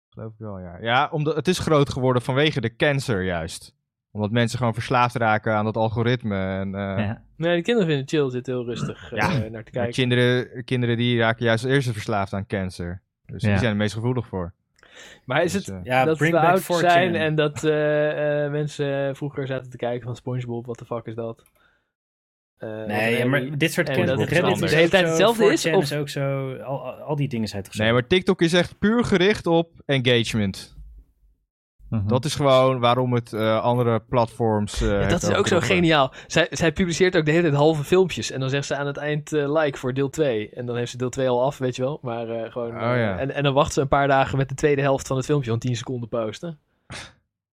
Speaker 3: geloof ik wel, ja. Ja, omdat, het is groot geworden vanwege de cancer juist. Omdat mensen gewoon verslaafd raken aan dat algoritme. En, eh,
Speaker 5: Ja.
Speaker 4: Nee, de kinderen vinden chill zitten heel rustig eh,
Speaker 3: Ja.
Speaker 4: naar te
Speaker 3: maar
Speaker 4: kijken.
Speaker 3: kinderen, kinderen die raken juist als eerste verslaafd aan cancer. Dus
Speaker 5: Ja.
Speaker 3: die zijn er meest gevoelig voor.
Speaker 4: Maar is
Speaker 3: Dus,
Speaker 4: het
Speaker 3: eh,
Speaker 2: Ja,
Speaker 4: dat
Speaker 2: bring
Speaker 4: we
Speaker 2: back
Speaker 4: oud
Speaker 2: 4
Speaker 4: zijn en dat eh, eh, mensen vroeger zaten te kijken van Spongebob, wat de fuck is dat? Eh,
Speaker 2: Nee,
Speaker 4: of
Speaker 2: ja, maar
Speaker 4: Larry.
Speaker 2: dit soort
Speaker 4: en
Speaker 2: content,
Speaker 3: dat is
Speaker 2: Reddit is
Speaker 3: anders.
Speaker 4: De hele
Speaker 2: ook
Speaker 4: tijd
Speaker 2: zo,
Speaker 4: hetzelfde is,
Speaker 2: 4chan
Speaker 4: of-
Speaker 2: is ook zo, al, al- al die dingen zijn toch zo.
Speaker 3: nee, maar TikTok is echt puur gericht op engagement.
Speaker 5: Mhm.
Speaker 3: Dat is gewoon waarom het eh, andere platforms. eh,
Speaker 4: Ja,
Speaker 3: heeft
Speaker 4: dat is ook zo
Speaker 3: overtroffen.
Speaker 4: geniaal. Zij, zij publiceert ook de hele tijd halve filmpjes. En dan zegt ze aan het eind eh, like voor deel 2. En dan heeft ze deel 2 al af, weet je wel. Maar eh, gewoon.
Speaker 3: Oh,
Speaker 4: eh,
Speaker 3: ja.
Speaker 4: en, en dan wacht ze een paar dagen met de tweede helft van het filmpje van 10 seconden posten.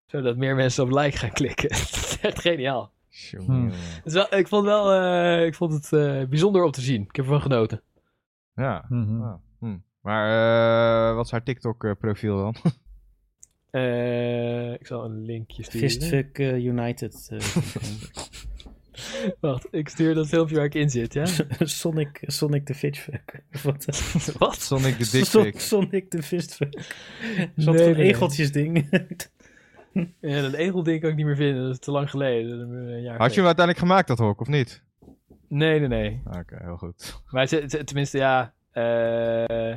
Speaker 4: Zodat meer mensen op like gaan klikken. dat is echt geniaal.
Speaker 3: Tjonge,
Speaker 5: Hmm.
Speaker 3: jonge.
Speaker 4: Het is wel, ik vond, wel, eh, ik vond het eh, bijzonder om te zien. Ik heb ervan genoten.
Speaker 3: Ja.
Speaker 5: Mhm.
Speaker 3: Ah, hm. Maar eh, wat is haar TikTok-profiel dan?
Speaker 4: Eh, ik zal een linkje sturen.
Speaker 2: Fistfuck eh, United. eh,
Speaker 4: Wacht, ik stuur dat filmpje waar ik in zit, ja?
Speaker 2: Sonic, Sonic the Fitchfuck. Of Wat? eh,
Speaker 4: Wat?
Speaker 3: Sonic de Dick
Speaker 2: Son-
Speaker 3: Pic.
Speaker 2: Sonic the Fistfuck.
Speaker 4: Nee,
Speaker 2: Zo'n nee,
Speaker 4: nee, nee.
Speaker 2: egeltjes ding.
Speaker 4: Ja, dat egelding kan ik niet meer vinden. Dat is te lang geleden. Dat is een eh,
Speaker 3: Had
Speaker 4: jaar
Speaker 3: je hem
Speaker 4: geleden.
Speaker 3: uiteindelijk gemaakt, dat hok, of niet?
Speaker 4: Nee, nee, nee.
Speaker 3: Oké, heel goed.
Speaker 4: Maar ze, ze- tenminste, ja. eh,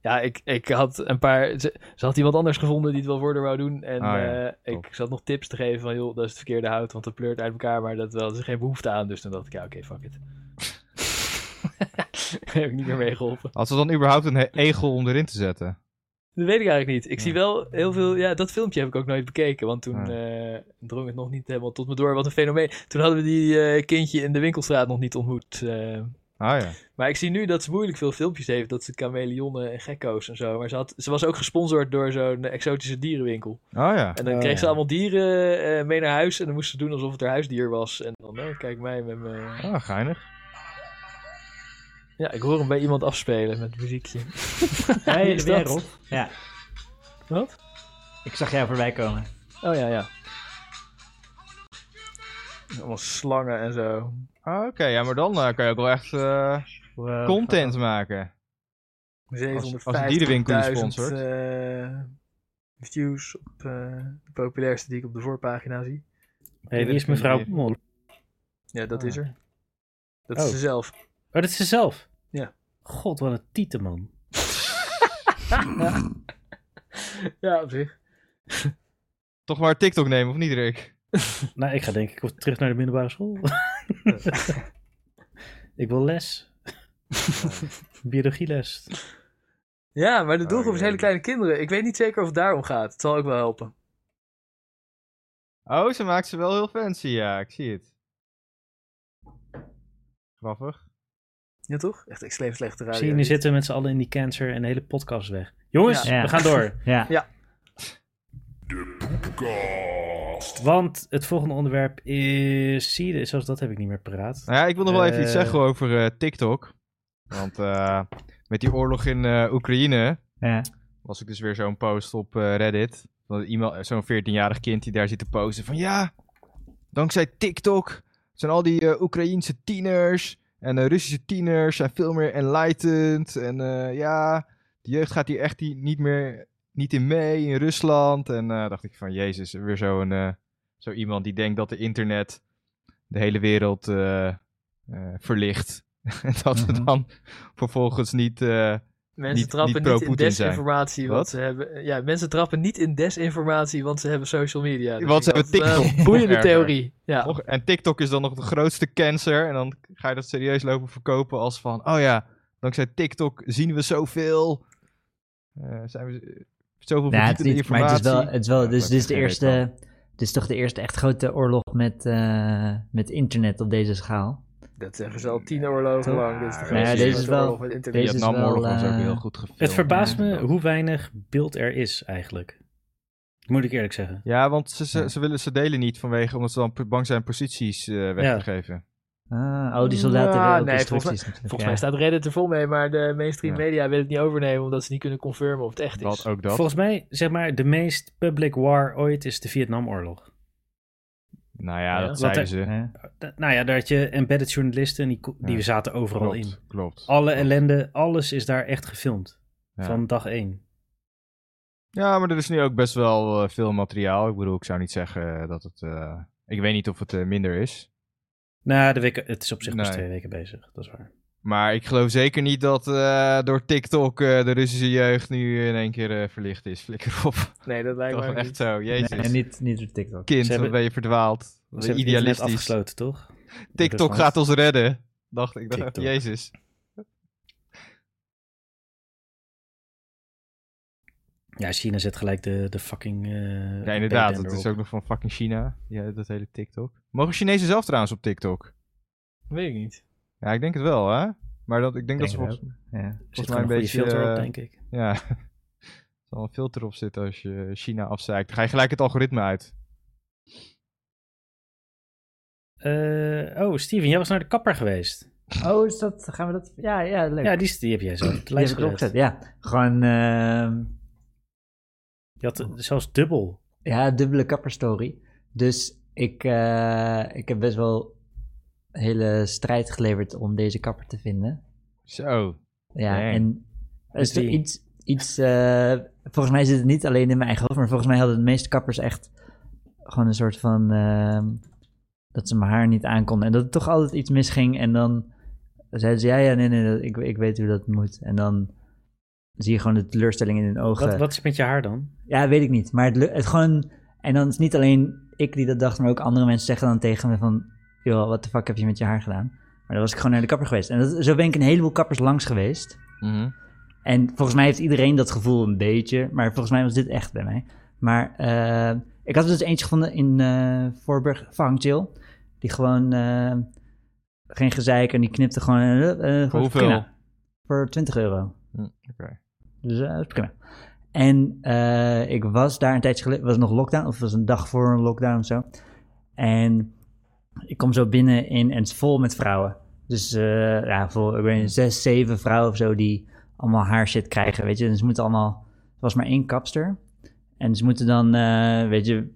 Speaker 4: ja, ik, ik had een paar. Ze, ze had iemand anders gevonden die het wel voor haar wou doen. En
Speaker 3: Ah, ja.
Speaker 4: eh,
Speaker 3: Top.
Speaker 4: ik zat nog tips te geven van, joh, dat is het verkeerde hout, want dat pleurt uit elkaar. Maar dat wel, er is geen behoefte aan. Dus toen dacht ik, ja, oké, fuck it. Daar heb ik niet meer mee geholpen.
Speaker 3: Had ze dan überhaupt een he- egel om erin te zetten?
Speaker 4: Dat weet ik eigenlijk niet. Ik zie wel heel veel. Ja, dat filmpje heb ik ook nooit bekeken. Want toen
Speaker 3: Ah.
Speaker 4: eh, drong het nog niet helemaal tot me door. Wat een fenomeen. Toen hadden we die eh, kindje in de winkelstraat nog niet ontmoet. eh,
Speaker 3: Ah ja.
Speaker 4: Maar ik zie nu dat ze moeilijk veel filmpjes heeft. Dat ze chameleonnen en gekko's en zo. Maar ze, had, ze was ook gesponsord door zo'n exotische dierenwinkel.
Speaker 3: Oh ja.
Speaker 4: En dan
Speaker 2: Oh,
Speaker 4: kreeg ze
Speaker 2: ja.
Speaker 4: allemaal dieren eh, mee naar huis. En dan moest ze doen alsof het haar huisdier was. En dan, eh, kijk mij met mijn...
Speaker 3: Ah, geinig.
Speaker 4: Ja, ik hoor hem bij iemand afspelen met muziekje.
Speaker 5: Hey,
Speaker 4: Is
Speaker 5: ben jij
Speaker 4: dat-
Speaker 5: Rob? Ja,
Speaker 4: Wat?
Speaker 5: ik zag jou voorbij komen.
Speaker 4: Oh ja, ja. Allemaal slangen en zo.
Speaker 3: Ah, Oké, ja, maar dan eh, kan je ook wel echt eh,
Speaker 5: Wow.
Speaker 3: content maken. als een dierenwinkel je
Speaker 4: 750.000
Speaker 3: sponsort.
Speaker 4: eh, views op eh, de populairste die ik op de voorpagina zie.
Speaker 2: hey, wie is mevrouw Mol?
Speaker 4: Ja, dat
Speaker 3: Ah.
Speaker 4: is er. Dat
Speaker 2: Oh.
Speaker 4: is ze zelf.
Speaker 2: Oh, dat is ze zelf?
Speaker 4: Ja.
Speaker 2: God, wat een tietenman.
Speaker 4: Ja, op zich.
Speaker 3: Toch maar TikTok nemen, of niet, Rick?
Speaker 2: Nou, ik ga denk ik terug naar de middelbare school. ik wil les. Biologieles.
Speaker 4: Ja, maar de doelgroep
Speaker 3: Oh,
Speaker 4: is
Speaker 3: jee.
Speaker 4: hele kleine kinderen. Ik weet niet zeker of het daarom gaat. Het zal ook wel helpen.
Speaker 3: Oh, ze maakt ze wel heel fancy, ja. Ik zie het. Grappig.
Speaker 4: Ja, toch? Echt extreem slechte radio.
Speaker 2: Zie je, nu zitten we met z'n allen in die cancer en de hele podcast weg. Jongens,
Speaker 5: Ja.
Speaker 2: we gaan door.
Speaker 5: Ja.
Speaker 4: Ja.
Speaker 2: Want het volgende onderwerp is... Zie je, zelfs dat heb ik niet meer paraat.
Speaker 3: Nou ja, ik wil nog wel even iets
Speaker 2: Eh.
Speaker 3: zeggen over eh, TikTok. Want eh, met die oorlog in eh, Oekraïne
Speaker 5: Ja.
Speaker 3: was ik dus weer zo'n post op eh, Reddit. Van iemand- eh, Zo'n 14-jarig kind die daar zit te posten van ja, dankzij TikTok zijn al die eh, Oekraïense tieners en eh, Russische tieners zijn veel meer enlightened. En eh, ja, de jeugd gaat hier echt die- niet meer niet in mee in Rusland. En eh, dacht ik van jezus, weer zo'n eh, zo iemand die denkt dat de internet de hele wereld eh, eh, verlicht. En dat we
Speaker 5: Mhm.
Speaker 3: dan vervolgens niet... eh,
Speaker 4: mensen
Speaker 3: niet- niet
Speaker 4: trappen niet, in
Speaker 3: pro-Poetin
Speaker 4: desinformatie,
Speaker 3: zijn.
Speaker 4: want
Speaker 3: Wat?
Speaker 4: ze hebben... Ja, mensen trappen niet in desinformatie, want ze hebben social media. Dus
Speaker 3: Want ze
Speaker 4: ik
Speaker 3: hebben
Speaker 4: dacht,
Speaker 3: TikTok.
Speaker 4: eh, boeiende
Speaker 3: Nog erger.
Speaker 4: theorie. Ja.
Speaker 3: Och, en TikTok is dan nog de grootste cancer. En dan ga je dat serieus lopen verkopen als van... Oh ja, dankzij TikTok zien we zoveel. eh, zijn we z- zoveel
Speaker 5: Nou, het is
Speaker 3: verdiepende
Speaker 5: niet, maar het is
Speaker 3: informatie.
Speaker 5: wel, het is wel
Speaker 3: Ja,
Speaker 5: dus
Speaker 3: maar
Speaker 5: dit is de
Speaker 3: geen weet
Speaker 5: eerste, dit is toch de eerste echt grote oorlog met, eh, met internet op deze schaal.
Speaker 4: Dat zeggen ze al tien oorlogen
Speaker 5: Toch?
Speaker 4: lang. Dit is de
Speaker 3: Ja,
Speaker 4: grootste
Speaker 5: deze is
Speaker 4: grote
Speaker 5: wel-
Speaker 4: oorlog met internet.
Speaker 3: De
Speaker 5: Deze is
Speaker 3: Vietnamoorlog
Speaker 5: wel,
Speaker 3: was ook
Speaker 5: eh,
Speaker 3: heel goed gefilmd.
Speaker 2: Het verbaast me hoe weinig beeld er is eigenlijk. Moet ik eerlijk zeggen.
Speaker 3: Ja, want ze, ze, ze willen ze delen niet vanwege... Omdat ze dan p- bang zijn posities eh, weg
Speaker 2: Ja.
Speaker 3: te geven.
Speaker 5: Ah, oh, die soldaten
Speaker 4: Ja,
Speaker 5: hebben
Speaker 4: nee, volgens
Speaker 5: ook
Speaker 4: mij-
Speaker 5: instructies natuurlijk.
Speaker 4: Volgens mij staat Reddit er vol mee, maar de mainstream
Speaker 3: Ja.
Speaker 4: media wil het niet overnemen omdat ze niet kunnen confirmen of het echt is.
Speaker 3: Dat ook dat.
Speaker 2: Volgens mij, zeg maar, de meest public war ooit is de Vietnamoorlog.
Speaker 3: Nou ja,
Speaker 4: Ja.
Speaker 3: dat
Speaker 2: Wat
Speaker 3: zeiden
Speaker 2: er-
Speaker 3: ze. Hè?
Speaker 2: Da- Nou ja, daar had je embedded journalisten en die, ko- die
Speaker 3: Ja,
Speaker 2: zaten overal in.
Speaker 3: Klopt, klopt.
Speaker 2: Alle
Speaker 3: Klopt.
Speaker 2: ellende, alles is daar echt gefilmd.
Speaker 3: Ja.
Speaker 2: Van dag één.
Speaker 3: Ja, maar er is nu ook best wel eh, veel materiaal. Ik bedoel, ik zou niet zeggen dat het... eh, ik weet niet of het eh, minder is.
Speaker 2: Nou, de weken, het is op zich pas
Speaker 3: Nee.
Speaker 2: twee weken bezig, dat is waar.
Speaker 3: Maar ik geloof zeker niet dat eh, door TikTok eh, de Russische jeugd nu in één keer eh, verlicht is. Flikker op.
Speaker 4: Nee, dat lijkt
Speaker 3: Dat
Speaker 4: me
Speaker 3: is wel
Speaker 4: ook
Speaker 3: echt
Speaker 4: niet.
Speaker 3: zo. Jezus.
Speaker 5: En niet, niet door TikTok.
Speaker 3: Kind,
Speaker 2: Ze hebben-
Speaker 3: dan ben je verdwaald.
Speaker 2: Ze hebben het internet
Speaker 3: Idealistisch.
Speaker 2: afgesloten, toch?
Speaker 3: TikTok
Speaker 2: Rusland.
Speaker 3: gaat ons redden. Dacht ik. Dacht,
Speaker 2: TikTok.
Speaker 3: Jezus.
Speaker 2: Ja, China zet gelijk de, de fucking... eh,
Speaker 3: Ja, inderdaad.
Speaker 2: bedender
Speaker 3: Dat is
Speaker 2: op.
Speaker 3: ook nog van fucking China. Ja, dat hele TikTok. Mogen Chinezen zelf trouwens op TikTok?
Speaker 4: Weet ik niet.
Speaker 3: Ja, ik denk het wel, hè? Maar dat, ik denk, dat ze
Speaker 5: Denk het
Speaker 3: volgens,
Speaker 5: Ja.
Speaker 2: Er zit
Speaker 3: mij
Speaker 2: gewoon
Speaker 3: een
Speaker 2: een goede
Speaker 3: beetje,
Speaker 2: filter op,
Speaker 3: eh,
Speaker 2: denk ik.
Speaker 3: Ja. Er zal een filter op zitten als je China afzeikt. Dan ga je gelijk het algoritme uit.
Speaker 2: Eh, oh, Steven, jij was naar de kapper geweest.
Speaker 5: Oh, is dat, gaan we dat... Ja, ja, leuk.
Speaker 2: Ja, die, die heb jij zelf op de
Speaker 5: Die heb
Speaker 2: lijst
Speaker 5: ik erop gezet.
Speaker 2: gezet.
Speaker 5: Ja, gewoon ehm,
Speaker 2: Je had eh, zelfs dubbel.
Speaker 5: ja, dubbele kapperstory. Dus ik, eh, ik heb best wel een hele strijd geleverd om deze kapper te vinden.
Speaker 3: Zo.
Speaker 5: Ja,
Speaker 3: Dang.
Speaker 5: en er is
Speaker 2: Met
Speaker 5: er
Speaker 2: wie?
Speaker 5: iets, iets eh, volgens mij zit het niet alleen in mijn eigen hoofd, maar volgens mij hadden de meeste kappers echt gewoon een soort van ehm, dat ze mijn haar niet aankonden en dat er toch altijd iets misging en dan zeiden ze ja, ja, nee, nee, dat- ik, ik weet hoe dat moet en dan zie je gewoon de teleurstelling in hun ogen.
Speaker 2: Wat, wat is het met je haar dan?
Speaker 5: Ja, weet ik niet, maar het, lu- het gewoon en dan is het niet alleen ik die dat dacht, maar ook andere mensen zeggen dan tegen me van joh, wat de fuck heb je met je haar gedaan? Maar dan was ik gewoon naar de kapper geweest en dat, zo ben ik een heleboel kappers langs geweest.
Speaker 3: Mhm.
Speaker 5: En volgens mij heeft iedereen dat gevoel een beetje. Maar volgens mij was dit echt bij mij. Maar eh, ik had er dus eentje gevonden in eh Voorburg, Vangchill. Die gewoon eh, geen gezeik en die knipte gewoon... eh, eh, gewoon
Speaker 3: Voor hoeveel? Hm,
Speaker 5: prima. Voor 20 euro.
Speaker 3: Oké.
Speaker 5: Dus eh, dat is prima. En eh, ik was daar een tijdje geleden, was nog lockdown, of was een dag voor een lockdown of zo. En ik kom zo binnen in, en het is vol met vrouwen. Dus eh, ja, vol, ik weet niet, zes, zeven vrouwen of zo die allemaal haar shit krijgen, weet je. En ze moeten allemaal, er was maar één kapster. En ze moeten dan, eh, weet je,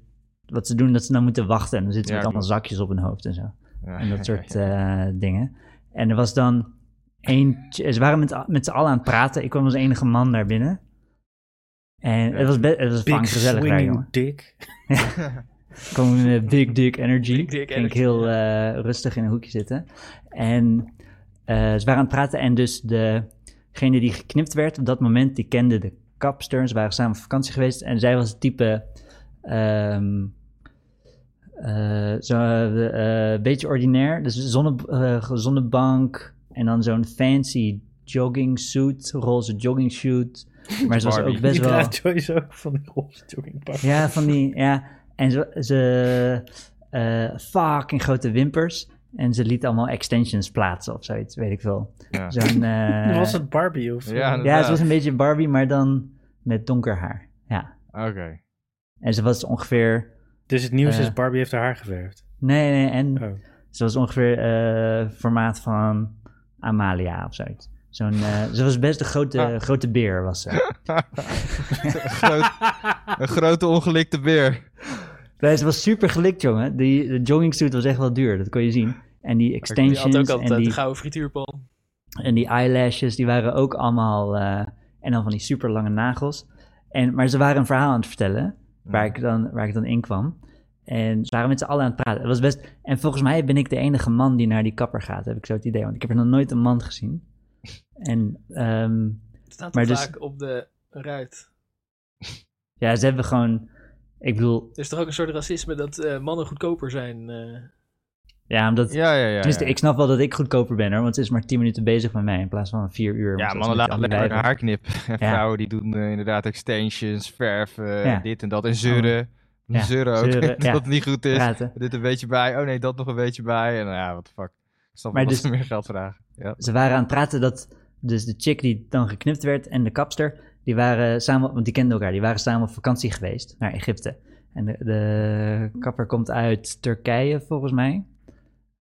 Speaker 5: wat ze doen, dat ze dan moeten wachten. En dan zitten ze
Speaker 3: Ja,
Speaker 5: met allemaal zakjes op hun hoofd en zo.
Speaker 3: Ja.
Speaker 5: En dat soort eh, dingen. En er was dan eentje. Ze waren met, met z'n allen aan het praten. Ik kwam als enige man naar binnen. En het was, be- het was
Speaker 2: Big
Speaker 5: fucking gezellig daar,
Speaker 2: swinging
Speaker 5: jongen.
Speaker 2: dick.
Speaker 5: Gewoon eh, big dick energy.
Speaker 4: Big dick
Speaker 5: Ging ik
Speaker 4: energy,
Speaker 5: heel eh, rustig in een hoekje zitten. En eh, ze waren aan het praten. En dus degene die geknipt werd op dat moment, die kende de kapster. Ze waren samen op vakantie geweest. En zij was het type... ehm eh, zo, eh, eh, beetje ordinair. Dus zonne, eh, zonnebank en dan zo'n fancy jogging suit, roze jogging suit. Maar ze was
Speaker 3: Barbie.
Speaker 5: ook best
Speaker 2: Die
Speaker 5: wel...
Speaker 2: draagt sowieso ook van die roze joggingpak.
Speaker 5: Ja, van die, ja. En ze, ze eh, fucking grote wimpers. En ze liet allemaal extensions plaatsen of zoiets, weet ik veel.
Speaker 3: Ja.
Speaker 5: Zo'n, eh,
Speaker 2: was het Barbie of
Speaker 3: Ja,
Speaker 5: Ja,
Speaker 3: inderdaad.
Speaker 5: ze was een beetje Barbie, maar dan met donker haar. Ja.
Speaker 3: Oké.
Speaker 5: En ze was ongeveer...
Speaker 2: Dus het nieuws
Speaker 5: Eh.
Speaker 2: is Barbie heeft haar haar geverfd.
Speaker 5: Nee, nee, en
Speaker 2: Oh.
Speaker 5: ze was ongeveer eh, formaat van Amalia of zoiets. Zo'n, eh, ze was best een grote, grote beer, was ze.
Speaker 3: een, groot- een grote ongelikte beer.
Speaker 5: Nee, ze was super gelikt, jongen. Die, de joggingsuit was echt wel duur, dat kon je zien. En die
Speaker 4: Die had
Speaker 5: extensions
Speaker 4: ook altijd
Speaker 5: en
Speaker 4: de
Speaker 5: die
Speaker 4: gouden frituurpan.
Speaker 5: En die eyelashes, die waren ook allemaal... eh, en dan van die super lange nagels. En, maar ze waren een verhaal aan het vertellen,
Speaker 3: Mhm.
Speaker 5: waar, ik dan, waar ik dan in kwam. En ze waren met z'n allen aan het praten. Het was best, en volgens mij ben ik de enige man die naar die kapper gaat, heb ik zo het idee. Want ik heb er nog nooit een man gezien. En ehm,
Speaker 4: Het staat
Speaker 5: Maar
Speaker 4: er
Speaker 5: dus-
Speaker 4: vaak op de ruit.
Speaker 5: ja, ze hebben gewoon... Ik bedoel,
Speaker 4: Er is toch ook een soort racisme dat eh, mannen goedkoper zijn. eh.
Speaker 5: ja, omdat...
Speaker 3: Ja, ja, ja.
Speaker 5: tenminste,
Speaker 3: ja.
Speaker 5: ik snap wel dat ik goedkoper ben hoor, want ze is maar 10 minuten bezig met mij in plaats van 4 uur.
Speaker 3: Ja,
Speaker 5: want ze
Speaker 3: mannen
Speaker 5: is met
Speaker 3: laten
Speaker 5: al die
Speaker 3: lekker haar
Speaker 5: wijven.
Speaker 3: knip. En
Speaker 5: Ja.
Speaker 3: vrouwen die doen eh, inderdaad extensions, verven,
Speaker 5: Ja. Oh.
Speaker 3: dit en dat. En zeuren.
Speaker 5: Ja,
Speaker 3: Zeuren ook.
Speaker 5: zeuren,
Speaker 3: dat
Speaker 5: ja.
Speaker 3: het niet goed is.
Speaker 5: praten.
Speaker 3: Dit een beetje bij. Oh nee, dat nog een beetje bij. En nou ja, wat de fuck. Ik snap
Speaker 5: Maar
Speaker 3: wel dat
Speaker 5: dus-
Speaker 3: ze meer geld vragen. Ja.
Speaker 5: ze waren aan het praten dat dus de chick die dan geknipt werd en de kapster, die waren samen, want die kenden elkaar, die waren samen op vakantie geweest naar Egypte. En de, de kapper komt uit Turkije volgens mij.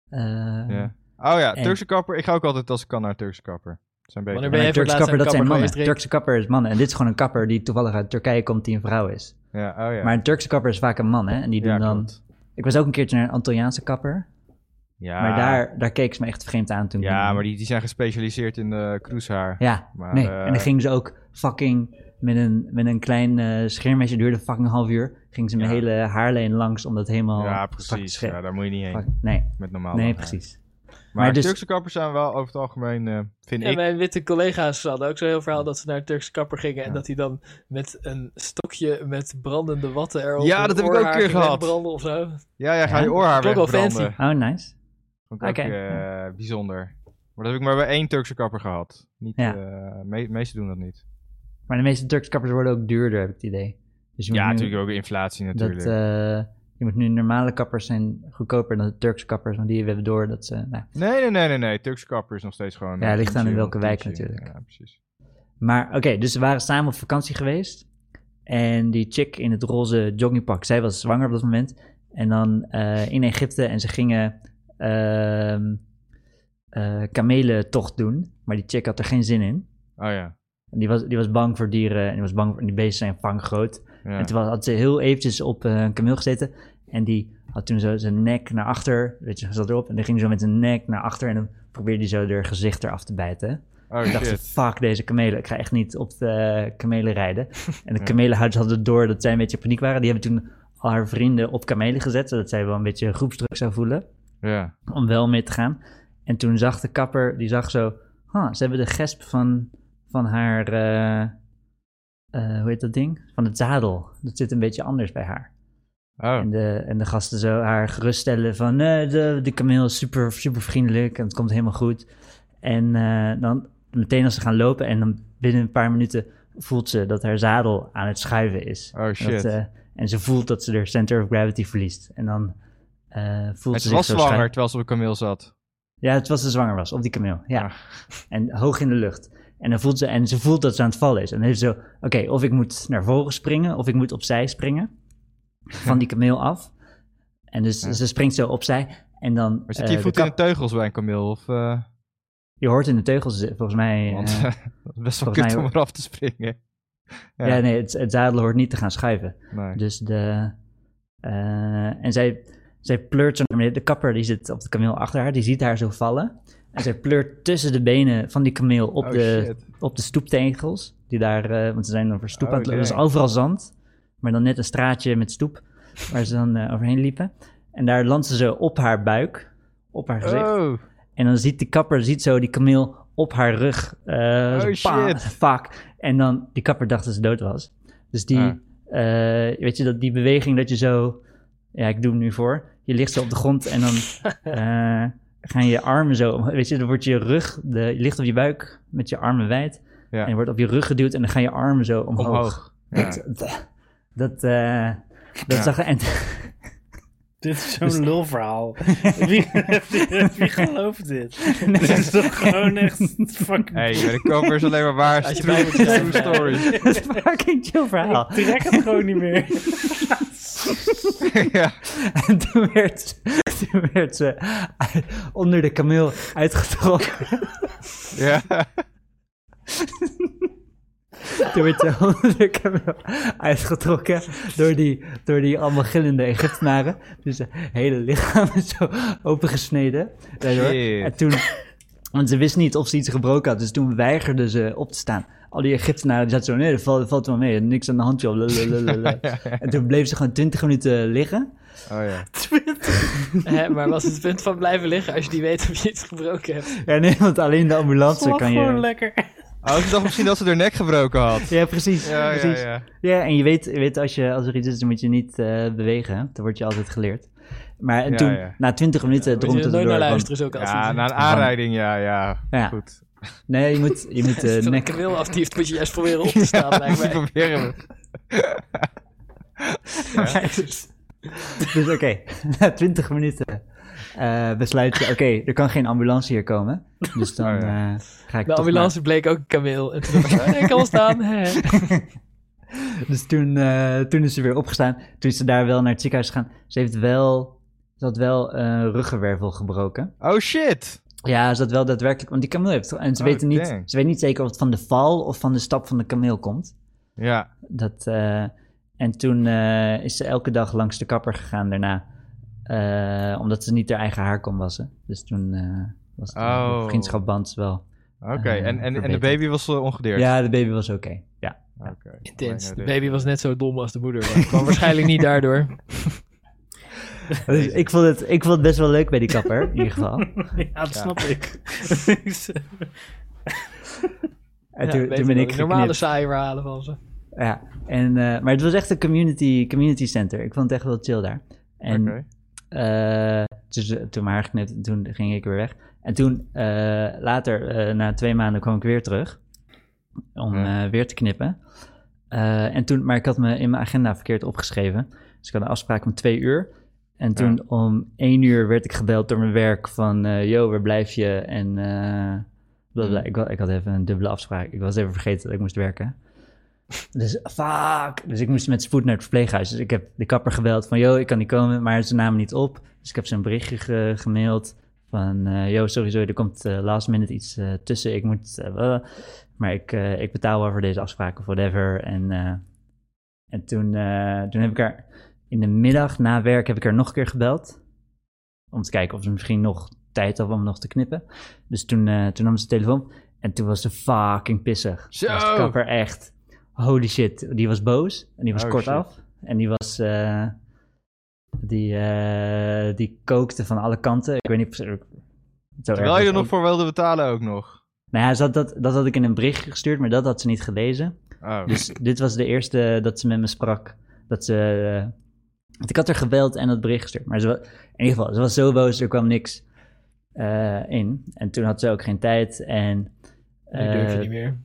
Speaker 5: Eh,
Speaker 3: Ja. Oh ja,
Speaker 5: En-
Speaker 3: Turkse kapper. Ik ga ook altijd als ik kan naar een Turkse kapper. Zijn beter.
Speaker 4: Wanneer ben
Speaker 5: Maar
Speaker 4: jij
Speaker 5: een
Speaker 4: voor het
Speaker 5: Turkse
Speaker 4: laatst
Speaker 5: kapper,
Speaker 4: naar een
Speaker 5: dat zijn
Speaker 4: kapper
Speaker 5: mannen.
Speaker 4: geweest, Rick?
Speaker 5: Turkse kapper is mannen. En dit is gewoon een kapper die toevallig uit Turkije komt die een vrouw is.
Speaker 3: Ja, oh ja.
Speaker 5: Maar een Turkse kapper is vaak een man, hè? En die doen
Speaker 3: Ja,
Speaker 5: dan...
Speaker 3: klopt.
Speaker 5: Ik was ook een keertje naar een Antilliaanse kapper.
Speaker 3: ja,
Speaker 5: Maar daar, daar keek ze me echt vreemd aan toen. ik
Speaker 3: ja,
Speaker 5: binnen-
Speaker 3: maar die, die zijn gespecialiseerd in eh kroeshaar.
Speaker 5: Ja,
Speaker 3: maar,
Speaker 5: nee.
Speaker 3: eh,
Speaker 5: En dan gingen ze ook fucking... Met een, met een klein eh scheermesje duurde fucking een half uur. Gingen ze mijn
Speaker 3: Ja.
Speaker 5: hele haarlijn langs om dat helemaal
Speaker 3: ja,
Speaker 5: strak te
Speaker 3: precies.
Speaker 5: scherp.
Speaker 3: Ja, daar moet je niet heen.
Speaker 5: Fuck, Nee,
Speaker 3: Met normaal
Speaker 5: nee,
Speaker 3: haar.
Speaker 5: precies.
Speaker 3: Maar,
Speaker 5: Maar dus-
Speaker 3: Turkse kappers zijn wel over het algemeen, eh, vind
Speaker 4: Ja,
Speaker 3: ik.
Speaker 4: mijn witte collega's hadden ook zo'n heel verhaal dat ze naar een Turkse kapper gingen en dat hij dan met een stokje met brandende watten erop.
Speaker 3: Ja,
Speaker 4: hun
Speaker 3: dat heb ik ook een
Speaker 4: oorhaar
Speaker 3: keer
Speaker 4: ging
Speaker 3: gehad.
Speaker 4: wegbranden of zo.
Speaker 3: Ja, ja, ga
Speaker 5: Ja,
Speaker 3: je oorhaar
Speaker 4: klonk wel
Speaker 3: wegbranden.
Speaker 4: fancy.
Speaker 5: Oh, nice.
Speaker 3: Vond ik ook
Speaker 5: Oké.
Speaker 3: eh, bijzonder. Maar dat heb ik maar bij één Turkse kapper gehad. Niet,
Speaker 5: Ja.
Speaker 3: eh, me- meesten doen dat niet.
Speaker 5: Maar de meeste Turkse kappers worden ook duurder, heb ik het idee. Dus je
Speaker 3: Ja,
Speaker 5: moet nu-
Speaker 3: natuurlijk ook weer inflatie
Speaker 5: Dat,
Speaker 3: natuurlijk.
Speaker 5: eh, je moet nu normale kappers zijn goedkoper dan de Turkse kappers, want die hebben door dat ze... nou.
Speaker 3: nee, nee, nee, nee, nee. Turkse kapper is nog steeds gewoon...
Speaker 5: Ja,
Speaker 3: eh,
Speaker 5: ligt aan in
Speaker 3: tientje,
Speaker 5: welke wijk
Speaker 3: tientje.
Speaker 5: natuurlijk.
Speaker 3: Ja, precies.
Speaker 5: Maar oké, dus we waren samen op vakantie geweest. En die chick in het roze joggingpak, zij was zwanger op dat moment. En dan eh, in Egypte en ze gingen ehm eh, kamelentocht doen. Maar die chick had er geen zin in.
Speaker 3: Oh ja.
Speaker 5: En Die was, die was bang voor dieren en die, was bang voor, en die beesten zijn vanggroot.
Speaker 3: ja.
Speaker 5: En toen was- had ze heel eventjes op eh, een kameel gezeten. En die had toen zo zijn nek naar achter. Weet je, hij zat erop. En dan ging hij zo met zijn nek naar achter. En dan probeerde hij zo haar gezicht eraf te bijten.
Speaker 3: Oh
Speaker 5: Ik dacht,
Speaker 3: shit.
Speaker 5: fuck deze kamelen. Ik ga echt niet op de kamelen rijden. En de
Speaker 3: Ja.
Speaker 5: kamelenhouders hadden door dat zij een beetje in paniek waren. Die hebben toen al haar vrienden op kamelen gezet. Zodat zij wel een beetje groepsdruk zou voelen.
Speaker 3: Ja.
Speaker 5: Om wel mee te gaan. En toen zag de kapper, die zag zo... "Huh, ze hebben de gesp van, van haar... eh, eh, hoe heet dat ding? Van het zadel. Dat zit een beetje anders bij haar.
Speaker 3: Oh,
Speaker 5: En, de, en de gasten zo haar geruststellen van... nee, de, de kameel is super, super vriendelijk en het komt helemaal goed. En eh, dan meteen als ze gaan lopen en dan binnen een paar minuten... voelt ze dat haar zadel aan het schuiven is.
Speaker 3: oh
Speaker 5: En, dat,
Speaker 3: shit.
Speaker 5: eh, en ze voelt dat ze haar center of gravity verliest. En dan eh, voelt
Speaker 3: Het
Speaker 5: ze zich
Speaker 3: was
Speaker 5: zo
Speaker 3: zwanger
Speaker 5: schuin-
Speaker 3: terwijl ze op een kameel zat.
Speaker 5: Ja, het was ze zwanger was, op die kameel. Ja.
Speaker 3: Ah.
Speaker 5: En hoog in de lucht. En, dan voelt ze, en ze voelt dat ze aan het vallen is. En dan heeft ze zo, oké, of ik moet naar voren springen, of ik moet opzij springen. Van die kameel af. En dus
Speaker 3: Ja.
Speaker 5: ze springt zo opzij. En dan...
Speaker 3: Maar zit
Speaker 5: eh,
Speaker 3: je
Speaker 5: de
Speaker 3: voet in de
Speaker 5: kap-
Speaker 3: teugels bij een kameel? Of, eh,
Speaker 5: je hoort in de teugels, zitten, volgens mij...
Speaker 3: want
Speaker 5: eh,
Speaker 3: dat is best wel
Speaker 5: volgens
Speaker 3: kut
Speaker 5: mij-
Speaker 3: om eraf te springen. Ja,
Speaker 5: ja. nee, het, het zadel hoort niet te gaan schuiven.
Speaker 3: nee.
Speaker 5: Dus de... eh, en zij, zij pleurt zo naar beneden. De kapper die zit op de kameel achter haar, die ziet haar zo vallen. En zij pleurt tussen de benen van die kameel op
Speaker 3: Oh,
Speaker 5: de
Speaker 3: shit.
Speaker 5: op de stoeptegels. Die daar, eh, want ze zijn over stoep
Speaker 3: Oh,
Speaker 5: aan het lopen.
Speaker 3: jee.
Speaker 5: Dus overal zand. Maar dan net een straatje met stoep. Waar ze dan eh, overheen liepen. En daar landt ze zo op haar buik. Op haar gezicht.
Speaker 3: Oh,
Speaker 5: En dan ziet die kapper, ziet zo die kameel op haar rug. eh zo, pa,
Speaker 3: Oh, shit.
Speaker 5: Fuck. En dan, die kapper dacht dat ze dood was. Dus die,
Speaker 3: Ah.
Speaker 5: eh, weet je, dat, die beweging dat je zo... Ja, ik doe hem nu voor. Je ligt zo op de grond en dan eh, gaan je armen zo... Weet je, dan wordt je rug... De, je ligt op je buik met je armen wijd.
Speaker 3: Ja.
Speaker 5: En je wordt op je rug geduwd en dan gaan je armen zo omhoog.
Speaker 3: omhoog. Ja.
Speaker 5: Dat, dat, eh, dat
Speaker 3: Ja.
Speaker 5: zag er... En,
Speaker 2: Dit is zo'n
Speaker 5: Dus-
Speaker 2: lulverhaal. Wie, wie gelooft dit?
Speaker 5: Nee.
Speaker 2: Dit is toch gewoon echt fucking...
Speaker 3: Hey, bij de koper is alleen maar waar.
Speaker 4: Als je
Speaker 3: True,
Speaker 4: bij moet zijn,
Speaker 3: true story.
Speaker 5: dat is een fucking chill verhaal.
Speaker 2: Ik trek het gewoon niet meer.
Speaker 3: ja.
Speaker 5: En toen werd, toen werd ze onder de kameel uitgetrokken.
Speaker 3: ja.
Speaker 5: Toen werd ze onder de kameel uitgetrokken door die, door die allemaal gillende Egyptenaren. Dus het hele lichaam is zo opengesneden. Daardoor.
Speaker 3: Shit.
Speaker 5: En toen, want ze wist niet of ze iets gebroken had, dus toen weigerde ze op te staan. Al die Egyptenaren die zaten zo, nee, dat valt, dat valt wel mee, niks aan de handje op. lalalala. En toen bleef ze gewoon 20 minuten liggen.
Speaker 3: Oh ja.
Speaker 4: Hè, maar was het punt van blijven liggen als je niet weet of je iets gebroken hebt?
Speaker 5: Ja, nee, want alleen de ambulance kan
Speaker 2: gewoon
Speaker 5: je...
Speaker 2: lekker.
Speaker 3: Oh, ik dacht misschien dat ze haar nek gebroken had.
Speaker 5: Ja, precies.
Speaker 3: Ja, ja,
Speaker 5: precies.
Speaker 3: ja.
Speaker 5: Ja, en je weet, je weet als, je, als er iets is, dan moet je niet eh, bewegen. hè? Dat wordt je altijd geleerd. Maar en
Speaker 3: Ja,
Speaker 5: toen,
Speaker 3: ja.
Speaker 5: na twintig minuten,
Speaker 4: Moet je
Speaker 5: droomt
Speaker 4: er
Speaker 5: het dus
Speaker 4: nooit naar
Speaker 5: door.
Speaker 4: luisteren, is ook altijd.
Speaker 3: Ja, na een aanrijding, ja, ja.
Speaker 5: Ja.
Speaker 3: Goed.
Speaker 5: want- nee, je moet, je moet de
Speaker 4: Als je een
Speaker 5: eh, nek...
Speaker 4: kameel Oh, aftieft, moet je juist proberen op te staan,
Speaker 3: Die
Speaker 4: blijkbaar.
Speaker 3: proberen we.
Speaker 5: Dus oké, na twintig minuten eh, besluit je... Oké, er kan geen ambulance hier komen. Dus dan
Speaker 3: Oh, ja.
Speaker 5: eh, ga ik
Speaker 4: De
Speaker 5: toch
Speaker 4: ambulance bleek ook een kameel. En toen dacht ik, "Oh, ik kan wel staan. hè."
Speaker 5: maar- Dus toen, eh, toen is ze weer opgestaan. Toen is ze daar wel naar het ziekenhuis gegaan. Ze heeft wel... Ze had wel eh ruggenwervel gebroken.
Speaker 3: Oh shit.
Speaker 5: Ja, is dat wel daadwerkelijk? Want die kameel heeft... En ze,
Speaker 3: Oh,
Speaker 5: weten niet,
Speaker 3: dang.
Speaker 5: ze weten niet zeker of het van de val of van de stap van de kameel komt.
Speaker 3: Ja,
Speaker 5: Dat, eh, en toen eh, is ze elke dag langs de kapper gegaan daarna. Eh, omdat ze niet haar eigen haar kon wassen. Dus toen eh, was het
Speaker 3: Oh.
Speaker 5: oh. vriendschapband wel.
Speaker 3: oké. en, en,
Speaker 5: Eh,
Speaker 3: en de
Speaker 5: verbeterd.
Speaker 3: baby was eh, ongedeerd?
Speaker 5: Ja, de baby was oké. Ja.
Speaker 3: Oké.
Speaker 4: Intens. De
Speaker 3: Bijna
Speaker 4: baby was net zo dom als de moeder. Maar het kwam waarschijnlijk niet daardoor.
Speaker 5: Dus ik, vond het, ik vond het best wel leuk bij die kapper, in ieder geval.
Speaker 2: Ja, dat snap ik.
Speaker 5: En
Speaker 4: Ja,
Speaker 5: toen,
Speaker 4: weet
Speaker 5: toen ben
Speaker 4: wel,
Speaker 5: ik
Speaker 4: de Normale
Speaker 5: geknipt.
Speaker 4: saaie verhalen van ze.
Speaker 5: Ja, en, eh, maar het was echt een community, community center. Ik vond het echt wel chill daar. En
Speaker 3: Oké.
Speaker 5: eh, dus, eh, toen mijn haar geknipt, en toen ging ik weer weg. En toen eh, later, eh, na twee maanden, kwam ik weer terug. Om
Speaker 3: Ja.
Speaker 5: eh, weer te knippen. Eh, en toen, maar ik had me in mijn agenda verkeerd opgeschreven. Dus ik had een afspraak om twee uur. En toen om één uur werd ik gebeld door mijn werk van... eh yo, waar blijf je? En eh, bla, bla. Ik, wa- ik had even een dubbele afspraak. Ik was even vergeten dat ik moest werken. Dus fuck. Dus ik moest met spoed naar het verpleeghuis. Dus ik heb de kapper gebeld van... yo, ik kan niet komen, maar ze namen niet op. Dus ik heb ze een berichtje ge- gemaild van... eh yo, sorry, sorry, er komt eh, last minute iets eh, tussen. Ik moet... eh, bla, bla. maar ik, eh, ik betaal wel voor deze afspraak of whatever. En, eh, en toen, eh, toen heb ik haar... In de middag na werk heb ik haar nog een keer gebeld. Om te kijken of ze misschien nog tijd had om nog te knippen. Dus toen, eh, toen nam ze de telefoon op. En toen was ze fucking pissig.
Speaker 3: Zo!
Speaker 5: Toen was de kapper echt... Holy shit. Die was boos. En die was
Speaker 3: Oh,
Speaker 5: kort
Speaker 3: shit.
Speaker 5: af. En die was... eh, die, eh, die kookte van alle kanten. Ik weet niet... precies- Zo erg
Speaker 3: Terwijl je
Speaker 5: was
Speaker 3: er
Speaker 5: het
Speaker 3: nog
Speaker 5: ook.
Speaker 3: voor wilde betalen ook nog.
Speaker 5: Nou ja, ze had dat, dat had ik in een bericht gestuurd, maar dat had ze niet gelezen.
Speaker 3: Oh,
Speaker 5: Dus dit was de eerste eh, dat ze met me sprak. Dat ze. eh, want ik had haar gebeld en dat bericht gestuurd. Maar ze wa- in ieder geval, ze was zo boos, er kwam niks eh, in. En toen had ze ook geen tijd. En,
Speaker 4: Nu durf je
Speaker 5: eh,
Speaker 4: niet meer.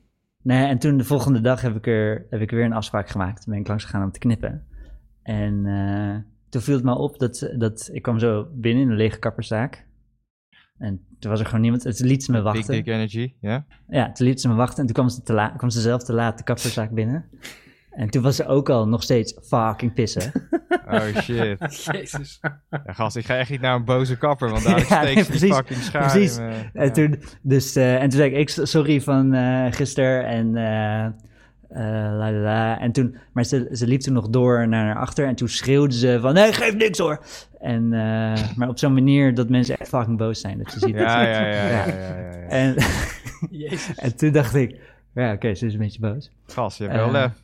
Speaker 5: Nee, en toen de volgende dag heb ik, er, heb ik weer een afspraak gemaakt. Toen ben ik langs gegaan om te knippen. En eh, toen viel het me op dat, ze- dat ik kwam zo binnen in een lege kapperszaak. En toen was er gewoon niemand. Het liet ze me
Speaker 3: Big
Speaker 5: wachten.
Speaker 3: Dick Energy, ja?
Speaker 5: Ja, toen liep ze me wachten en toen kwam ze, te laat, kwam ze zelf te laat de kapperzaak binnen. En toen was ze ook al nog steeds fucking pissen.
Speaker 3: Oh shit.
Speaker 4: Jezus.
Speaker 3: Ja, gast, ik ga echt niet naar een boze kapper, want daar
Speaker 5: Ja,
Speaker 3: steekt
Speaker 5: nee,
Speaker 3: die
Speaker 5: precies,
Speaker 3: fucking schaar
Speaker 5: precies.
Speaker 3: in me.
Speaker 5: En,
Speaker 3: Ja.
Speaker 5: toen, dus, eh, en toen zei ik, ik, sorry van eh gisteren en eh, eh, la la la. En toen, maar ze, ze liep toen nog door naar haar achter en toen schreeuwde ze van, nee, geef niks hoor. En, eh, maar op zo'n manier dat mensen echt fucking boos zijn. Dat je ziet dat
Speaker 3: Ja,
Speaker 5: ze-
Speaker 3: ja, ja, ja, ja, ja, ja.
Speaker 5: En,
Speaker 4: Jezus.
Speaker 5: en toen dacht ik, ja oké, ze is een beetje boos.
Speaker 3: Gast, je hebt wel
Speaker 5: Eh,
Speaker 3: lef.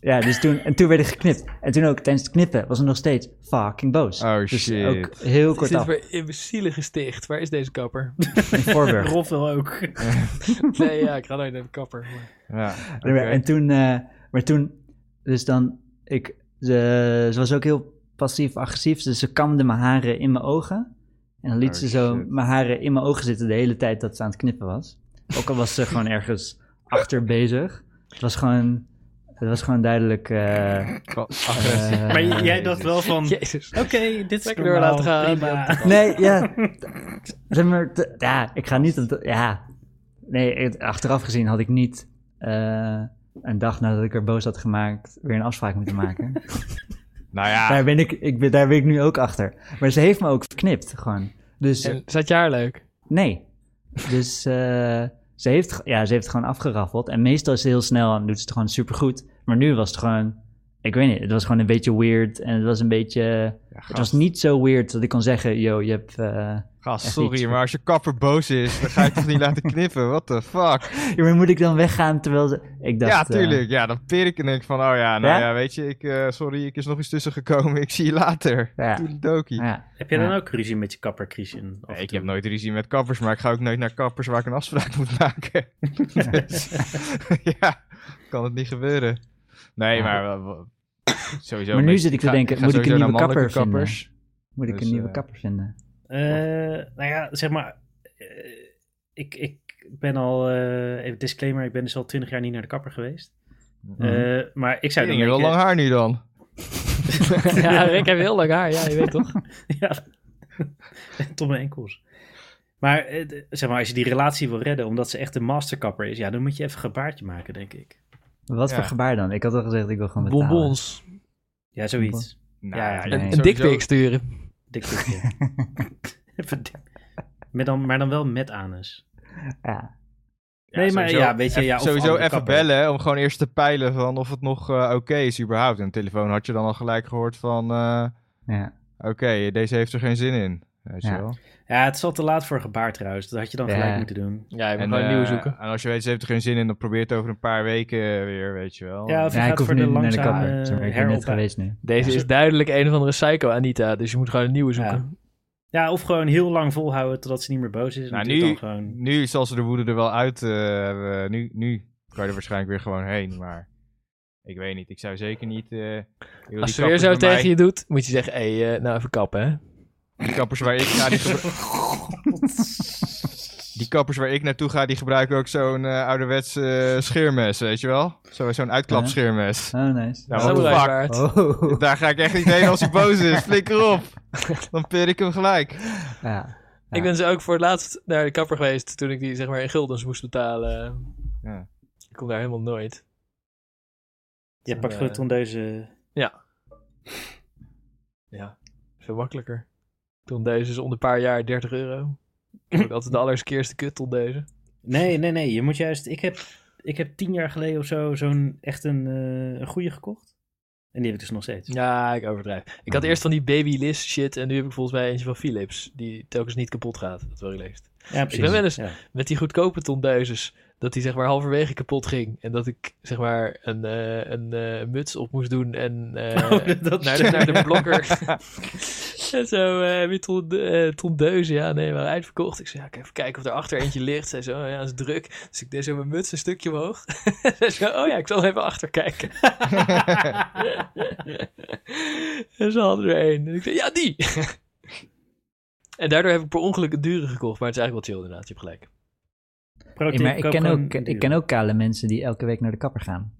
Speaker 5: Ja, dus toen, en toen werd ik geknipt. En toen ook tijdens het knippen was ze nog steeds fucking boos.
Speaker 3: Oh,
Speaker 5: dus
Speaker 3: shit.
Speaker 5: ook heel
Speaker 4: Wat
Speaker 5: kort
Speaker 4: is dit
Speaker 5: af.
Speaker 4: voor imbeciele gesticht? Waar is deze kapper?
Speaker 5: in Voorburg.
Speaker 2: Roffel ook.
Speaker 4: nee, ja, ik ga nooit naar de kapper. maar-
Speaker 3: Ja, oké.
Speaker 5: En toen, eh, maar toen, dus dan, ik, ze, ze was ook heel passief-agressief. Dus ze kamde mijn haren in mijn ogen. En dan liet
Speaker 3: Oh,
Speaker 5: ze zo
Speaker 3: shit.
Speaker 5: mijn haren in mijn ogen zitten de hele tijd dat ze aan het knippen was. Ook al was ze gewoon ergens achter bezig. Het was gewoon, het was gewoon duidelijk. eh,
Speaker 3: Wel Agressie.
Speaker 5: eh,
Speaker 2: Maar j- jij dacht wel van, oké,
Speaker 4: Jezus.
Speaker 2: dit is
Speaker 4: Lekker
Speaker 2: normaal,
Speaker 4: door laten gaan.
Speaker 2: prima.
Speaker 5: Nee, ja. Zeg maar, t- ja, ik ga niet... op de- Ja. Nee, het- achteraf gezien had ik niet eh, een dag nadat ik er boos had gemaakt... weer een afspraak moeten maken.
Speaker 3: Nou ja,
Speaker 5: Daar, ben ik, ik ben, daar ben ik nu ook achter. Maar ze heeft me ook verknipt, gewoon. Dus
Speaker 4: En zat je haar leuk?
Speaker 5: nee. Dus eh, ze, heeft, ge- ja, ze heeft het gewoon afgeraffeld. En meestal is ze heel snel en doet ze het gewoon supergoed. Maar nu was het gewoon... Ik weet niet, het was gewoon een beetje weird. En het was een beetje... het was niet zo weird dat ik kon zeggen... Yo, je hebt... eh,
Speaker 3: gast,
Speaker 5: echt
Speaker 3: sorry,
Speaker 5: niet.
Speaker 3: maar als je kapper boos is, dan ga je toch niet laten knippen? What the fuck?
Speaker 5: Ja, maar moet ik dan weggaan terwijl ze... Ik dacht,
Speaker 3: ja,
Speaker 5: eh,
Speaker 3: tuurlijk. Ja, dan peer ik en denk van, oh ja, nou ja,
Speaker 5: Ja?
Speaker 3: weet je, ik, eh, sorry, ik is nog eens tussen gekomen. Ik zie je later.
Speaker 5: Ja.
Speaker 3: Toedeledokie.
Speaker 5: ja.
Speaker 2: Heb je dan
Speaker 5: Ja.
Speaker 2: ook ruzie met je kapper, Christian? af en
Speaker 3: Nee, ik
Speaker 2: toe?
Speaker 3: heb nooit ruzie met kappers, maar ik ga ook nooit naar kappers waar ik een afspraak moet maken. dus, ja, kan het niet gebeuren. Nee,
Speaker 5: Ja.
Speaker 3: maar wel- wel- sowieso.
Speaker 5: Maar nu
Speaker 3: ben
Speaker 5: zit ik te
Speaker 3: ga-
Speaker 5: denken,
Speaker 3: ga
Speaker 5: moet ik een
Speaker 3: sowieso
Speaker 5: nieuwe
Speaker 3: naar
Speaker 5: kapper
Speaker 3: mannelijke
Speaker 5: vinden? Moet ik
Speaker 3: Dus,
Speaker 5: een nieuwe
Speaker 3: eh,
Speaker 5: kapper vinden?
Speaker 2: Eh, nou ja, zeg maar. eh, ik, ik ben al. eh, even disclaimer: ik ben dus al twintig jaar niet naar de kapper geweest. Eh, Maar ik zou
Speaker 3: Heb
Speaker 2: dan
Speaker 3: Mhm. je wel
Speaker 2: denken-
Speaker 3: lang haar nu dan?
Speaker 4: Ja, Rick heeft heel lang haar. Ja, je weet toch?
Speaker 2: ja, tot mijn enkels. Maar eh, de- zeg maar, als je die relatie wil redden, omdat ze echt een masterkapper is, ja, dan moet je even gebaartje maken, denk ik.
Speaker 5: Wat
Speaker 3: ja.
Speaker 5: voor gebaar dan? Ik had al gezegd, ik wil gewoon betalen.
Speaker 4: Bonbons.
Speaker 2: Ja, zoiets. Ja, ja,
Speaker 3: Nou,
Speaker 2: ja.
Speaker 4: Een
Speaker 5: Nee.
Speaker 4: een dikpik
Speaker 3: sowieso-
Speaker 4: sturen.
Speaker 2: Dik, dik, dik. even dik. Met dan, maar dan wel met anus.
Speaker 5: Ja.
Speaker 2: Nee, maar
Speaker 3: sowieso
Speaker 2: ja, weet je,
Speaker 3: even-
Speaker 2: ja, of
Speaker 3: sowieso
Speaker 2: andere
Speaker 3: even
Speaker 2: kapper.
Speaker 3: bellen om gewoon eerst te peilen van of het nog eh, oké is überhaupt. En de telefoon had je dan al gelijk gehoord van, eh,
Speaker 5: Ja.
Speaker 3: oké, deze heeft er geen zin in. Weet je
Speaker 5: Ja.
Speaker 3: wel.
Speaker 2: Ja, het is al te laat voor gebaar trouwens. Dat had je dan
Speaker 5: Ja.
Speaker 2: gelijk moeten doen.
Speaker 4: Ja, je moet
Speaker 3: En,
Speaker 4: gewoon
Speaker 3: eh,
Speaker 4: een nieuwe zoeken.
Speaker 3: En als je weet, ze heeft er geen zin in, dan probeer het over een paar weken weer, weet je wel.
Speaker 2: Ja, of je
Speaker 5: Ja, ik
Speaker 2: gaat
Speaker 5: hoef
Speaker 2: voor
Speaker 5: nu
Speaker 2: de
Speaker 5: niet naar de
Speaker 2: langzame
Speaker 5: kapper. Zeg maar, Ik ben net
Speaker 2: heropbouw.
Speaker 5: geweest nu.
Speaker 4: Deze
Speaker 2: Ja,
Speaker 4: is
Speaker 2: zo-
Speaker 4: duidelijk een of andere psycho, Anita. Dus je moet gewoon een
Speaker 2: Ja.
Speaker 4: nieuwe zoeken.
Speaker 2: Ja, of gewoon heel lang volhouden totdat ze niet meer boos is. En
Speaker 3: Nou,
Speaker 2: natuurlijk
Speaker 3: nu-
Speaker 2: dan gewoon...
Speaker 3: Nu zal ze de woede er wel uit eh, hebben. nu, nu kan je er waarschijnlijk weer gewoon heen, maar ik weet niet. Ik zou zeker niet... eh, joh, die
Speaker 4: Als
Speaker 3: kappers
Speaker 4: ze weer zo
Speaker 3: bij
Speaker 4: tegen
Speaker 3: mij-
Speaker 4: je doet, moet je zeggen, hé, hey, eh, nou even kappen, hè.
Speaker 3: Die kappers waar ik ga, die, gebru- die kappers waar ik naartoe ga, die gebruiken ook zo'n eh, ouderwets eh, scheermes, weet je wel? Zo- Zo'n uitklapscheermes.
Speaker 5: Oh, nice.
Speaker 3: Ja,
Speaker 4: Zo
Speaker 3: what the fuck?
Speaker 4: bruikbaar.
Speaker 5: Oh.
Speaker 3: Daar ga ik echt niet heen als hij boos is. Flikker op. Dan peer ik hem gelijk.
Speaker 5: Ja.
Speaker 4: Ik ben ze ook voor het laatst naar de kapper geweest toen ik die zeg maar in guldens moest betalen.
Speaker 3: Ja.
Speaker 4: Ik kom daar helemaal nooit.
Speaker 2: Je pakt
Speaker 4: eh,
Speaker 2: gewoon tondeuze...
Speaker 4: Ja, veel makkelijker. Tondeuze is onder een paar jaar 30 euro. Ik heb ook altijd de allerskeerste kut tondeuze.
Speaker 2: Nee, nee, nee. Je moet juist... Ik heb, ik heb tien jaar geleden of zo zo'n echt een, eh, een goede gekocht. En die heb ik dus nog steeds.
Speaker 4: Ja, ik overdrijf. Ik had eerst van die babyliss shit en nu heb ik volgens mij eentje van Philips. Die telkens niet kapot gaat. Dat is wel relaxed.
Speaker 2: Ja, precies.
Speaker 4: ben wel eens-
Speaker 2: Ja.
Speaker 4: met die goedkope tondeuzes. Dat die zeg maar halverwege kapot ging. En dat ik zeg maar een, eh, een eh, muts op moest doen. En eh,
Speaker 2: Oh, dat-
Speaker 4: naar, de, naar de blokker. en zo eh heb je ton, eh, tondeuzen. Ja, nee, maar uitverkocht. Ik zei, ja, ik even kijken of er achter eentje ligt. Zij zo, oh, ja, dat is druk. Dus ik deed zo mijn muts een stukje omhoog. Zij zo, oh ja, ik zal even achter kijken. en ze hadden er één. En ik zei, ja, die! en daardoor heb ik per ongeluk een dure gekocht. Maar het is eigenlijk wel chill inderdaad, je hebt gelijk.
Speaker 2: Pro
Speaker 5: Ja,
Speaker 2: tip,
Speaker 5: maar ik
Speaker 2: koop
Speaker 5: ken,
Speaker 2: gewoon
Speaker 5: ook,
Speaker 2: een
Speaker 5: ik
Speaker 2: duur.
Speaker 5: ken ook kale mensen die elke week naar de kapper gaan.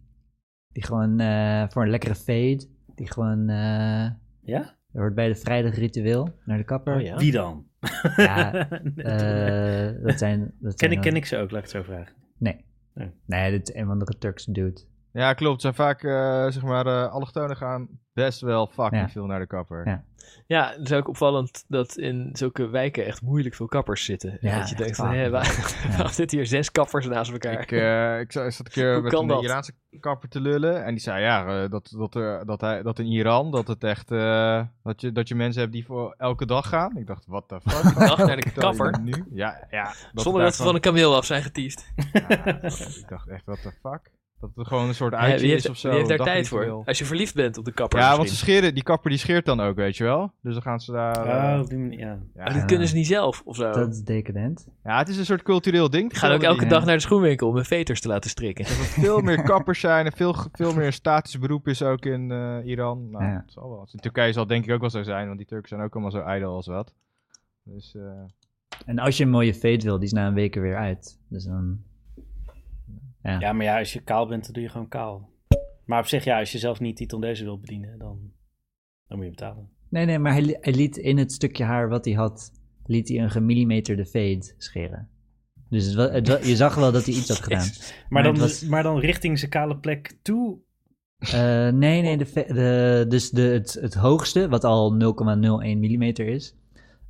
Speaker 5: Die gewoon eh, voor een lekkere fade. Die gewoon. eh
Speaker 2: Ja?
Speaker 5: dat wordt bij de vrijdagritueel naar de kapper.
Speaker 4: Oh ja?
Speaker 2: Wie dan?
Speaker 5: Ja,
Speaker 2: Nee,
Speaker 5: eh, dat zijn. Dat
Speaker 2: ken, ik,
Speaker 5: zijn
Speaker 2: ken
Speaker 5: dan-
Speaker 2: ik ze ook, laat ik het zo vragen.
Speaker 5: Nee.
Speaker 2: Nee.
Speaker 5: Nee, dit is een of andere Turkse dude.
Speaker 3: Ja, klopt. Het Zijn vaak, eh, zeg maar, eh allochtonen gaan best wel fucking
Speaker 5: Ja.
Speaker 3: veel naar de kapper.
Speaker 5: Ja.
Speaker 4: Ja, het is ook opvallend dat in zulke wijken echt moeilijk veel kappers zitten.
Speaker 5: Ja,
Speaker 4: Ja, dat je
Speaker 5: echt
Speaker 4: denkt,
Speaker 5: waar.
Speaker 4: hé, waar,
Speaker 5: Ja.
Speaker 4: waarom zitten hier zes kappers naast elkaar?
Speaker 3: Ik, eh, ik zat zat een keer
Speaker 4: Hoe
Speaker 3: met
Speaker 4: kan
Speaker 3: een
Speaker 4: dat?
Speaker 3: Iraanse kapper te lullen. En die zei ja, eh, dat, dat, er, dat, hij, dat in Iran dat het echt. eh, dat, je, dat je mensen hebt die voor elke dag gaan. Ik dacht, wat de fuck?
Speaker 4: Dag naar de
Speaker 3: Vertel je
Speaker 4: kapper.
Speaker 3: Nu? Ja, ja. het
Speaker 4: Zonder
Speaker 3: daar
Speaker 4: dat ze van een kameel af zijn getiest.
Speaker 3: gewoon- Ja, ik dacht echt, wat de fuck? Dat het gewoon een soort
Speaker 4: Hé,
Speaker 3: uitje
Speaker 4: wie
Speaker 3: is
Speaker 4: heeft,
Speaker 3: of zo.
Speaker 4: wie heeft daar
Speaker 3: een
Speaker 4: tijd
Speaker 3: dagritueel.
Speaker 4: voor? Als je verliefd bent op de kapper
Speaker 3: Ja, want ze
Speaker 4: misschien.
Speaker 3: scheren, die kapper die scheert dan ook, weet je wel. Dus dan gaan ze daar. eh,
Speaker 2: Oh, op die manier, ja.
Speaker 3: ja.
Speaker 4: Maar dit kunnen ze niet zelf, of zo.
Speaker 5: Dat is decadent.
Speaker 3: ja, het is een soort cultureel ding.
Speaker 4: Ik ga ook
Speaker 3: Die-
Speaker 4: elke dag naar de schoenwinkel om mijn veters te laten strikken.
Speaker 3: Dat er veel meer kappers zijn en veel, veel meer een statisch beroep is ook in eh, Iran. Nou,
Speaker 5: Ja.
Speaker 3: het zal wel. In Turkije zal het denk ik ook wel zo zijn, want die Turken zijn ook allemaal zo ijdel als wat. Dus eh,
Speaker 5: En als je een mooie fade wil, die is na een week er weer uit. Dus dan.
Speaker 2: Ja, maar ja, als je kaal bent, dan doe je gewoon kaal. Maar op zich, ja, als je zelf niet die tondeuze wil bedienen, dan, dan moet je betalen.
Speaker 5: Nee, nee, maar hij, li- hij liet in het stukje haar wat hij had, liet hij een gemillimeterde fade scheren. Dus het wa- het wa- je zag wel dat hij iets had gedaan.
Speaker 2: Maar,
Speaker 5: Maar
Speaker 2: dan,
Speaker 5: het was-
Speaker 2: maar dan richting zijn kale plek toe.
Speaker 5: Eh, nee, nee, de, ve- de- dus de, het, het hoogste, wat al 0,01 mm is.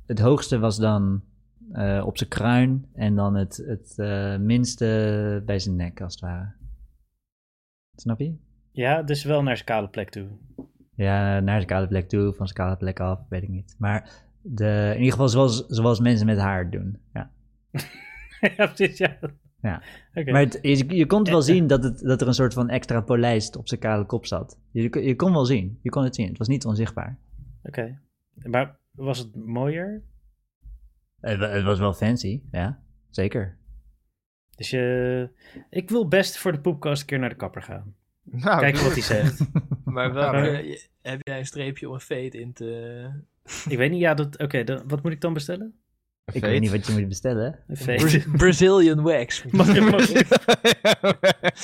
Speaker 5: Het hoogste was dan eh, op zijn kruin en dan het, het eh, minste bij zijn nek, als het ware. Snap je?
Speaker 2: Ja, dus wel naar zijn kale plek toe.
Speaker 5: Ja, naar zijn kale plek toe, van zijn kale plek af, weet ik niet. Maar de, in ieder geval zoals, zoals mensen met haar doen. Ja.
Speaker 2: ja, precies, ja.
Speaker 5: Ja.
Speaker 2: Oké.
Speaker 5: Maar het, je, je kon het wel zien dat, het, dat er een soort van extra polijst op zijn kale kop zat. Je, je kon wel zien, je kon het zien. Het was niet onzichtbaar.
Speaker 2: Oké. Maar was het mooier?
Speaker 5: Het, wa- het was wel fancy, ja, zeker.
Speaker 2: Dus je... Ik wil best voor de poepkast een keer naar de kapper gaan.
Speaker 3: nou,
Speaker 2: Kijken wat hij zegt.
Speaker 4: Maar eh,
Speaker 2: welke-
Speaker 4: heb jij een streepje om een veet in te...
Speaker 2: ik weet niet, ja, dat... Oké, dan- wat moet ik dan bestellen?
Speaker 5: Ik weet niet wat je moet bestellen.
Speaker 2: Een feest.
Speaker 4: Bra- Brazilian wax.
Speaker 2: Mag ik- mag ik-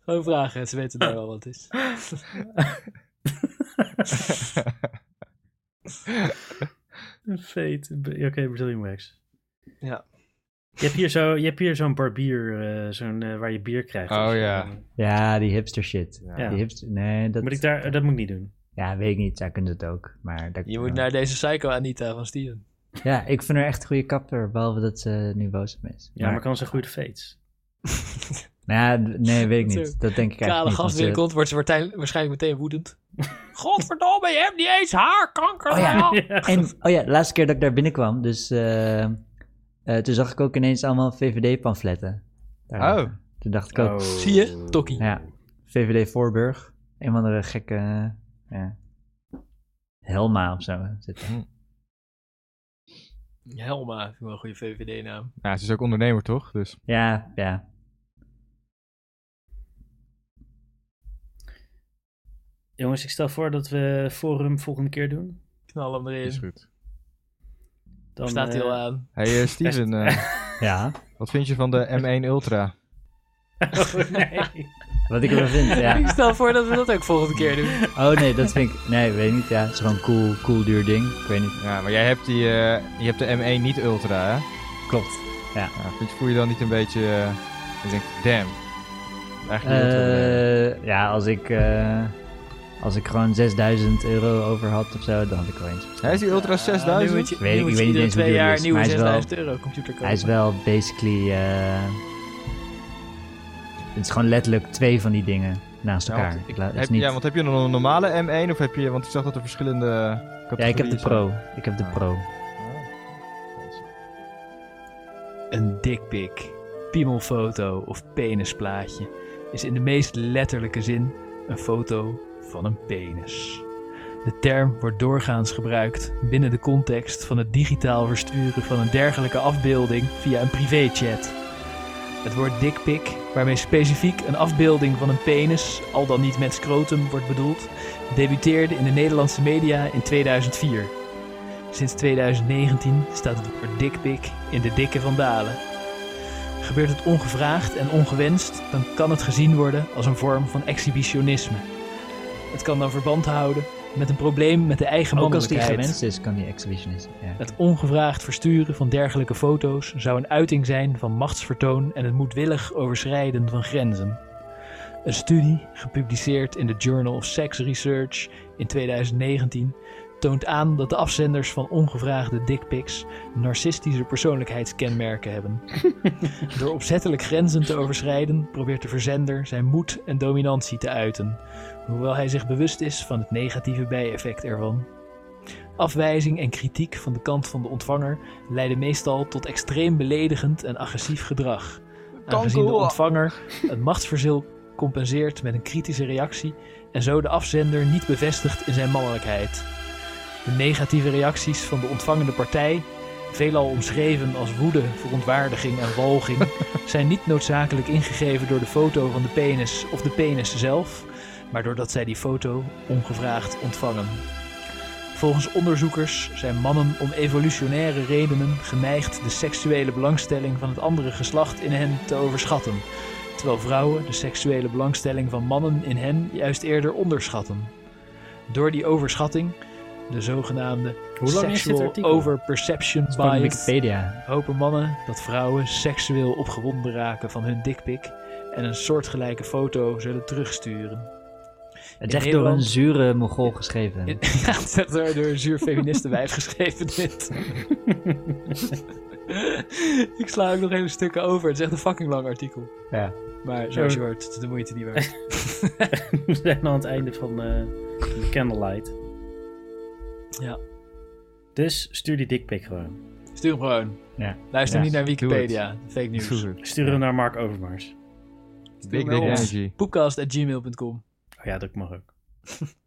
Speaker 4: Gewoon vragen, ze weten daar wel wat het is.
Speaker 2: Een feet. B- Oké, Brazilian Wax.
Speaker 4: Ja.
Speaker 2: Je hebt hier zo- je hebt hier zo'n barbier, eh, zo'n, eh, waar je bier krijgt.
Speaker 3: Oh,
Speaker 2: of zo.
Speaker 3: ja.
Speaker 5: Ja, die hipster shit.
Speaker 2: Ja.
Speaker 5: Die hipster, nee, dat,
Speaker 2: Moet ik daar, dat moet ik niet doen.
Speaker 5: ja, weet ik niet. Zij kunnen het ook. Maar daar-
Speaker 4: Je moet naar deze psycho Anita van Steven.
Speaker 5: Ja, ik vind haar echt een goede kapper, behalve dat ze nu boos op me is.
Speaker 2: Ja, maar, kan ze een goede face?
Speaker 5: Nou ja, d- nee, weet ik niet. Dat denk ik
Speaker 4: Kale
Speaker 5: eigenlijk niet. want
Speaker 4: gast
Speaker 5: ze-
Speaker 4: binnenkomt, wordt ze waartijn- waarschijnlijk meteen woedend. Godverdomme, je hebt niet eens haar, kanker.
Speaker 5: Oh ja.
Speaker 4: man.
Speaker 5: En, oh ja, de laatste keer dat ik daar binnenkwam, dus eh, eh, toen zag ik ook ineens allemaal VVD-pamfletten. Daar
Speaker 3: Oh.
Speaker 5: liggen. Toen dacht ik ook,
Speaker 4: Zie je? Tokkie.
Speaker 5: ja, VVD Voorburg, een van de gekke, eh, ja, Helma of zo. Zit er.
Speaker 4: Helma, vind ik wel een goede VVD-naam.
Speaker 3: Nou, ze is ook ondernemer, toch? Dus
Speaker 5: Ja, ja.
Speaker 2: Jongens, ik stel voor dat we Forum volgende keer doen.
Speaker 4: Knal hem erin.
Speaker 3: is goed.
Speaker 2: Dan
Speaker 4: staat hij
Speaker 2: eh,
Speaker 4: al aan.
Speaker 3: Hey eh, Steven, eh,
Speaker 5: Ja,
Speaker 3: wat vind je van de M1 Ultra?
Speaker 2: oh, nee.
Speaker 5: wat ik ervan vind,
Speaker 4: Ik
Speaker 5: ja.
Speaker 4: stel voor dat we dat ook volgende keer doen.
Speaker 5: Oh nee, dat vind ik, nee, weet ik niet, ja. Het is gewoon een cool, cool duur ding. Ik weet niet,
Speaker 3: Ja, maar jij hebt, die, eh, je hebt de M1 niet Ultra, hè?
Speaker 5: klopt.
Speaker 3: Ja, vind je, voel je dan niet een beetje... eh, ik denk, damn. Eigenlijk niet Ultra willen.
Speaker 5: Eh, ja, als ik, eh, als ik gewoon 6000 euro over had of zo, dan had ik wel eens.
Speaker 3: Hè, is die Ultra 6000?
Speaker 4: Nou, Nu moet je,
Speaker 5: Weet
Speaker 4: nu
Speaker 5: ik-
Speaker 4: moet je
Speaker 5: ik weet niet
Speaker 4: iedere
Speaker 5: eens hoe
Speaker 4: twee
Speaker 5: duur die
Speaker 4: jaar
Speaker 5: is,
Speaker 4: nieuwe
Speaker 5: maar hij is wel-
Speaker 4: 6000 euro computer kopen.
Speaker 5: Hij is wel basically. eh, het is gewoon letterlijk twee van die dingen naast
Speaker 3: Ja, want
Speaker 5: elkaar.
Speaker 3: ik-
Speaker 5: Ik la- het is
Speaker 3: heb,
Speaker 5: niet-
Speaker 3: Ja, want heb je nog een normale M1 of heb je... Want ik zag dat er verschillende
Speaker 5: ja,
Speaker 3: categorieën
Speaker 5: ik heb de
Speaker 3: zijn.
Speaker 5: Pro. Ik heb de Pro.
Speaker 4: Een dikpik, piemelfoto of penisplaatje is in de meest letterlijke zin een foto van een penis. De term wordt doorgaans gebruikt binnen de context van het digitaal versturen van een dergelijke afbeelding via een privéchat. Het woord dikpik, waarmee specifiek een afbeelding van een penis, al dan niet met scrotum, wordt bedoeld, debuteerde in de Nederlandse media in 2004. Sinds 2019 staat het woord dikpik in de dikke van Dalen. Gebeurt het ongevraagd en ongewenst, dan kan het gezien worden als een vorm van exhibitionisme. Het kan dan verband houden met een probleem met de eigen
Speaker 5: Ook als die
Speaker 4: mannelijkheid.
Speaker 5: gewenst is, kan die exhibitionist. Ja.
Speaker 4: Het ongevraagd versturen van dergelijke foto's zou een uiting zijn van machtsvertoon en het moedwillig overschrijden van grenzen. Een studie, gepubliceerd in de Journal of Sex Research in 2019, toont aan dat de afzenders van ongevraagde dickpics narcistische persoonlijkheidskenmerken hebben. Door opzettelijk grenzen te overschrijden, probeert de verzender zijn moed en dominantie te uiten, hoewel hij zich bewust is van het negatieve bijeffect ervan. Afwijzing en kritiek van de kant van de ontvanger leiden meestal tot extreem beledigend en agressief gedrag. Aangezien de ontvanger het machtsverzil compenseert met een kritische reactie en zo de afzender niet bevestigt in zijn mannelijkheid. De negatieve reacties van de ontvangende partij, veelal omschreven als woede, verontwaardiging en walging, zijn niet noodzakelijk ingegeven door de foto van de penis of de penis zelf, maar doordat zij die foto ongevraagd ontvangen. Volgens onderzoekers zijn mannen om evolutionaire redenen geneigd de seksuele belangstelling van het andere geslacht in hen te overschatten, terwijl vrouwen de seksuele belangstelling van mannen in hen juist eerder onderschatten. Door die overschatting, de zogenaamde
Speaker 2: Hoe lang is dit
Speaker 4: sexual
Speaker 2: artikel?
Speaker 4: overperception
Speaker 5: Van
Speaker 4: bias,
Speaker 5: Wikipedia.
Speaker 4: hopen mannen dat vrouwen seksueel opgewonden raken van hun dikpik en een soortgelijke foto zullen terugsturen.
Speaker 5: Het is echt door
Speaker 4: Nederland-
Speaker 5: een zure Mogol geschreven.
Speaker 4: Ja, het is echt door, door een zuur feministenwijf geschreven dit. ik sla ook nog even stukken over. Het is echt een fucking lang artikel.
Speaker 5: Ja.
Speaker 4: Maar zoals je hoort, het is de moeite niet waard.
Speaker 2: We zijn aan het einde van eh, de Candlelight.
Speaker 4: Ja.
Speaker 2: Dus stuur die dikpik gewoon.
Speaker 4: Stuur hem gewoon.
Speaker 5: Ja.
Speaker 4: Luister
Speaker 5: Ja,
Speaker 4: niet naar Wikipedia. Fake news.
Speaker 3: Doe het.
Speaker 2: Stuur hem naar Mark Overmars.
Speaker 3: Big Dick
Speaker 4: wel.
Speaker 3: Energy.
Speaker 4: Poepcast.gmail.com
Speaker 2: Oh ja, dat mag ook.